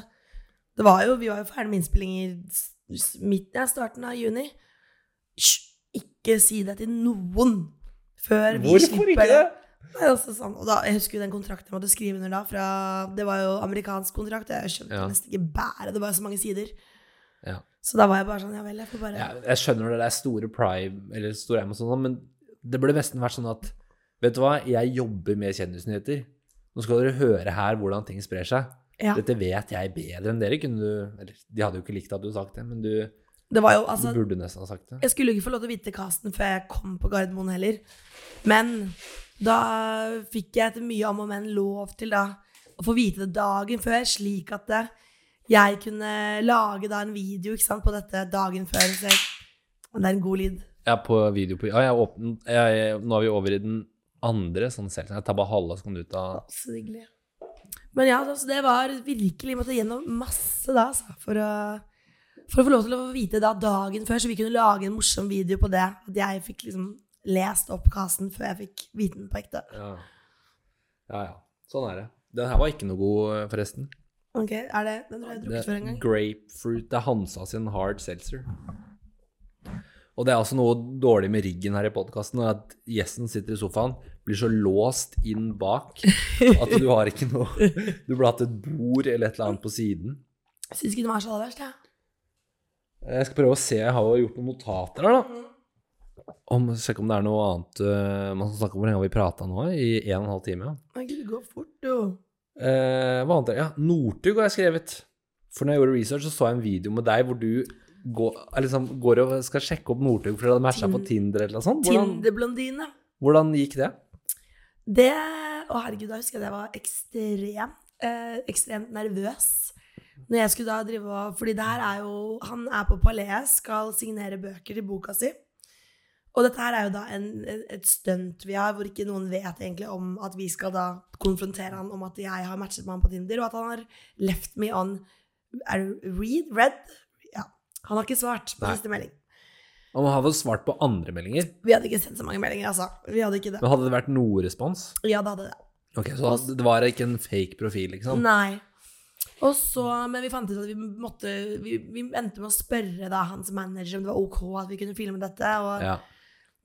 Det var jo, Vi var jo ferdig med innspilling i s- s- midten av starten av juni. Hysj! Ikke si det til noen før vi slipper Nei, altså, sånn. Og da, jeg husker jo den kontrakten jeg måtte skrive under da. Fra, det var jo amerikansk kontrakt, og jeg skjønte Ja. nesten ikke bæret. Det var jo så mange sider. Ja. Så da var jeg bare sånn, ja vel, jeg får bare Ja, jeg skjønner det, det er store Prime eller store Amazon, og sånn, men det burde nesten vært sånn at Vet du hva, jeg jobber med kjendisnyheter. Nå skal dere høre her hvordan ting sprer seg. Ja. Dette vet jeg bedre enn dere. Kunne du Eller de hadde jo ikke likt at du sagt det, men du Det var jo, Du altså, burde nesten ha sagt det. jeg skulle jo ikke få lov til å vite casten før jeg kom på Gardermoen heller. Men da fikk jeg etter mye om og men lov til da å få vite det dagen før, slik at eh, jeg kunne lage da en video ikke sant, på dette dagen før. Så jeg, det er en god lyd. Jeg er på video på Ja, jeg er åpen jeg, jeg, Nå er vi over i den andre sånn selv. Jeg tar bare halve, så kan du ta Så hyggelig. Men ja, altså, det var virkelig måtte gjennom masse da, altså, for å for å få lov til å få vite da dagen før, så vi kunne lage en morsom video på det. At jeg fikk liksom lest opp casten før jeg fikk vite den på ekte. Ja. ja, ja. Sånn er det. Den her var ikke noe god, eh, forresten. Ok, er det Den tror jeg jeg har Det drukket før en er gang. grapefruit. Det er Hansa sin hard seltzer. Og det er altså noe dårlig med riggen her i podkasten, at gjesten sitter i sofaen, blir så låst inn bak at du har ikke noe Du burde hatt et bord eller et eller annet på siden. Jeg syns ikke den var så aller verst, jeg. Jeg skal prøve å se, jeg har jo gjort noen notater her, Mm. da. Om, sjekke om det er noe annet eh, man skal snakke om. Hvor lenge har vi prata nå? I en og en halv time? Ja. Men gud, det går fort, jo. Eh, hva annet? er det? Ja, Northug har jeg skrevet. For når jeg gjorde research, så så jeg en video med deg hvor du går, eh, liksom, går og skal sjekke opp Northug fordi du hadde matcha på Tinder eller noe sånt. Hvordan, Tinder-blondine. hvordan gikk det? Det Å, herregud, da husker jeg at jeg var ekstrem, eh, ekstremt nervøs. Når jeg skulle da drive og Fordi det her er jo Han er på Palais, skal signere bøker til boka si. Og dette her er jo da en, en- et stunt vi har, hvor ikke noen vet egentlig om at vi skal da konfrontere han om at jeg har matchet med han på Tinder, og at han har left me on Er det read? Red? Ja. Han har ikke svart på Nei. siste melding. Og man har vel svart på andre meldinger, Vi hadde ikke sendt så mange meldinger, altså. Vi hadde ikke det. men hadde det vært noe respons? Ja, det hadde det. Ok, Så det var ikke en fake profil, liksom? Nei. Og så, men vi fant ut at vi måtte Vi, vi endte med å spørre da hans manager om det var ok at vi kunne filme dette. Og, Ja.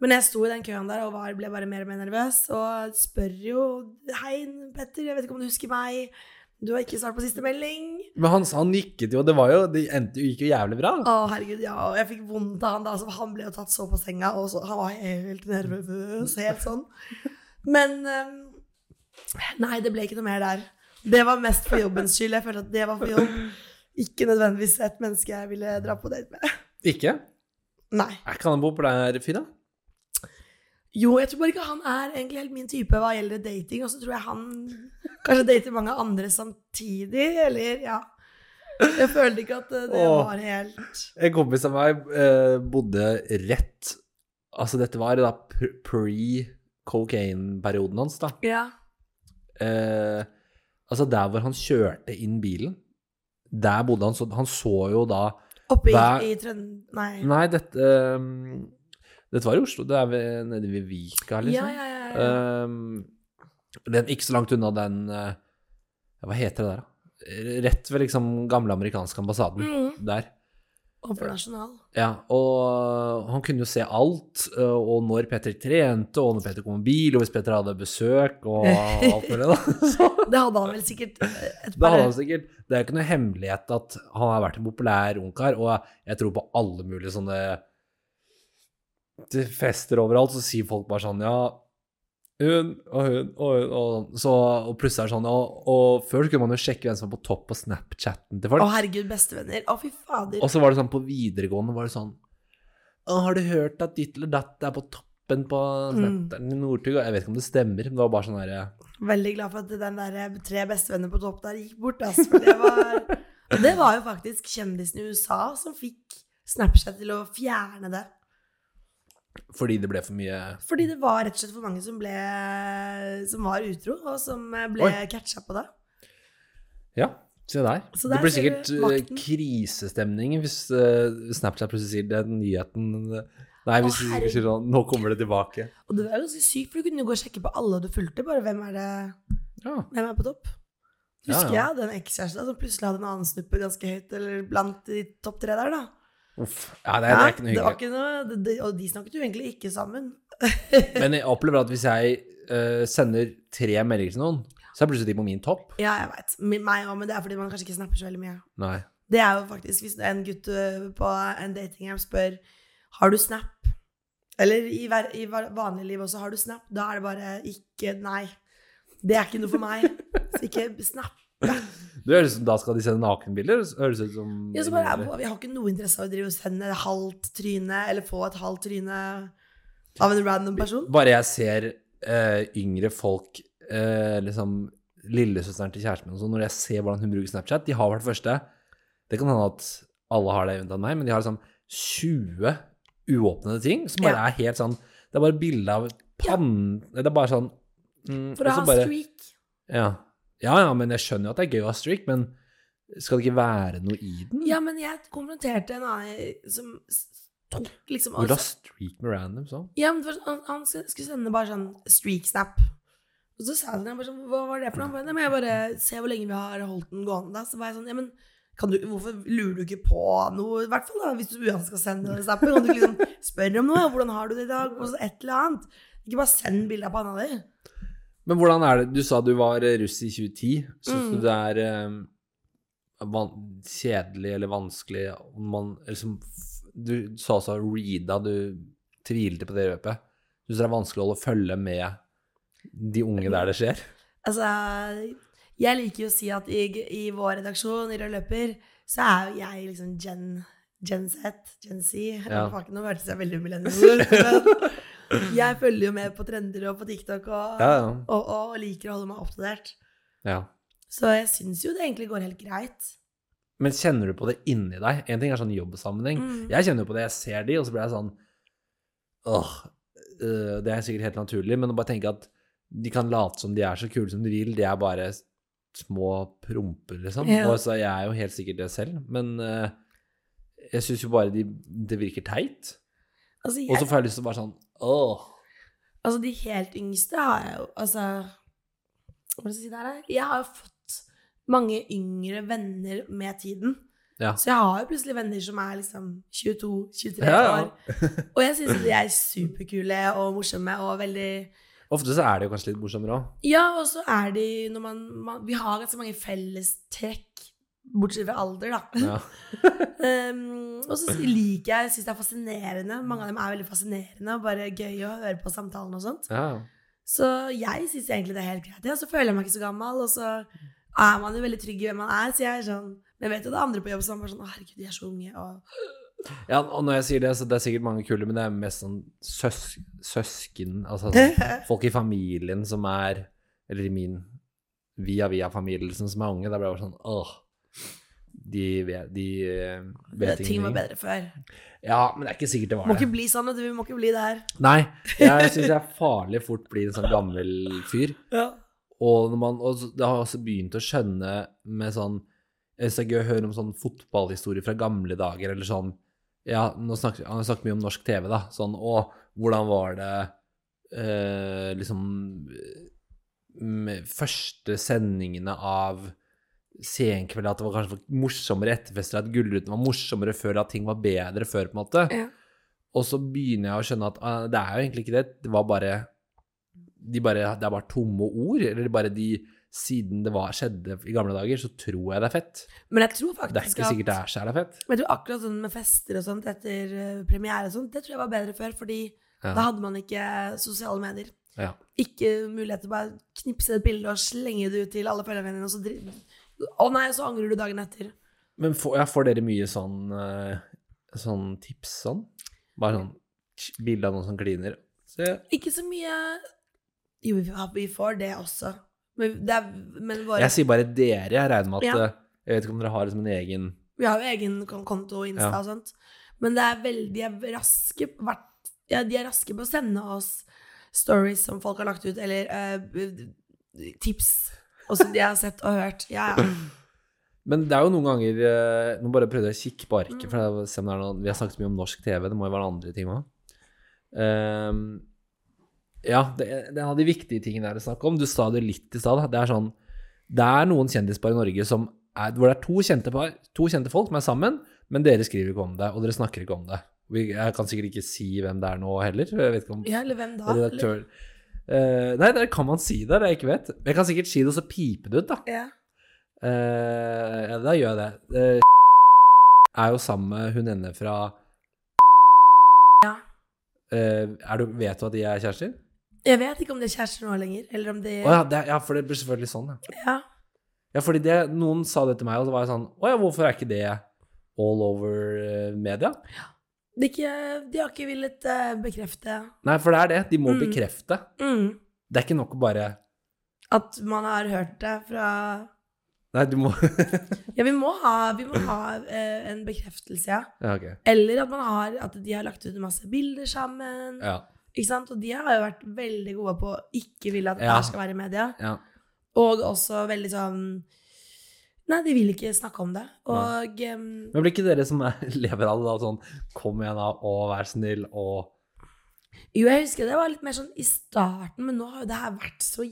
Men jeg sto i den køen der og var, ble bare mer og mer nervøs. Og spør jo Hei, Petter, jeg vet ikke om du husker meg. Du har ikke svart på siste melding. Men han, han nikket jo, og det, var jo, det endte, gikk jo jævlig bra. Å, herregud, ja. Og jeg fikk vondt av han da. Så han ble jo tatt så på senga, og så, han var helt nervøs, helt sånn. Men eh, Nei, det ble ikke noe mer der. Det var mest for jobbens skyld. Jeg føler at det var for jobb. Ikke nødvendigvis et menneske jeg ville dra på date med. Ikke? Nei. Er ikke han en populær fyr, da? Jo, jeg tror bare ikke han er egentlig helt min type hva gjelder dating. Og så tror jeg han kanskje dater mange andre samtidig, eller ja. Jeg følte ikke at eh, det Åh. var helt En kompis av meg eh, bodde rett Altså, dette var da pr- pre-cocaine-perioden hans, da. Ja. Eh, altså, der hvor han kjørte inn bilen, der bodde han. Så han så jo da Oppe i, Hva- i Trøndelag Nei. Nei, dette eh, Dette var i Oslo. Det er ved, nede ved Vika, liksom. Ja, ja, ja. ja. Eh, den, ikke så langt unna den eh, Hva heter det der, da? Rett ved liksom gamle amerikanske ambassaden. Mhm. Der. Overnasjonal. Ja, og øh, han kunne jo se alt, øh, og når Petter trente, og når Peter kom med bil, og hvis Petter hadde besøk, og alt mulig, da. Så Det hadde han vel sikkert eh, da et par hadde han sikkert Det er jo ikke noe hemmelighet at han har vært en populær ungkar, og jeg tror på alle mulige sånne til fester overalt, så sier folk bare sånn Ja, hun og hun og hun og sånn. Så, og plutselig er det sånn og, og før så kunne man jo sjekke hvem som var på topp på Snapchatten til folk. Å, herregud, bestevenner. Å, fy fader. Og så var det sånn på videregående var det sånn «Å, Har du hørt at ditt eller datt er på toppen på Mm. Snapchat i Northug? Og Jeg vet ikke om det stemmer, men det var bare sånn derre Veldig glad for at den der eh, tre bestevenner på topp der gikk bort, ass. For det var Og Det var jo faktisk kjendisen i USA som fikk Snapchat til å fjerne det. Fordi det ble for mye Fordi det var rett og slett for mange som ble Som var utro, og som eh, ble Oi. catcha på det. Ja, se der. Så det der blir ser du sikkert eh, makten. krisestemning hvis eh, Snapchat plutselig sier den nyheten eh, Nei, hvis Å, de sier sånn Nå kommer det tilbake. Og det var ganske sykt, for du kunne jo gå og sjekke på alle du fulgte, bare hvem er det Ja. Hvem er på topp? Ja, Husker ja. jeg hadde en ekskjæreste som plutselig hadde en annen snuppe ganske høyt, eller blant de topp tre der, da. Uff. Ja, nei, det er ikke noe det hyggelig. var ikke noe, det, det, og de snakket jo egentlig ikke sammen. Men jeg opplever at hvis jeg eh, sender tre meldinger til noen, så er plutselig de på min topp. Ja, jeg veit. Meg òg, men det er fordi man kanskje ikke snapper så veldig mye. Nei. Det er jo faktisk hvis en gutt øh, på en datingapp spør Har du Snap? Eller i, hver, i va- vanlig liv også, har du Snap? Da er det bare ikke Nei. Det er ikke noe for meg. Så ikke Snap. Du Det høres ut som da skal de sende nakenbilder. så Høres ut som Ja, så bare, jeg, vi har ikke noe interesse av å drive og sende halvt tryne, eller få et halvt tryne av en random person. Bare jeg ser eh, yngre folk, eh, liksom lillesøsteren til kjæresten min og sånn, når jeg ser hvordan hun bruker Snapchat De har vært første Det kan hende at alle har det unntatt meg, men de har liksom 20 uåpnede ting som bare Ja. er helt sånn Det er bare bilde av pannen Det er bare sånn mm, For og å så ha bare- streak. Ja. ja, ja, men jeg skjønner jo at det er gøy å ha streak, men skal det ikke være noe i den? Ja, men jeg konfronterte en annen som s- tok liksom Hvor da streak med random sånn? Ja, men det var sånn- han, han skulle skulle sende bare sånn streak-snap. Og så sa han til meg bare sånn, hva var det for noe? Han bare, Nei, men jeg bare, se hvor lenge vi har holdt den gående. da." Så var jeg sånn, ja, men kan du, hvorfor lurer du ikke på noe? I hvert fall da, hvis du uansett skal sende den snappen, kan du ikke liksom spørre om noe? Hvordan har du det i dag? Og så et eller annet. Ikke bare send bilder av panna di. Men hvordan er det Du sa du var eh, russ i 2010. Syns Mm. du det er eh, van kjedelig eller vanskelig om man liksom, f- Du sa også reada, du tvilte på det løpet. Syns du det er vanskelig å holde følge med de unge der det skjer? Altså, jeg liker jo å si at i, i vår redaksjon, i Rød Løper, så er jo jeg liksom Gen, Gen Z, Gen Z. Ja. Fuck, nå hørtes jeg veldig millennial ut. men Jeg følger jo med på trender og på TikTok og, Ja, og, og, liker å holde meg oppdatert. ja. Så jeg syns jo det egentlig går helt greit. Men kjenner du på det inni deg? En ting er sånn jobbsammenheng. Mm. Jeg kjenner jo på det. Jeg ser de, og så blir jeg sånn Åh, øh, det er sikkert helt naturlig, men å bare tenke at de kan late som de er så kule som de vil, de er bare små promper, liksom. Ja. Og så jeg er jo helt sikkert det selv, men øh, jeg syns jo bare de, det virker teit. Altså, Og så jeg, får jeg lyst til å bare sånn Åh. altså de helt yngste har jeg jo Altså, hva skal jeg si der, da? Jeg har jo fått mange yngre venner med tiden. Ja. Så jeg har jo plutselig venner som er liksom 22-23 Ja, ja. år. Og jeg syns de er superkule og morsomme og veldig Ofte så er det jo kanskje litt morsommere òg. Ja, og så er de når man, man Vi har ganske mange fellestrekk, bortsett fra alder, da. Ja. Um, og så liker jeg, syns det er fascinerende. Mange av dem er veldig fascinerende og bare gøy å høre på samtalen og sånn. sånt. Ja. Så jeg syns egentlig det er helt greit. Ja, så føler jeg meg ikke så gammel, og så Mm. er man jo veldig trygg i hvem man er, så jeg er sånn Men jeg vet jo det er andre på jobb som er bare sånn Å, herregud, de er så unge, og ja, og når jeg sier det, så det er sikkert mange kule, men det er mest sånn søs søsken Altså sånn folk i familien som er Eller i min via-via-familielsen som er unge. Da ble jeg bare sånn Åh. De vet, de eh, vet Ting var ingenting. bedre før. Ja, men det er ikke sikkert det Må var det. ikke bli sånn, vet du. Vi må ikke bli der. Nei, jeg syns jeg farlig fort blir en sånn gammel fyr. Ja. Og, når man, og så- det har jeg også begynt å skjønne med sånn Jeg synes det er gøy å høre om sånn fotballhistorie fra gamle dager, eller sånn Ja, nå snakker han snakker mye om norsk TV, da. Sånn Å, hvordan var det eh, liksom med Første sendingene av Senkveld, at det var kanskje morsommere etterfester, at Gullruten var morsommere før, at ting var bedre før, på en måte. Ja. Og så begynner jeg å skjønne at ah, det er jo egentlig ikke det, det var bare, de bare Det er bare tomme ord, eller bare de Siden det var, skjedde i gamle dager, så tror jeg det er fett. Men jeg tror Det er faktisk ikke sikkert det er så jævla fett. Men jeg tror akkurat sånn med fester og sånt etter eh, premiere og sånt, det tror jeg var bedre før, fordi Ja. da hadde man ikke sosiale medier. Ja. Ikke mulighet til å bare knipse et bilde og slenge det ut til alle følgerne dine, og så dri... Å nei, og så angrer du dagen etter. Men får, ja, får dere mye sånn, eh, sånn tips sånn? Bare sånn bilde av noen som kliner. Se. Ikke så mye Jo, vi har- vi får det også. Men, det er, men våre, Jeg sier bare dere, jeg regner med at Ja. eh, Jeg vet ikke om dere har liksom en egen vi har jo egen kon- konto og Insta Ja. og sånt. Men det er veldig, de er raske vært, ja, De er raske på å sende oss stories som folk har lagt ut, eller eh, b- b- tips. Og som de har sett og hørt. Ja, ja. Men det er jo noen ganger eh, Nå bare prøvde jeg å kikke på arket, for jeg, se om det er noe, vi har snakket så mye om norsk TV, det må jo være noen andre ting òg. ja, det, det er en av de viktige tingene det er å snakke om. Du sa det litt i stad. da. Det er sånn Det er noen kjendispar i Norge som er, hvor det er to kjente, par, to kjente folk som er sammen, men dere skriver ikke om det, og dere snakker ikke om det. Vi, jeg kan sikkert ikke si hvem det er nå heller. Jeg vet ikke om ja eller hvem da? Eller- redaktør Eh, Nei, der kan man si det, det jeg ikke vet. Jeg kan sikkert si det, og så pipe det ut, da. Ja. Eh, ja, da gjør jeg det. Eh, er jo sammen med hun ene fra Ja. Eh, er du, Vet du at de er kjærester? Jeg vet ikke om de er kjærester nå lenger, eller om de Å ja, det, er- ja, for det blir selvfølgelig sånn, ja. ja. Ja, fordi det, noen sa det til meg, og så var jeg sånn Å ja, hvorfor er ikke det all over eh, media? De, ikke, de har ikke villet eh, bekrefte Nei, for det er det. De må Mm. bekrefte. mm, Det er ikke nok å bare at man har hørt det fra Nei, du må Ja, vi må ha, vi må ha eh, en bekreftelse, ja. Ja, ok. Eller at, man har, at de har lagt ut masse bilder sammen. Ja. Ikke sant? Og de har jo vært veldig gode på å ikke ville at det Ja. her skal være i media. ja. Og også veldig sånn Nei, de vil ikke snakke om det. Og em, Men blir ikke dere som er, lever av det, da sånn Kom igjen, da, og vær snill, og jo, jeg husker det var litt mer sånn i starten, men nå har jo det her vært så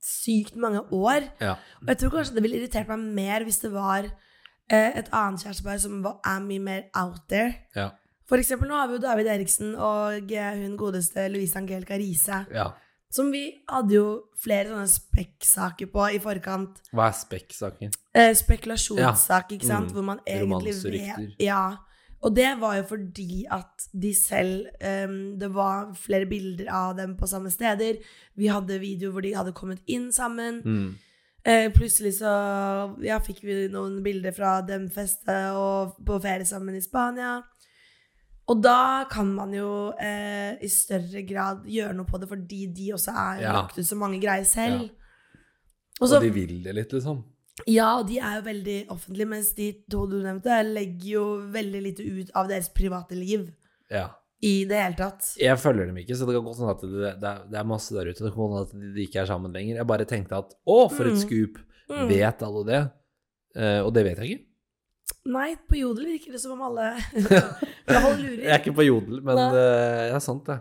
sykt mange år. Ja. Og jeg tror kanskje det ville irritert meg mer hvis det var eh, et annet kjærestepar som var, er mye mer out there. Ja. For eksempel nå har vi jo David Eriksen og eh, hun godeste Louise Angelica Riise, Ja. som vi hadde jo flere sånne spekksaker på i forkant. Hva er spekk-saken? Eh, spekulasjonssak, ikke sant? Mm. Hvor man egentlig Romanser, rykter. vet Ja. Og det var jo fordi at de selv ehm, Det var flere bilder av dem på samme steder. Vi hadde videoer hvor de hadde kommet inn sammen. Mm. Eh, plutselig så ja, fikk vi noen bilder fra dem feste og på ferie sammen i Spania. Og da kan man jo eh, i større grad gjøre noe på det, fordi de også er Ja. lagt ut så mange greier selv. Ja. Og Og så- de vil det litt, liksom? ja, og de er jo veldig offentlige, mens de to du nevnte, legger jo veldig lite ut av deres private liv Ja. i det hele tatt. Jeg følger dem ikke, så det kan godt hende at det, det, er- det er masse der ute. Det kan godt hende at de ikke er sammen lenger. Jeg bare tenkte at å, for Mm. et skup! Mm. Vet alle det? Eh, og det vet jeg ikke. Nei, på Jodel virker det som om alle Jeg Jeg holder er lurer. ikke på jodel, men Nei. eh, det er sant, det.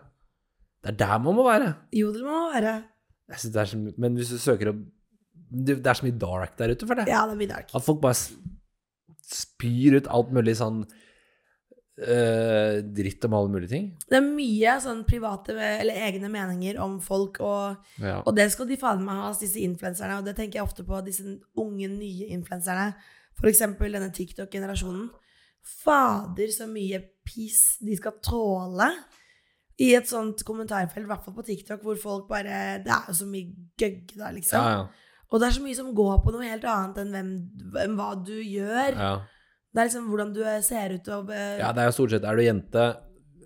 Det er der man må være. Jodel må være Jeg synes det er så, my- men hvis du søker opp Det det er så mye dark der ute for det. Ja, det blir dark. At folk bare s- spyr ut alt mulig sånn eh, dritt om alle mulige ting. Det er mye sånn private eller egne meninger om folk, og, Ja. og det skal de faen meg ha, disse influenserne. Og det tenker jeg ofte på, disse unge, nye influenserne. For eksempel denne TikTok-generasjonen. Fader, så mye piss de skal tåle. I et sånt kommentarfelt, i hvert fall på TikTok, hvor folk bare Det er jo så mye gøgg der, Ja, liksom. ja. Og det er så mye som går på noe helt annet enn hvem, enn hva du gjør. ja. Det er liksom hvordan du ser ut og eh, ja, det er jo stort sett Er du jente,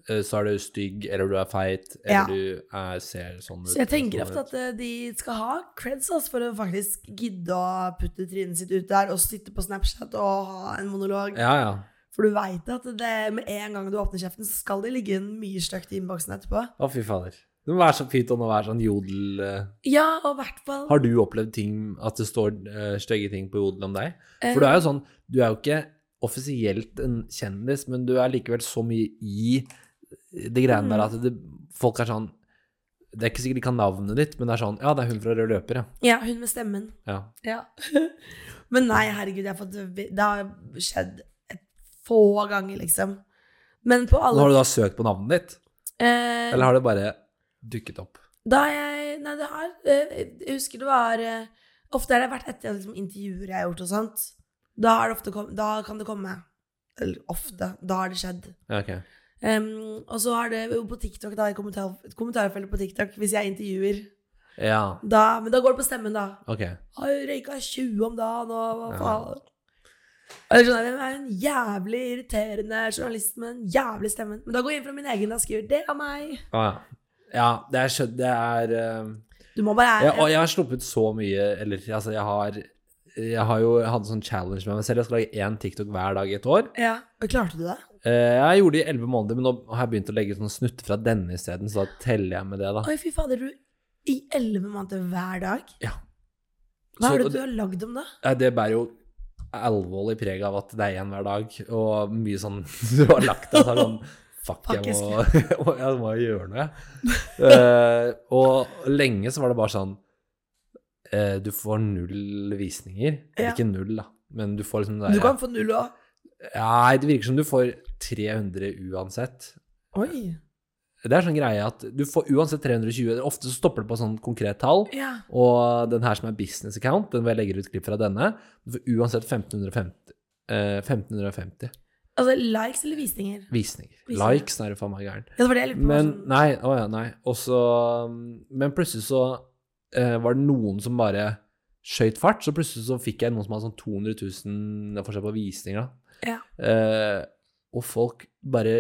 eh, så er du stygg, eller du er feit, Ja. eller du er, ser sånn ut. Så jeg tenker sånn ofte ut. at eh, de skal ha creds altså, for å faktisk gidde å putte trynet sitt ut der og sitte på Snapchat og ha en monolog. Ja, ja. For du veit at det, med en gang du åpner kjeften, så skal det ligge en mye stygt i innboksen etterpå. Å, fy fader. Det må være så pyton å være sånn jodel... eh. Ja, og i hvert fall Har du opplevd ting, at det står eh, stygge ting på jodel om deg? eh, For du er jo sånn, du er jo ikke offisielt en kjendis, men du er likevel så mye i det greiene der Mhm. at det, folk er sånn Det er ikke sikkert de kan navnet ditt, men det er sånn Ja, det er hun fra Rød løper, ja. Ja, hun med stemmen. ja. Ja. Men nei, herregud, jeg har fått, det har skjedd et få ganger, liksom. Men på Nå alle har du da søkt på navnet ditt, eh, eller har det bare dukket opp? Da jeg Nei, det har eh, Jeg husker det var eh, Ofte har det vært etter liksom, intervjuer jeg har gjort og sånt. Da, har det ofte kom, da kan det komme. Eller ofte. Da har det skjedd. Ja, ok. Em, og så har det jo på TikTok, da, i kommentar, kommentarfeltet på TikTok, hvis jeg intervjuer Ja, da, Men da går det på stemmen, da. ok. Har jo røyka 20 om dagen, og hva Ja. faen? Eller sånn, Hvem er en jævlig irriterende journalist med den jævlig stemmen? Men da går jeg inn fra min egen da skriver det av meg. Å, ja. ja, det er skjønt. Det er eh, Du må bare Ja, og jeg har sluppet så mye Eller altså, jeg har Jeg har jo hatt en sånn challenge med meg selv. Jeg skal lage én TikTok hver dag i et år. ja. Og Klarte du det? Eh, Jeg gjorde det i elleve måneder, men nå har jeg begynt å legge sånn snutter fra denne isteden, så da teller jeg med det, da. Oi, fy fader, du i elleve måneder hver dag? Ja. Hva Så- er det du har lagd om, da? Eh, Det bærer jo alvorlig preg av at det er én hver dag, og mye sånn du har lagt deg så er det sånn Fuck, jeg må, jeg må jo gjøre noe, jeg. Eh, og lenge så var det bare sånn eh, Du får null visninger. Ja. Ikke null, da, men du får liksom det Du der- kan få null òg. Nei, det virker som du får 300 uansett. Oi. Det er sånn greie at du får uansett 320. Ofte så stopper det på sånn konkret tall. Ja. Og den her som er business account, den hvor jeg legger ut klipp fra denne, du får uansett 1550, eh, 1550 Altså likes eller visninger? visninger. Visninger. Likes, er du faen meg gæren. Ja, det var det jeg lurte på. Men sånn- nei, um, å ja, nei. Og så Men plutselig så eh, var det noen som bare skjøt fart, så plutselig så fikk jeg noen som hadde sånn 200 000 forskjell på visninger. da. Ja. Eh, og folk bare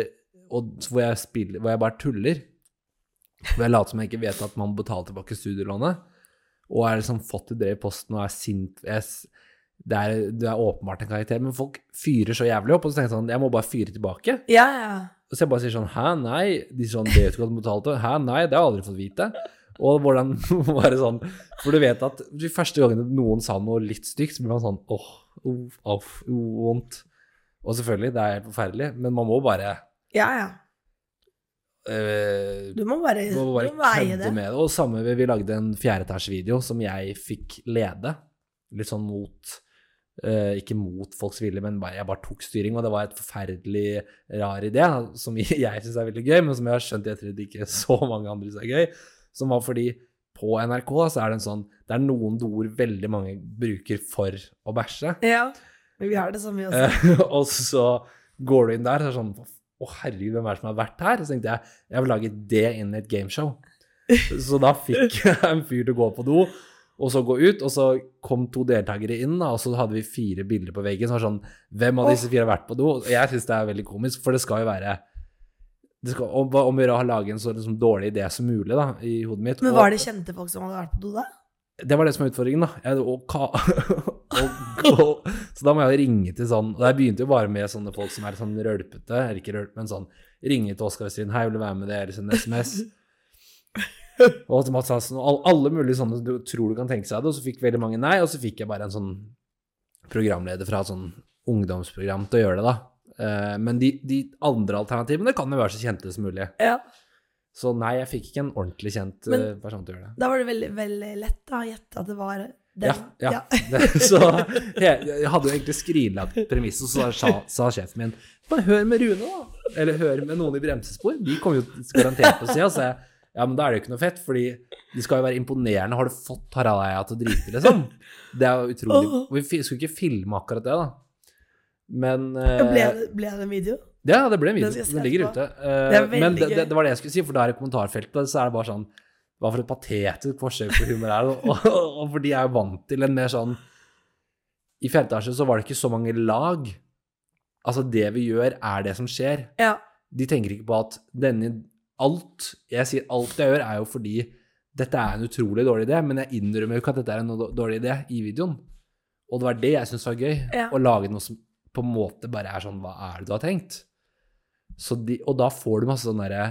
og, så hvor, jeg spiller, hvor jeg bare tuller. Hvor jeg later som jeg ikke vet at man må betale tilbake studielånet. Og er liksom fått et brev i posten og er sint. Jeg, s- det, er, det er åpenbart en karakter, men folk fyrer så jævlig opp. Og så tenker jeg sånn, jeg må bare fyre tilbake. Ja, ja. Og så jeg bare sier sånn Hæ, nei? De sier sånn Det vet du ikke at du betalte? Hæ, nei? Det har jeg aldri fått vite. Og hvordan var det sånn For du vet at de første gangene noen sa noe litt stygt, så blir man sånn åh, uff, au, uh, vondt. Og selvfølgelig, det er helt forferdelig, men man må bare ja, ja. øh, Du må bare, Man må bare du må eie kødde det. med det. Og samme vi, vi lagde en fjerdeetasjevideo som jeg fikk lede. Litt sånn mot eh, Ikke mot folks vilje, men bare, jeg bare tok styring. Og det var et forferdelig rar idé, som jeg syns er veldig gøy, men som jeg har skjønt i ettertid ikke så mange andre syns er gøy. Som var fordi på NRK så er det en sånn Det er noen ord veldig mange bruker for å bæsje. Ja. Men vi har det sånn, vi også. Eh, og så går du inn der, og så er det sånn Å, herregud, hvem er det som har vært her? Så tenkte jeg jeg vil lage det inn i et gameshow. Så da fikk jeg en fyr til å gå på do, og så gå ut. Og så kom to deltakere inn, da, og så hadde vi fire bilder på veggen som var sånn Hvem av disse fire har vært på do? Og jeg syns det er veldig komisk, for det skal jo være det skal, om, om å gjøre å lage en så liksom, dårlig idé som mulig da, i hodet mitt. Men Og- var det kjente folk som hadde vært på do da? det var det som var utfordringen, da. Jeg, og, ka, og, og, så da må jeg jo ringe til sånn Og jeg begynte jo bare med sånne folk som er sånn rølpete, eller ikke rølpete, men sånn Ringe til Oskar og si 'hei, vil du være med det', eller sende SMS. Og til Mads Hansen, og sånn- alle, alle mulige sånne du tror du kan tenke seg det, og så fikk veldig mange nei, og så fikk jeg bare en sånn programleder fra et sånn ungdomsprogram til å gjøre det, da. Eh, Men de, de andre alternativene kan jo være så kjente som mulig. Ja. Så nei, jeg fikk ikke en ordentlig kjent Men- eh, person til å gjøre det. Da var det veldig, veldig lett da, å gjette at det var den. Ja, ja. Det- Så jeg, jeg hadde jo egentlig skrinlagt premisset, så sa, sa sjefen min bare hør med Rune, da. Eller hør med noen i bremsespor. De kommer jo garantert til å si oss. Jeg, ja, men da er det jo ikke noe fett, fordi de skal jo være imponerende. Har du fått Harald Eia til å drite, liksom? Det er jo utrolig. Åh. Og vi fi- skulle ikke filme akkurat det, da. Men eh, Ble, det- ble det en video? ja, det ble en video. Den skal jeg se Den ligger etterpå. ute. Eh, Det er veldig men det, gøy. det, det var det jeg skulle si, for der i kommentarfeltet så er det bare sånn Hva for et patetisk forsøk på humor er det? Og, og, og for de er jo vant til en mer sånn I fjerde etasje så var det ikke så mange lag. Altså, det vi gjør, er det som skjer. Ja. De tenker ikke på at denne Alt jeg sier alt jeg gjør, er jo fordi dette er en utrolig dårlig idé, men jeg innrømmer jo ikke at dette er en dårlig idé i videoen. Og det var det jeg syntes var gøy. Ja. Å lage noe som på en måte bare er sånn Hva er det du har tenkt? Så de, og da får du masse sånn derre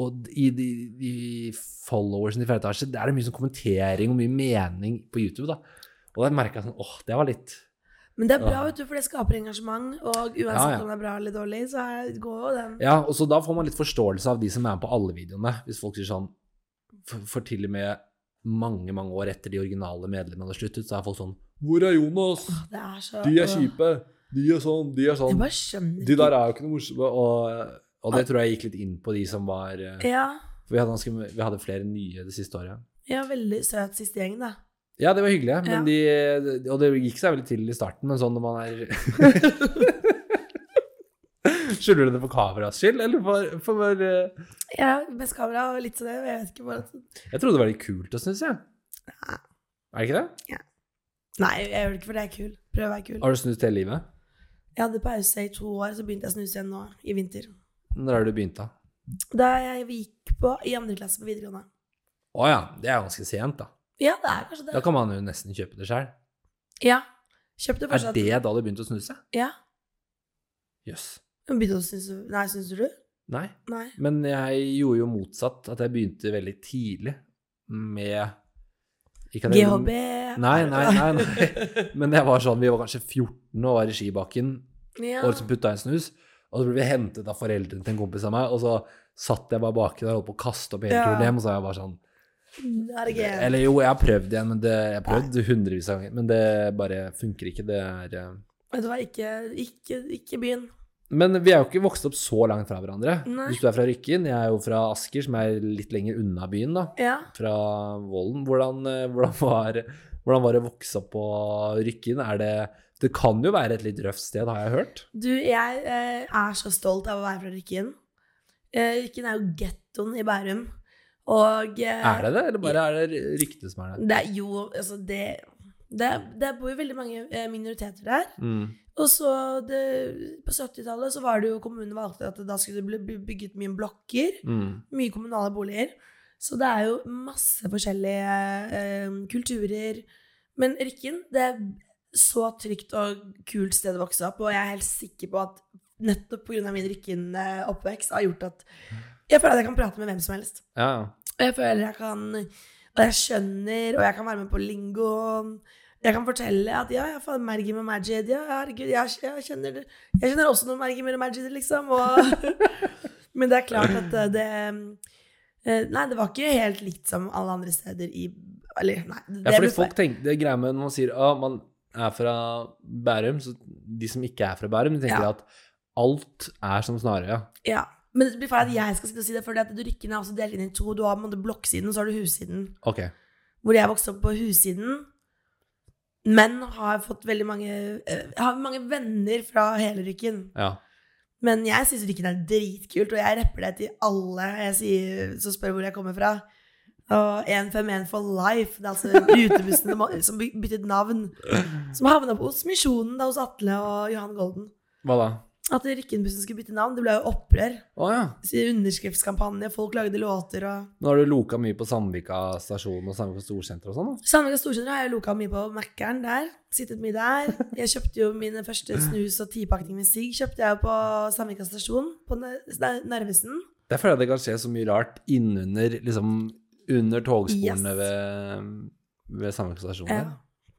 Og i de, de followersene i fjerde etasje, der er det mye sånn kommentering og mye mening på YouTube, da. Og da merka jeg sånn Åh, det var litt Men det er bra, Ja. vet du, for det skaper engasjement, og uansett Ja, ja. om det er bra eller dårlig, så er- går jo den. Ja, og så da får man litt forståelse av de som er med på alle videoene. Hvis folk sier sånn For, for til og med mange, mange år etter de originale medlemmene har sluttet, så er folk sånn Hvor er Jonas? Det er så... De er kjipe. De er sånn, de er Jeg sånn. bare skjønner De der er jo ikke noe morsomme. Og, og det tror jeg gikk litt inn på de som var eh, ikke. Ja, For vi hadde, ganske, vi hadde flere nye det siste året. ja, veldig søt siste gjeng da. Ja, det var hyggelig, men de, og det gikk seg veldig til i starten, men sånn når man er Skylder du det for kameras skyld, eller for, for eh, bare Ja, mest kamera og litt sånn, jeg vet ikke bare... Jeg trodde det var litt kult å snuse, jeg. Er det ikke det? Nei, jeg gjør det ikke, for det er kul. Prøv å være kul. Har du snust hele livet? Jeg hadde pause i to år, så begynte jeg å snuse igjen nå, i vinter. Når har du begynt, da? Da jeg gikk på, i andre klasse på videregående. Å ja, det er ganske sent, da. Ja, det er kanskje Da det. kan man jo nesten kjøpe det sjøl. Ja. Kjøpte Er fortsatt. det da du begynte å snuse? Ja. Jøss. Men Begynte å snuse Nei, syntes du? Nei. Nei. Men jeg gjorde jo motsatt, at jeg begynte veldig tidlig med ikke at jeg gjorde- GHB Nei, nei, nei. nei. Men jeg var sånn, vi var kanskje 14 og var i skibakken, Ja. og liksom putta i en snus. Og så ble vi hentet av foreldrene til en kompis av meg, og så satt jeg bare baki der og holdt på å kaste opp hele Ja. kulen hjem, og så var jeg bare sånn Er det GHB? Eller jo, jeg har prøvd igjen, men det, jeg har prøvd hundrevis av ganger, men det bare funker ikke. Det er eh. Vet du hva, ikke, ikke, ikke begynn. Men vi er jo ikke vokst opp så langt fra hverandre. Nei. Hvis du er fra Rykken, jeg er jo fra Asker, som er litt lenger unna byen, da. Ja. Fra Vollen. Hvordan, eh, hvordan, var, hvordan var det å vokse opp på Rykken? Er det Det kan jo være et litt røft sted, har jeg hørt. Du, jeg eh, er så stolt av å være fra Rykken. Eh, Rykken er jo gettoen i Bærum. Og eh, Er det det, eller bare er det ryktet som er der? Det er jo Altså, det Det, det bor jo veldig mange eh, minoriteter der. Mm. Og så det, På 70-tallet så var det jo kommunen valgte at da skulle det bli- bli bygget mye blokker. Mm. Mye kommunale boliger. Så det er jo masse forskjellige eh, kulturer. Men Rykken, det er så trygt og kult sted å vokse opp, og jeg er helt sikker på at nettopp pga. min Rykken-oppvekst har gjort at jeg føler at jeg kan prate med hvem som helst. Ja. Og jeg føler jeg kan Og jeg skjønner, og jeg kan være med på lingoen. Jeg kan fortelle at ja, jeg har Mergim og Majid. Ja, herregud, jeg, jeg, kjenner, det. jeg kjenner også noen Mergim og Majid, liksom. Og, men det er klart at eh, det eh, Nei, det var ikke helt likt som alle andre steder i Eller, nei. ja, det fordi ble- folk tenker Det er greia med når man sier at man er fra Bærum, så de som ikke er fra Bærum, de tenker Ja. at alt er som Snarøya. ja. Men det blir feil at jeg skal sitte og si det, for at rykken er også delt inn i to. Du har på en måte blokksiden, og så har du hussiden. Ok. hvor jeg vokste opp på hussiden. Men har fått veldig mange eh, Har mange venner fra hele Rykken. Ja. Men jeg syns Rykken er dritkult, og jeg rapper det til alle jeg sier, som spør hvor jeg kommer fra. Og 151 for life. Det er altså rutebussen som- som by- byttet navn. Som havna på hos Misjonen, da hos Atle og Johan Golden. Hva da? At Rykkenbussen skulle bytte navn, det ble jo opprør. Å ja. Så Underskriftskampanje, folk lagde låter og Nå har du loka mye på Sandvika stasjon og Sandvika storsenter og sånn, da. Sandvika Storsenter har jeg loka mye på Mækkern der. Sittet mye der. Jeg kjøpte jo min første snus og tipakning med sigg kjøpte jeg jo på Sandvika stasjon, på Nar- Nar- Narvesen. Der føler jeg det kan skje så mye rart innunder liksom, under togsporene Yes. ved, ved Sandvika stasjon. Ja. der.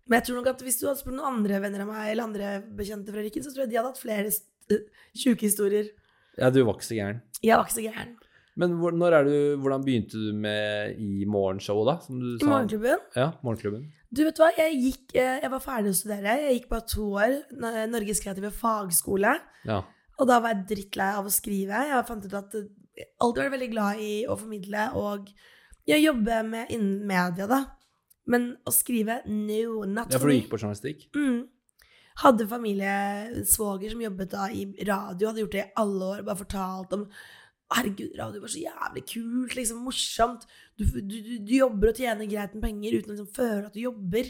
Men jeg tror nok at hvis du hadde spurt noen andre venner av meg, eller andre bekjente fra Rykken, så tror jeg de hadde hatt flere st- øh, sjuke historier. Ja, du var ikke så gæren. Jeg var ikke så gæren. Men hvor, når er du, hvordan begynte du med i morgenshowet, da? Som du I sa? morgenklubben Ja, morgenklubben. Du vet hva, jeg gikk eh, Jeg var ferdig å studere. Jeg gikk bare to år. N- Norges kreative fagskole. Ja. Og da var jeg drittlei av å skrive. Jeg fant ut at eh, jeg alltid vært veldig glad i å formidle og jeg jobber med innen media, da. Men å skrive no, not ja, for for du me. gikk på journalistikk? Mm. Hadde familiesvoger som jobbet da i radio, hadde gjort det i alle år, bare fortalt om Herregud, radio var så jævlig kult, liksom morsomt. Du, du, du, du jobber og tjener greit med penger uten å liksom føle at du jobber.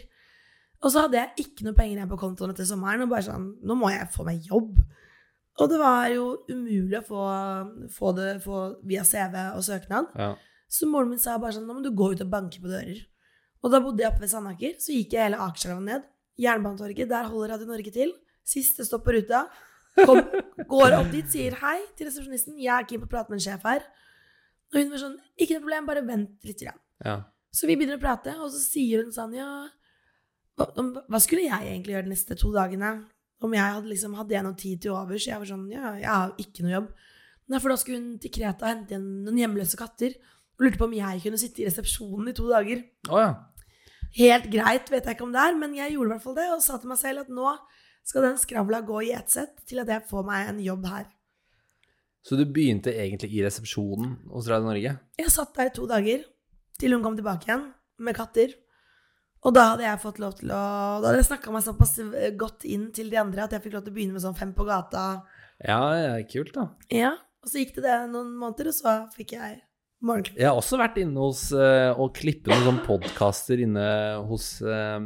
Og så hadde jeg ikke noe penger igjen på kontoen etter sommeren, og bare sånn Nå må jeg få meg jobb. Og det var jo umulig å få, få det få via CV og søknad. Ja. Så moren min sa bare sånn, nå må du gå ut og banke på dører. Og da bodde jeg oppe ved Sandaker, så gikk jeg hele Akerselva ned. Jernbanetorget, der holder Radio Norge til. Siste stopp på ruta. Kom, går opp dit, sier hei til resepsjonisten. Jeg er keen på å prate med en sjef her. Og hun var sånn, ikke noe problem, bare vent litt. Grann. ja. Så vi begynner å prate, og så sier hun sånn, ja, hva, om, hva skulle jeg egentlig gjøre de neste to dagene? Om jeg hadde, liksom, hadde jeg noe tid til overs? Jeg var sånn, ja, jeg har jo ikke noe jobb. Nei, for da skulle hun til Kreta og hente igjen noen hjemløse katter. Og lurte på om jeg kunne sitte i resepsjonen i to dager. Å ja. Helt greit, vet jeg ikke om det er, men jeg gjorde i hvert fall det, og sa til meg selv at nå skal den skravla gå i ett sett til at jeg får meg en jobb her. Så du begynte egentlig i resepsjonen hos Radio Norge? Jeg satt der i to dager, til hun kom tilbake igjen med katter. Og da hadde jeg fått lov til å Da hadde jeg snakka meg såpass eh, godt inn til de andre at jeg fikk lov til å begynne med sånn fem på gata. Ja, ja, kult, da. Ja, Og så gikk det det noen måneder, og så fikk jeg morgenklubb. Jeg har også vært inne hos eh, og klippet noen sånne podkaster inne hos eh,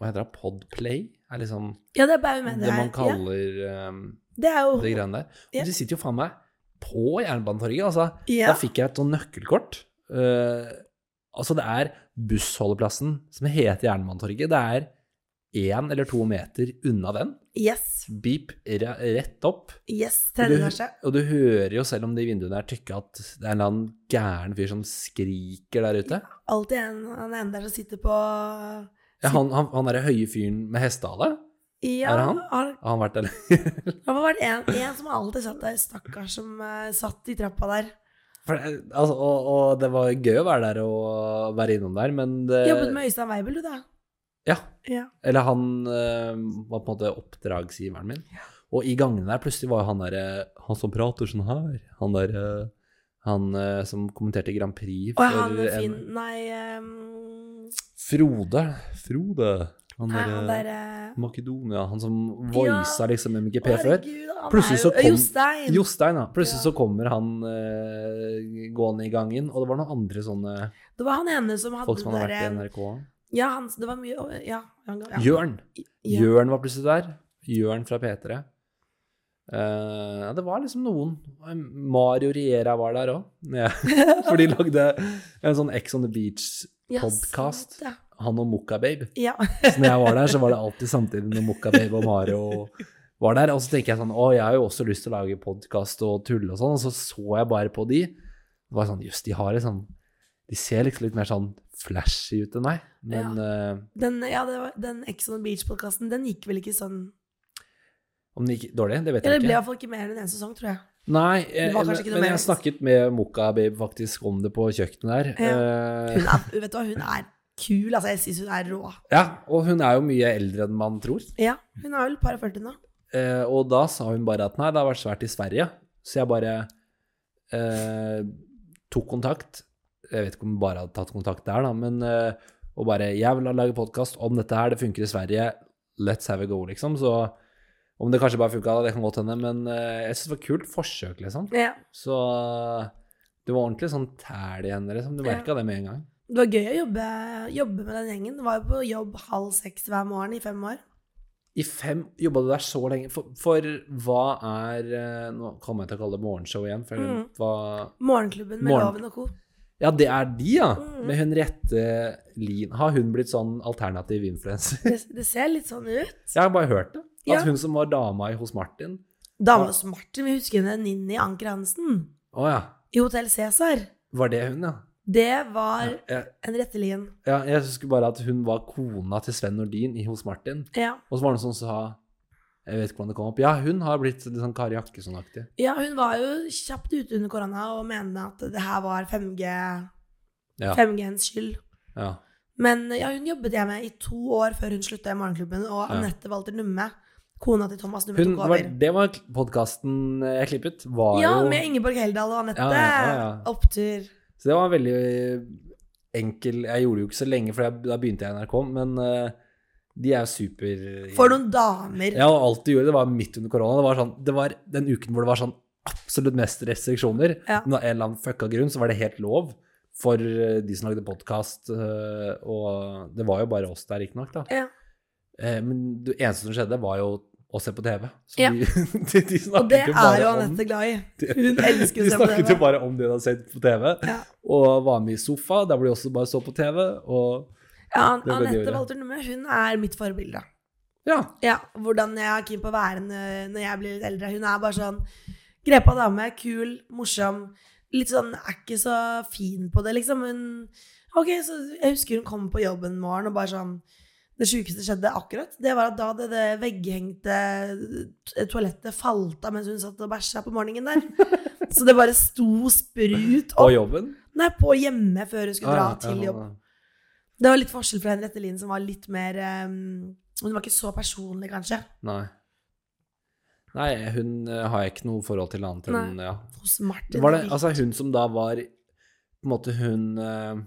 Hva heter det? Podplay? Er liksom Ja, det er Bau med det man Ja, kaller eh, det er de jo greiene der. Ja. Og de sitter jo faen meg på Jernbanetorget. Altså, ja. da fikk jeg et sånn nøkkelkort. Eh, altså, det er bussholdeplassen som heter Jernbanetorget. Det er én eller to meter unna den. Yes. Beep re- rett opp. Yes. Og du, Tredje etasje. og du hører jo, selv om de vinduene er tykke, at det er en eller annen gæren fyr som skriker der ute. Alltid en han ene der som sitter på Ja, han, han, han derre høye fyren med hestehale? Ja, Er det han? har- Har han vært der? Det har vært en, en som alltid satt der, stakkar, som eh, satt i trappa der. For, det- altså, og, og det var gøy å være der og være innom der, men det, Jobbet med Øystein Weibel, du, da. Ja. Ja. Eller han eh, var på en måte oppdragsgiveren min. Og i gangene der plutselig var jo han derre Han som prater sånn her, han derre Han eh, som kommenterte Grand Prix Og han med en- Finn Nei, ehm, Frode. Frode. Han nei derre han der eh, Makedonia, han som voisa liksom MGP før. herregud, han Plutselig er så jo- kom- Jostein! Jostein, da. Plutselig Ja. så kommer han eh, gående i gangen, og det var noen andre sånne Det var han ene som hadde folk som den hadde der vært i eh, NRK. Ja, han, det var mye å- Ja. Han, ga- ja. Jørn. ja. Jørn var plutselig der. Jørn fra P3. Eh, ja, det var liksom noen. Mario Riera var der òg. Ja, for de lagde en sånn Ex on the Beach-podkast. Ja, podcast. sant, Han og Mokka Babe. Ja. Så når jeg var der, så var det alltid samtidig når Mokka Babe og Mario var der. Og så tenker jeg sånn Å, jeg har jo også lyst til å lage podkast og tulle og sånn. Og så så jeg bare på de. Det var sånn Jøss, de har et sånn De ser liksom litt mer sånn flashy ut enn meg. Men eh, Den, ja, det var, den Ex on the Beach-podkasten, den gikk vel ikke sånn om det gikk dårlig, det vet Eller jeg det ble ikke. iallfall ikke mer enn én sesong, tror jeg. Nei, eh, Det var kanskje ikke noe men mer. jeg snakket med Mokka Babe faktisk om det på kjøkkenet der. Eh, Hun er, vet du hva, hun er kul, altså. Jeg syns hun er rå. ja, og hun er jo mye eldre enn man tror. Ja, hun er vel par og førti nå. Eh, og da sa hun bare at nei, det har vært svært i Sverige. Så jeg bare eh, tok kontakt. Jeg vet ikke om hun bare hadde tatt kontakt der, da, men eh, og bare Jeg vil lage podkast om dette her, det funker i Sverige. Let's have a go, liksom. Så om det kanskje bare funka, det kan godt hende, men eh, jeg syns det var et kult forsøk, liksom. Ja. Så det var ordentlig sånn tæl i henne, liksom. Du merka det med en gang. Det var gøy å jobbe, jobbe med den gjengen. Det var jo på jobb halv seks hver morgen i fem år. I fem Jobba du der så lenge? For, for hva er eh, Nå kommer jeg til å kalle det morgenshow igjen, for jeg har glemt hva Morgenklubben med Morgen. Loven og co. Ja, det er de, ja. Mhm. Med Henriette Lien. Har hun blitt sånn alternativ influenser? Det, det ser litt sånn ut. Jeg har bare hørt det. At Ja. hun som var dama i Hos Martin Dama hos Martin, vi husker henne, Ninni Anker Hansen. Å ja. I Hotell Cæsar. Var det hun, ja? Det var Jeg, en rettelin. ja, jeg husker bare at hun var kona til Sven Nordin i Hos Martin. Ja. Og så var det noen som sa Jeg vet ikke hvordan det kom opp. Ja, hun har blitt litt sånn Kari Jakkesson-aktig. ja, hun var jo kjapt ute under korona og mente at det her var 5G, Ja. 5G-ens skyld. Ja. Men ja, hun jobbet jeg med i to år før hun slutta i Morgenklubben, og Anette Walter Numme, kona til Thomas Numme, Hun tok over. var, det var podkasten jeg klippet. Var Ja, jo med Ingeborg Heldal og Anette. Ja, ja, ja. Opptur. Så det var veldig enkel Jeg gjorde det jo ikke så lenge, for jeg, da begynte jeg i NRK, men eh, de er jo super For noen damer. Ja, og alt du gjorde, det var midt under korona. Det var, sånn, det var den uken hvor det var sånn absolutt mest restriksjoner. Ja. Men av en eller annen fucka grunn så var det helt lov for eh, de som lagde podkast, og det var jo bare oss der, riktignok, da. Ja. Eh, Men det eneste som skjedde, var jo å se på TV. Så Ja. de, de, de snakket Og det jo bare er jo om- Anette glad i. Det- Hun elsker de å se på snakket jo TV. bare om det de hadde sett på TV, Ja. og var med i sofa, der hvor de også bare så på TV, og Ja, Det er veldig Anette bra. Walter Numme, hun er mitt forbilde. ja. Ja, hvordan jeg er keen på å være når når jeg blir litt eldre. Hun er bare sånn grepa dame, kul, morsom. Litt sånn er ikke så fin på det, liksom. Hun Ok, så jeg husker hun kom på jobben en morgen og bare sånn Det sjukeste skjedde akkurat. Det var at da hadde det vegghengte t- toalettet falt av mens hun satt og bæsja på morgenen der. Så det bare sto sprut på opp. jobben. Nei, på hjemme før hun skulle dra Ah, ja, til ja, jobb. ja. Det var litt forskjell fra Henriette Lien, som var litt mer ehm, Hun var ikke så personlig, kanskje. Nei. Nei, hun eh, har jeg ikke noe forhold til annet enn ja. hos Martin. Var det altså hun som da var På en måte hun eh,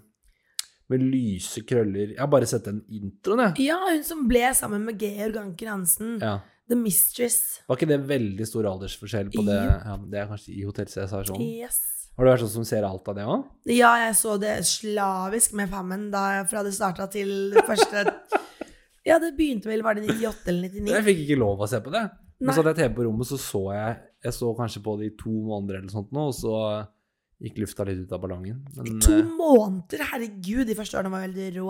med lyse krøller Jeg har bare sett den introen, jeg. Ja, hun som ble sammen med Georg Anker Hansen. Ja. The Mistress. Var ikke det veldig stor aldersforskjell på det? Jupp. Ja, det er kanskje i Hotell Cæsar sånn. Yes. Har du vært sånn som ser alt av det òg? Ja, jeg så det slavisk med Fammen da, fra det starta til det første Ja, det begynte vel, var det 98 eller 99? Jeg fikk ikke lov å se på det. Nei. Men så hadde jeg TV på rommet, så så jeg Jeg så kanskje på det i to måneder eller sånt nå, og så gikk lufta litt ut av ballongen. Men, To eh, måneder! Herregud, de første årene var veldig rå.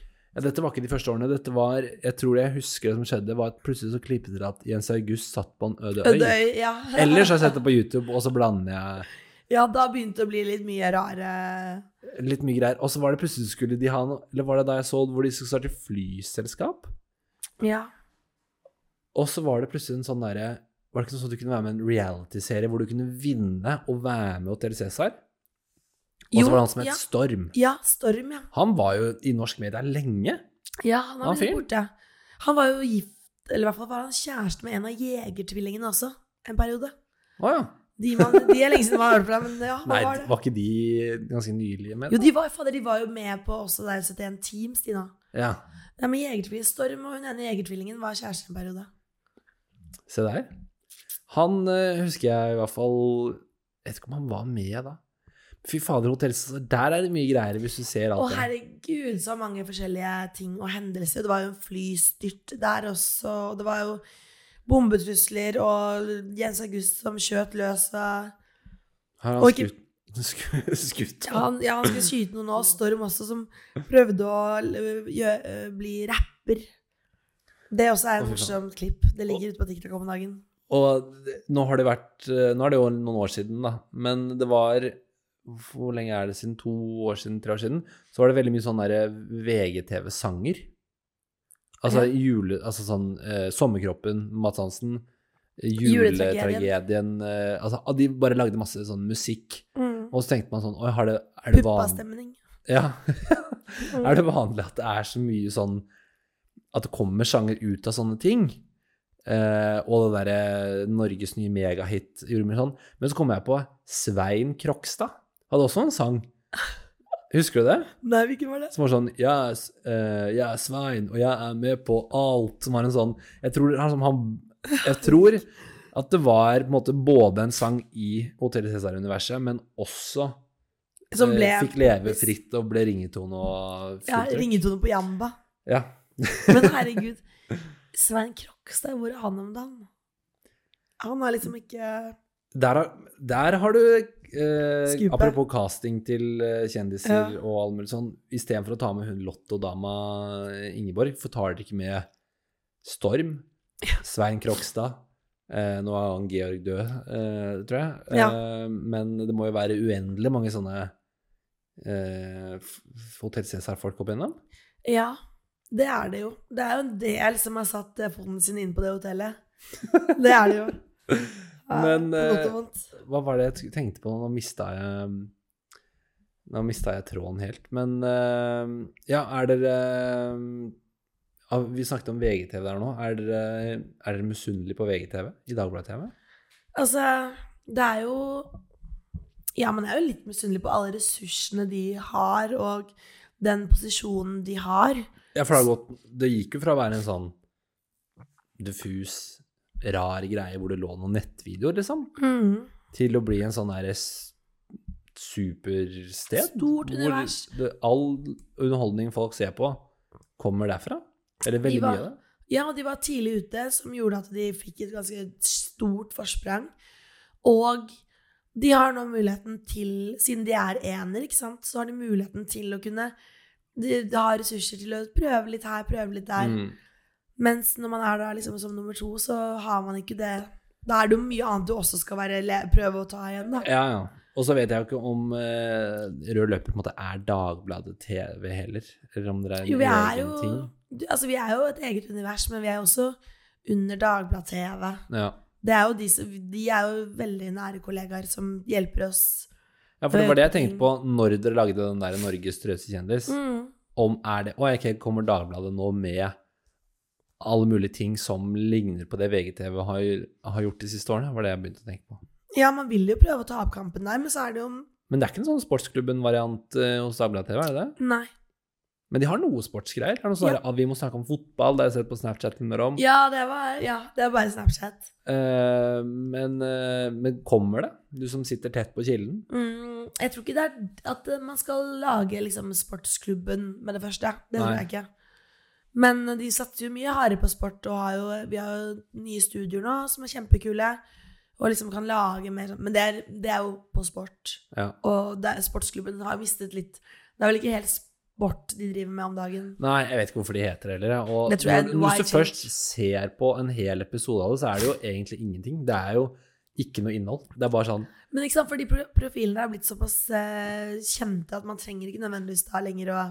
Ja, dette var ikke de første årene. Dette var, Jeg tror det jeg husker det som skjedde, var at plutselig så klippet dere at Jens August satt på en øde øy. Døy, ja. Ellers har jeg sett det på YouTube, og så blander jeg ja, da begynte det å bli litt mye rare litt mye greier. Og så var det plutselig skulle de ha noe Eller var det da jeg så hvor de skulle starte flyselskap? Ja. Og så var det plutselig en sånn derre Var det ikke sånn at du kunne være med i en reality-serie hvor du kunne vinne og være med Hotell Cæsar? Og så Jo, var det han som het ja. Storm. ja, Storm, ja. Han var jo i norsk media lenge. Ja, han Han har blitt fyren? borte. Han var jo gift, eller i hvert fall var han kjæreste med en av jegertvillingene også, en periode. Å ja. De, man, de er lenge siden man har hørt fra, men ja, hva Nei, var det? var ikke de ganske nylige med? Jo, de var, fader, de var jo med på også der 71 Team, Stina. Ja. Nei, men Jegertvillingen Storm og hun ene jegertvillingen var kjæreste en periode. Se der. Han eh, husker jeg i hvert fall Jeg vet ikke om han var med da. Fy fader, hotell Cæsar, der er det mye greier hvis du ser Å, alt det. herregud, så mange forskjellige ting og hendelser. Det var jo en flystyrt der også. og Det var jo bombetrusler og Jens August som skjøt løs av Har han Og ikke- skutt? Skutt? skutt. ja, han, ja, han skulle skyte noen òg. Storm også, som prøvde å l- gjø- ø, bli rapper. Det også er Å, en fy morsomt klipp. Det ligger ute på TikTok om dagen. Og det- nå har det vært eh, Nå er det jo noen år siden, da. Men det var Hvor lenge er det siden? To år siden? Tre år siden? Så var det veldig mye sånn derre VGTV-sanger. Altså jule... Altså sånn eh, Sommerkroppen, Mads Hansen, eh, Juletragedien. juletragedien eh, Altså ah, de bare lagde masse sånn musikk. Mm. Og så tenkte man sånn Oi, har det, er det vanlig Puppastemning. Ja. er det vanlig at det er så mye sånn At det kommer sjanger ut av sånne ting? Eh, og det derre Norges nye megahit gjorde mye sånn. Men så kom jeg på Svein Krokstad. Hadde også en sang. Husker du det? Nei, hvilken var det? Som var sånn jeg, er s- eh, 'Jeg er Svein, og jeg er med på alt.' Som var en sånn Jeg tror, han, som han, jeg tror at det var på en måte både en sang i Hotell Cæsar-universet, men også Som ble eh, Fikk leve fritt og ble ringetone og Ja, fullt trykk. ringetone på Jamba. Ja. Men herregud, Svein Krokstad, hvor er han om dagen? Han har liksom ikke Der, har- der har du eh, Skupet. Apropos casting til eh, kjendiser Ja. og all mulig sånn. Istedenfor å ta med hun lottodama Ingeborg, for tar dere ikke med Storm, Svein Krokstad eh, Nå er han Georg død, eh, tror jeg. Eh, men det må jo være uendelig mange sånne eh, f- Hotell Cæsar-folk opp igjennom. Ja, det er det jo. Det er jo en del som har satt eh, foten sin inn på det hotellet. Det er det jo. Ja, Men, på godt eh, og vondt. Hva var det jeg t- tenkte på? Nå mista jeg ehm, Nå mista jeg tråden helt. Men eh, ja, er dere ja, Vi snakket om VGTV der nå. Er dere, er dere misunnelige på VGTV i Dagbladet-TV? Altså, det er jo Ja, man er jo litt misunnelig på alle ressursene de har, og den posisjonen de har. Ja, for det, har gått, det gikk jo fra å være en sånn diffus, rar greie hvor det lå noen nettvideoer, liksom, Mm. til å bli en sånn derre s- supersted. hvor Stort univers. Det, all underholdning folk ser på, kommer derfra. Eller veldig Ivar. mye av det. Ja, og de var tidlig ute, som gjorde at de fikk et ganske stort forsprang. Og de har nå muligheten til, siden de er ener, ikke sant, så har de muligheten til å kunne De, de har ressurser til å prøve litt her, prøve litt der. Mm. Mens når man er da liksom som nummer to, så har man ikke det Da er det jo mye annet du også skal være, le, prøve å ta igjen, da. Ja, ja. Og så vet jeg jo ikke om eh, rød løper på en måte er Dagbladet TV heller, eller om det er en Jo, vi er egen jo ting. du- Altså, vi er jo et eget univers, men vi er jo også under Dagblad-TV. Ja. Det er jo de, som, de er jo veldig nære kollegaer som hjelper oss. ja, for det var det jeg tenkte på når dere lagde den der Norges trøste kjendis. Mm. Om er det Å, ok, kommer Dagbladet nå med alle mulige ting som ligner på det VGTV har, har gjort de siste årene? var det jeg begynte å tenke på. Ja, man vil jo prøve å ta opp kampen der, men så er det jo Men det er ikke en sånn sportsklubben-variant eh, hos Dagbladet TV, er det det? Nei. Men de har noe sportsgreier. Det er noe sånn Ja. der, «Ah, Vi må snakke om fotball, det har jeg sett på Snapchat mer om. Ja, det, var, ja, det er bare Snapchat. Eh, men, eh, men kommer det? Du som sitter tett på kilden? Mm, jeg tror ikke det er at eh, man skal lage liksom, sportsklubben med det første. Det tror Nei. jeg ikke. Men eh, de satser jo mye hardere på sport, og har jo, vi har jo nye studioer nå som er kjempekule. Og liksom kan lage mer sånn Men det er, det er jo på sport. Ja. Og det, er- sportsklubben har mistet litt Det er vel ikke helt sport de driver med om dagen. Nei, jeg vet ikke hvorfor de heter det heller. jeg. Og Det tror jeg er når- hvis en du wide change. først ser på en hel episode av det, så er det jo egentlig ingenting. Det er jo ikke noe innhold. Det er bare sånn Men ikke sant, fordi pro- profilene er blitt såpass eh, kjente at man trenger ikke nødvendigvis da lenger å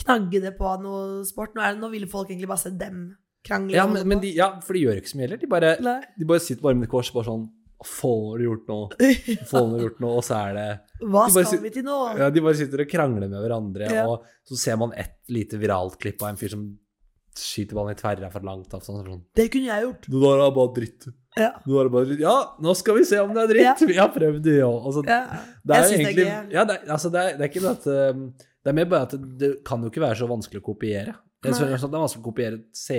knagge det på noe sport. Nå, er det, nå vil folk egentlig bare se dem krangle. Ja, og men, holde men på. de, ja for de gjør ikke så mye heller. De bare, Nei. de bare sitter med armene i kors bare sånn «Å, Faen, har du gjort noe? Faen, har du gjort noe? Og så er det Hva de bare skal sit- vi til nå? Ja, de bare sitter og krangler med hverandre, Ja. og så ser man et lite viralt klipp av en fyr som skyter ballen i tverra fra langt av. Sånn, sånn. Det kunne jeg gjort. Det der er bare dritt. Ja. Nå er det bare litt, Ja, nå skal vi se om det er dritt! Vi har prøvd det, ja. Altså, Ja. det er Jeg jo syns egentlig det er gøy. ja, det, er- altså, det, er, det er ikke det at um, Det er mer bare at det, det kan jo ikke være så vanskelig å kopiere. Jeg Nei. skjønner sånn at Det er vanskelig å kopiere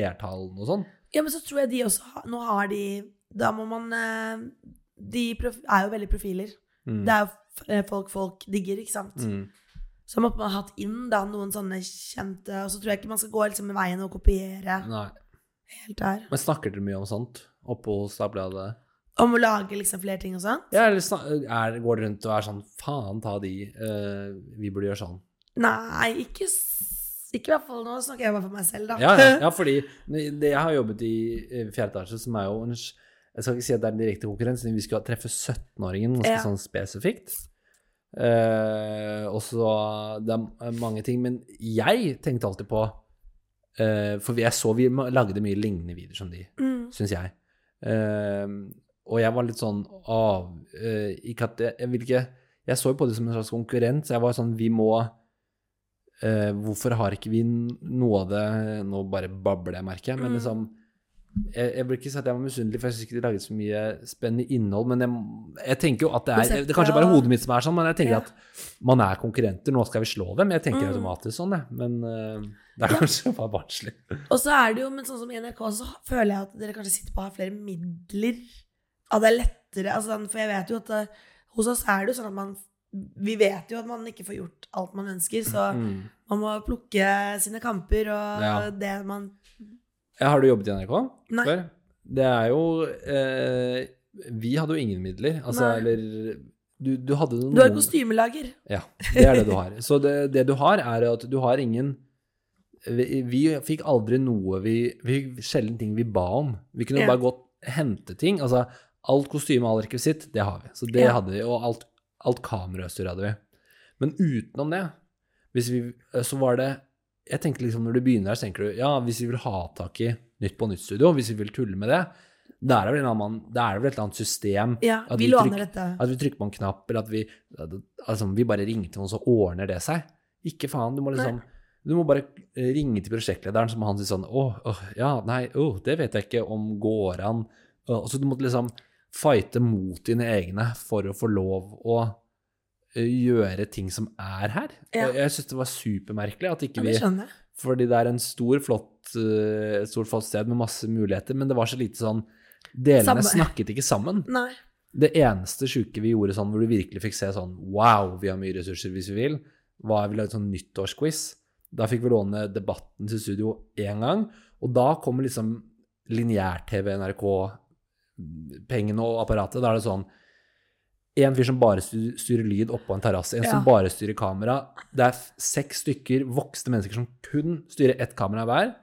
seertallene og sånn. ja, men så tror jeg de også har Nå har de Da må man eh, De prof, er jo veldig profiler. Mm. Det er jo eh, folk folk digger, ikke sant. Mm. Så man har hatt inn da noen sånne kjente Og så tror jeg ikke man skal gå liksom, veien og kopiere Nei. helt der. Men snakker dere mye om sånt oppå hos Dagbladet? Om å lage liksom flere ting og sånn. Ja, eller snak- er, går dere rundt og er sånn Faen ta de, eh, vi burde gjøre sånn. Nei, ikke, s- ikke i hvert fall nå. Snakker jeg bare for meg selv, da. Ja, ja, ja fordi det, jeg har jobbet i eh, fjerde etasje, som er jo en s- Jeg skal ikke si at det er en direkte konkurrens, men vi skulle treffe 17-åringen ganske Ja. sånn spesifikt. Eh, og så Det er mange ting, men jeg tenkte alltid på eh, For jeg så vi ma- lagde mye lignende videoer som de, Mm. syns jeg. Eh, og jeg var litt sånn av eh, Ikke at jeg, jeg vil ikke Jeg så jo på det som en slags konkurrent, så jeg var sånn Vi må Eh, hvorfor har ikke vi n- noe av det Nå bare babler jeg, merker jeg. Men Mm. liksom jeg, jeg vil ikke si at jeg var misunnelig, for jeg syns ikke de laget så mye spennende innhold. Men jeg, jeg tenker jo at det er Det er kanskje bare hodet mitt som er sånn, men jeg tenker Ja. at man er konkurrenter, nå skal vi slå dem. Jeg tenker Mm. automatisk sånn, jeg. Men eh, det er kanskje bare barnslig. Og så er det jo, men sånn som i NRK, så føler jeg at dere kanskje sitter på å ha flere midler. At det er lettere. Altså, sånn, for jeg vet jo at eh, hos oss er det jo sånn at man Vi vet jo at man ikke får gjort alt man ønsker, så Mm. man må plukke sine kamper og Ja. det man Ja, Har du jobbet i NRK Nei. før? Det er jo eh, Vi hadde jo ingen midler. Altså, Nei. eller du, du hadde noen Du er kostymelager. Ja, det er det du har. Så det, det du har, er at du har ingen Vi, vi fikk aldri noe vi Vi fikk sjelden ting vi ba om. Vi kunne Ja. bare gått hente ting. Altså, alt kostyme, all rekvisitt, det har vi. Så det Ja. hadde vi. Og alt, alt kamerautstyr hadde vi. Men utenom det, hvis vi Så var det Jeg tenker liksom når du begynner her, så tenker du ja, hvis vi vil ha tak i Nytt på Nytt-studio, hvis vi vil tulle med det, da er det vel en annen mann Da er det vel et eller annet system Ja, At vi vi låner trykker- dette. at vi trykker på en knapp, eller at vi, altså, vi bare ringer til noen, så ordner det seg. Ikke faen. Du må liksom Du må bare eh, ringe til prosjektlederen, så må han si sånn Å, åh, ja, nei, åh, det vet jeg ikke om går an. Og så du måtte liksom fighte mot dine egne for å få lov å eh, gjøre ting som er her. Ja. Og jeg syns det var supermerkelig at ikke Ja, vi det skjønner jeg. Fordi det er en stor, flott, eh, et stort, flott sted med masse muligheter, men det var så lite sånn Delene Samme- snakket ikke sammen. Nei. Det eneste sjuke vi gjorde sånn, hvor du virkelig fikk se sånn Wow, vi har mye ressurser hvis vi vil, var vi lagde sånn nyttårsquiz. Da fikk vi låne Debatten til studio én gang, og da kommer liksom lineær-TV, NRK, pengene og apparatet. Da er det sånn En fyr som bare styr- styrer lyd oppå en terrasse, en Ja. som bare styrer kamera. Det er f- seks stykker voksne mennesker som kun styrer ett kamera hver.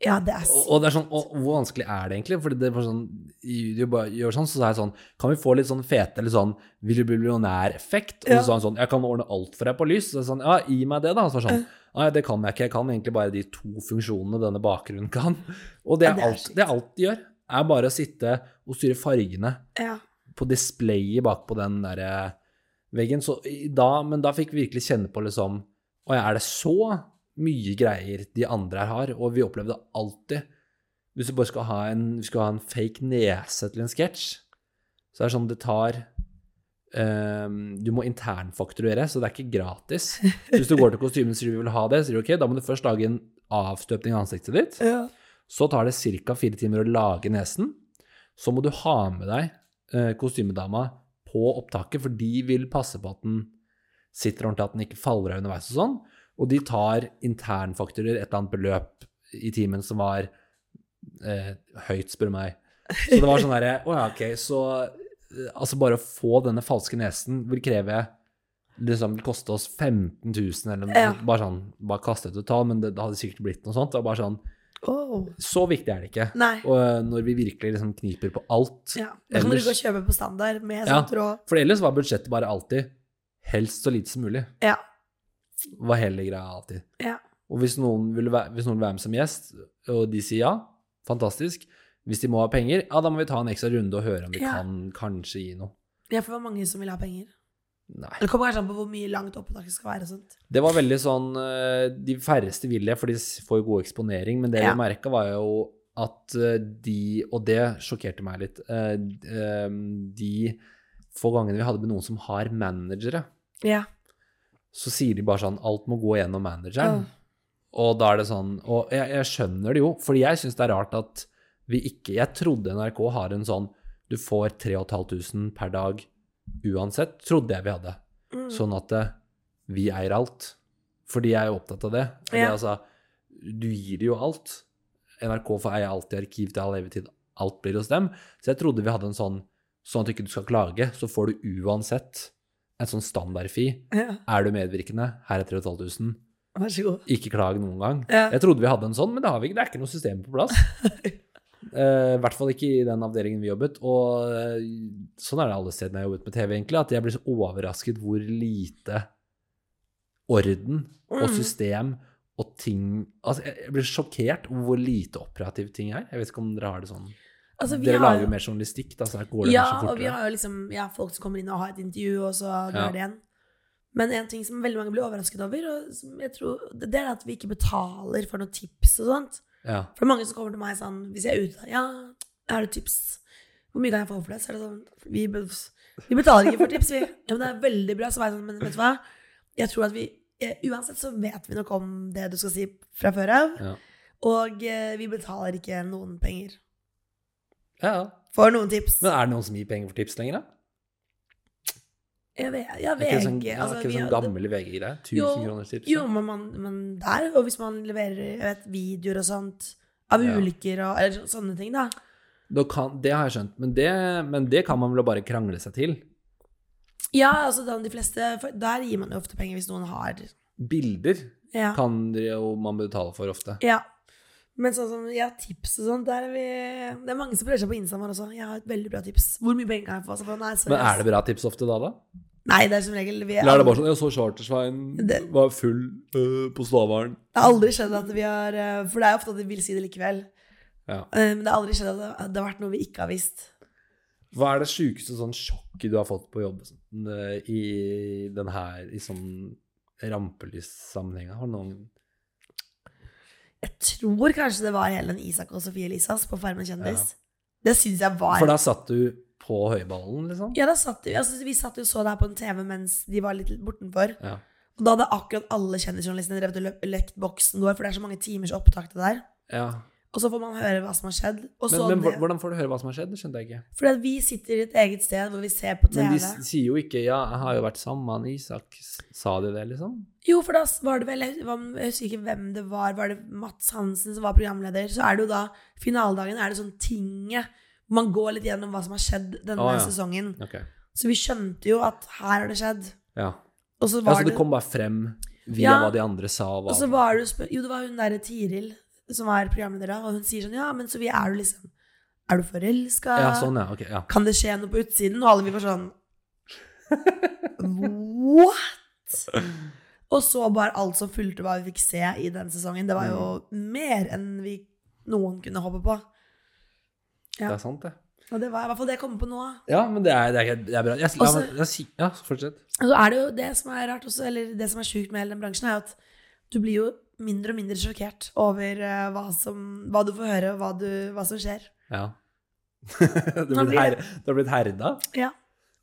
Ja, det er Og, s- og det er sånn, og, hvor vanskelig er det egentlig? Fordi det var sånn, i- du bare gjør sånn, så sa jeg sånn, kan vi få litt sånn fete, eller sånn, vil du bli millionær-effekt? Og Ja. så sa han sånn, jeg kan ordne alt for deg på lys. Så jeg sånn, ja, gi meg det da. Og så var det sånn, nei, det kan jeg ikke, jeg kan egentlig bare de to funksjonene denne bakgrunnen kan. Og det Ja, det er er alt, sykt. det er alt de gjør, er bare å sitte og styre fargene ja. på displayet bak på den der eh, veggen. Så i- da, men da fikk vi virkelig kjenne på liksom Å ja, er det så mye greier de andre her har? Og vi opplevde alltid Hvis du bare skal ha en, vi skal ha en fake nese til en sketsj, så er det sånn det tar eh, Du må internfakturere, så det er ikke gratis. Hvis du går til kostymen og sier du vil ha det, så sier du ok, da må du først lage en avstøpning av ansiktet ditt. ja. Så tar det ca. fire timer å lage nesen. Så må du ha med deg eh, kostymedama på opptaket, for de vil passe på at den sitter ordentlig, at den ikke faller av underveis og sånn. Og de tar internfakturer, et eller annet beløp i timen som var eh, høyt, spør du meg. Så det var sånn derre Å ja, ok, så eh, Altså, bare å få denne falske nesen vil kreve Liksom vil koste oss 15 000, eller noe. Ja. Bare sånn Bare kaste ut et tall, men det, det hadde sikkert blitt noe sånt. Det var bare sånn Åh. så viktig er det ikke. Nei. Og eh, når vi virkelig liksom kniper på alt. Ja. Da kan Ellers- du gå og kjøpe på standard med Ja. sånn tråd. For ellers var budsjettet bare alltid helst så lite som mulig. Ja. Var hele greia alltid. Ja. Og hvis noen, vil være, hvis noen vil være med som gjest, og de sier ja, fantastisk. Hvis de må ha penger, ja, da må vi ta en ekstra runde og høre om vi Ja. kan kanskje gi noe. Ja, for det var mange som vil ha penger. Nei. Det kommer kanskje an på hvor mye langt opptaket skal være og sånt. Det var veldig sånn eh, De færreste vil det, for de s- får jo god eksponering, men det Ja. vi merka, var jo at eh, de Og det sjokkerte meg litt. eh, d- eh, De få gangene vi hadde med noen som har managere, Ja. så sier de bare sånn Alt må gå gjennom manageren. Og da er det sånn Og jeg, jeg skjønner det jo, for jeg syns det er rart at vi ikke Jeg trodde NRK har en sånn Du får 3500 per dag uansett, trodde jeg vi hadde. Mm. Sånn at eh, vi eier alt. Fordi jeg er jo opptatt av det. Fordi, Ja. altså, du gir jo alt. NRK får eie alt i arkiv til all evig tid. Alt blir hos dem. Så jeg trodde vi hadde en sånn Sånn at ikke du skal klage, så får du uansett en sånn standardfi. Ja, Er du medvirkende? Her er 3500. vær så god. Ikke klag noen gang. Ja. Jeg trodde vi hadde en sånn, men det har vi ikke. Det er ikke noe system på plass. Eh, I hvert fall ikke i den avdelingen vi jobbet. Og eh, sånn er det alle stedene jeg har jobbet med TV, egentlig. At jeg blir så overrasket hvor lite orden og Mm. system og ting Altså, jeg jeg blir sjokkert over hvor lite operativ ting er. Jeg vet ikke om dere har det sånn. Altså, vi dere har lager jo- jo mer journalistikk, da, så her går det ja, kanskje og vi fortere. har jo liksom ja, folk som kommer inn og har et intervju, og så drar Ja. det igjen. Men en ting som veldig mange blir overrasket over, og som jeg tror, det det er at vi ikke betaler for noen tips og sånt. Ja. For det er mange som kommer til meg sånn, hvis jeg er ute, ja, har du tips? Hvor mye kan jeg få for det? Så er det sånn, vi, be- vi betaler ikke for tips, vi. Ja, men det er veldig bra, så var jeg sånn, men vet du hva? Jeg tror at vi, eh, uansett så vet vi nok om det du skal si fra før av, Ja. og eh, vi betaler ikke noen penger ja. ja. for noen tips. Men er det noen som gir penger for tips lenger, da? Jeg vet, jeg Er vet ikke det sånn, ikke. ja, Altså, ikke vi sånn har- gammel VG-greie? Jo, 1000 kroners tips? Jo, men, man, men der, og hvis man leverer jeg vet, videoer og sånt av Ja. ulykker og eller, så- sånne ting, da. Da kan, det har jeg skjønt, men det, men det kan man vel bare krangle seg til. Ja, altså da, de fleste for Der gir man jo ofte penger hvis noen har Bilder Ja. kan det jo man betale for ofte. ja. Men sånn som ja, tips og sånt, der er vi Det er mange som prøver seg på Instagram også. 'Jeg har et veldig bra tips. Hvor mye penger kan jeg få?' Så, nei, sorry, Men er det bra tips ofte da, da? ass. Nei, det er som regel vi Eller er det bare sånn Jeg så Chartersvein Det- var full øh, på Stavern. Det har aldri skjedd at vi har eh, For det er jo ofte at de vil si det likevel. Ja. Eh, Men det har aldri skjedd at det, at det har vært noe vi ikke har visst. Hva er det sjukeste sånn sjokket du har fått på jobb sånn, øh, i den her i sånn rampelyssammenhenga? Har du noen Jeg tror kanskje det var hele den Isak og Sofie Elisas på Farmen kjendis. Det syns jeg var For da satt du på høyballen, liksom? Ja, da satt vi, altså, vi satt jo og så det her på en TV mens de var litt bortenfor. Ja. Og da hadde akkurat alle kjendisjournalistene drevet og lø- lekt boksen vår, for det er så mange timers opptak til det der. ja. Og så får man høre hva som har skjedd. Og Men, så men det- hvor- hvordan får du høre hva som har skjedd? Det skjønte jeg ikke. Fordi at vi sitter i et eget sted hvor vi ser på TV. Men de s- sier jo ikke 'ja, jeg har jo vært sammen med han Isak'. S- Sa de det, liksom? Jo, for da var det vel Jeg husker ikke hvem det var. Var det Mats Hansen som var programleder? Så er det jo da Finaledagen er det sånn tinget. Man går litt gjennom hva som har skjedd denne Å, Ah, ja. sesongen. Ok. Så vi skjønte jo at her har det skjedd. Ja. Og så ja var så det det kom bare frem via Ja. hva de andre sa? og Hva. Og så var det jo spør... Jo, det var hun derre Tiril som er programleder da, og hun sier sånn Ja, men Sofie, er du liksom Er du forelska? ja, sånn, ja. Ok, ja. Kan det skje noe på utsiden? Og alle vi var sånn What? Og så bare alt som fulgte hva vi fikk se i den sesongen. Det var jo mer enn vi noen kunne håpe på. Ja. Det er sant, det. Og det var i hvert fall det jeg kom på nå. Ja, men det er, det er, det er bra. Jeg, ja, Også- men, jeg, si- ja, fortsett. Og så er det jo det som er rart også, eller det som er sjukt med hele den bransjen, er jo at du blir jo mindre og mindre sjokkert over eh, hva, som, hva du får høre, og hva, du, hva som skjer. Ja. du, har Nå blitt blir her, det- du har blitt herda. Ja.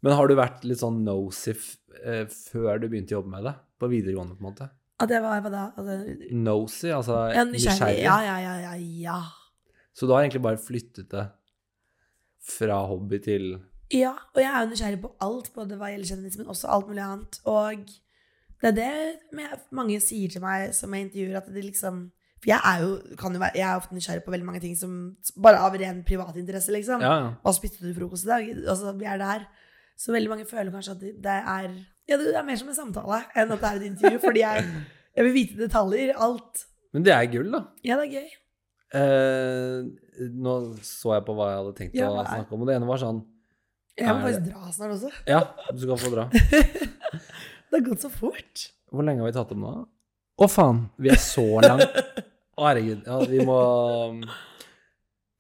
Men har du vært litt sånn nosif eh, før du begynte å jobbe med det? På videregående, på en måte? At det var hva da? At det, Nosy, altså ja, nysgjerrig. nysgjerrig. Ja, ja, ja, ja, ja. Så du har egentlig bare flyttet det fra hobby til Ja, og jeg er jo nysgjerrig på alt, både hva gjelder kjendis, men også alt mulig annet. Og det er det me- mange sier til meg som jeg intervjuer, at de liksom For jeg er jo, kan jo være, jeg er ofte nysgjerrig på veldig mange ting som bare av ren privatinteresse, liksom. Ja, ja. Hva spiste du frokost i dag? Altså, vi er der. Så veldig mange føler kanskje at det er Ja, det er mer som en samtale enn at det er et intervju, fordi jeg, jeg vil vite detaljer. Alt. Men det er gull, da. Ja, det er gøy. Eh, nå så jeg på hva jeg hadde tenkt Ja, å hva er- snakke om, og det ene var sånn Jeg må Er det- faktisk dra snart også. Ja, du skal få dra. Det har gått så fort. Hvor lenge har vi tatt om nå? Å, faen! Vi er så langt. Å, herregud. Ja, vi må um,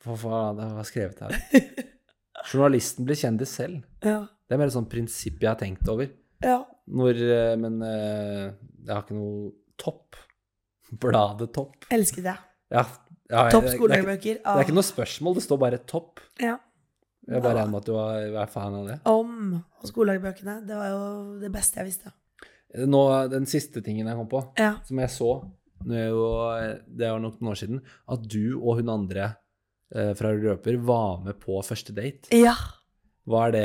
Hva faen jeg har skrevet her? Journalisten blir kjendis selv. Ja. Det er mer et sånt prinsipp jeg har tenkt over. ja. Når, eh, men eh, jeg har ikke noe topp. Bladet Topp. Elsket det. Ja, ja, jeg- det- det er Topp ikke- skolebøker. Det er ikke noe spørsmål, det står bare topp. Ah. Ja. Jeg bare regner med at du er er fan av det. Om og skolelagbøkene. Det var jo det beste jeg visste. Nå, den siste tingen jeg kom på, Ja. som jeg så nå er jo, Det var nok noen år siden. At du og hun andre eh, fra Røper var med på første date. ja. Var det,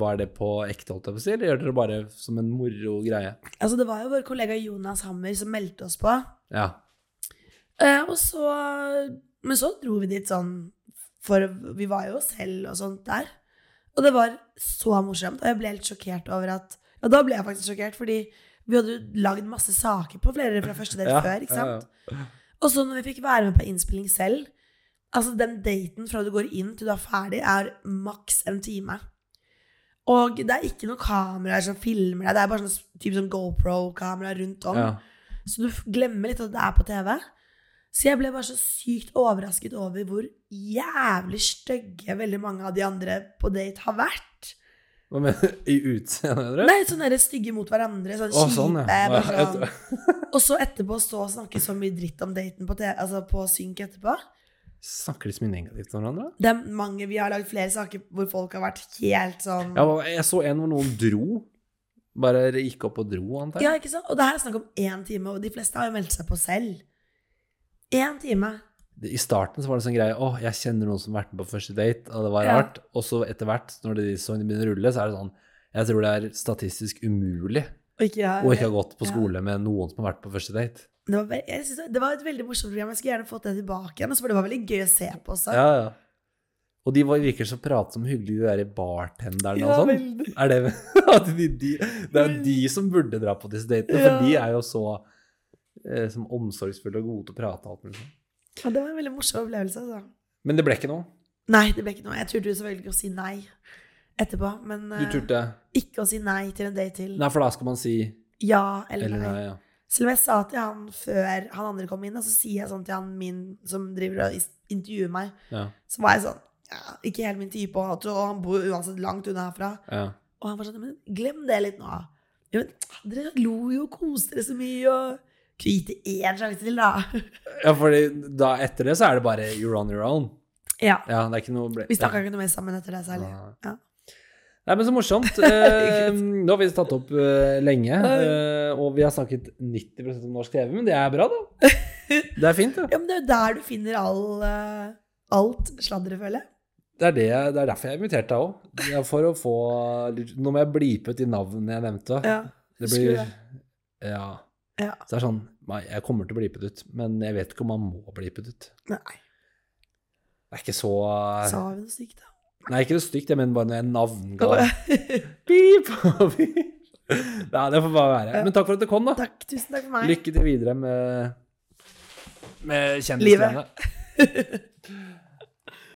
var det på ekte, holdt jeg på å si, eller gjør dere det bare som en moro greie? Altså, det var jo vår kollega Jonas Hammer som meldte oss på. Ja. Eh, og så Men så dro vi dit sånn For vi var jo oss selv og sånt der. Og det var så morsomt. Og jeg ble helt sjokkert over at Ja, da ble jeg faktisk sjokkert, fordi vi hadde jo lagd masse saker på flere fra første date ja, før. ikke ja, sant? ja. Og så når vi fikk være med på innspilling selv Altså den daten fra du går inn til du er ferdig Er maks en time Og det er ikke noen kameraer som filmer deg Det er bare sånn s- typ sånn GoPro-kamera rundt om Ja. Så du f- glemmer litt at det er på TV Så jeg ble bare så sykt overrasket over Hvor jævlig støgge Veldig mange av de andre på date har vært Hva mener du? I utseendet, mener du? Nei, sånne der stygge mot hverandre Sånn Å, kjipe sånn, ja. bare Ja, jeg sånn. tror- Og så etterpå stå og snakke så mye dritt om daten På, te- altså på synk etterpå Snakker de så mye negativt om hverandre? Det er mange, Vi har lagd flere saker hvor folk har vært helt sånn Ja, hva- jeg så en hvor noen dro. Bare gikk opp og dro, antar jeg. Ja, ikke sant? Og det her er snakk om én time, og de fleste har jo meldt seg på selv. Én time. I starten så var det sånn greie Å, jeg kjenner noen som har vært med på første date, og det var Ja. rart. Og så etter hvert, når de sangene begynner å rulle, så er det sånn Jeg tror det er statistisk umulig Og ikke, å ikke ha gått på Ja. skole med noen som har vært på første date. det, var, ve- jeg synes det- det var et veldig morsomt program. Jeg skulle gjerne fått det tilbake igjen. Og så var det veldig gøy å se på også. Ja, ja. Og de var, virker så pratsomme og hyggelige, de der bartenderne og Ja, sånn. veldig. Er det, at de, de, det er jo de som burde dra på disse datene, Ja. for de er jo så eh, som omsorgsfulle og gode til å prate. og Alt, mulig sånn. Ja, det var en veldig morsom opplevelse. Altså. Men det ble ikke noe. Nei, det ble ikke noe. Jeg turte jo selvfølgelig å si nei etterpå. Men Du eh, turte. ikke å si nei til en date til. Nei, for da skal man si Ja eller, eller nei. nei. Ja. Selv om jeg sa til han før han andre kom inn, og så sier jeg sånn til han min som driver og is- intervjuer meg, Ja, så var jeg sånn ja, Ikke helt min type, og han tror- og han bor uansett langt unna herfra. ja. Og han var sånn Men glem det litt nå. Jo, men dere lo jo og koste dere så mye, og kunne gitt det én sjanse til, da. ja fordi da etter det så er det bare you're on your own. Ja. Ja, det er ikke noe ble, Vi snakka ikke noe mer sammen etter det særlig. Nei. Ja. Nei, men så morsomt. Eh, nå har vi tatt opp eh, lenge, eh, og vi har snakket 90 om norsk TV, men det er bra, da. Det er fint, det. Ja, men det er jo der du finner all, eh, alt sladderet, føler jeg. Det er, det, det er derfor jeg inviterte deg òg. Det er For å få litt- Nå må jeg blipe ut de navnene jeg nevnte. Ja. det husker du blir det? Ja. Ja. Så det er sånn Nei, jeg kommer til å blipe det ut, men jeg vet ikke om man må blipe det ut. Nei. Det er ikke så Sa vi noe stygt, da? Nei, ikke det stygt, jeg mener bare når jeg navnga Takk. Pip og pip. Nei, det får bare være. Men takk for at du kom, da. Tusen takk for meg. Lykke til videre med, med Livet. kjendisgreiene.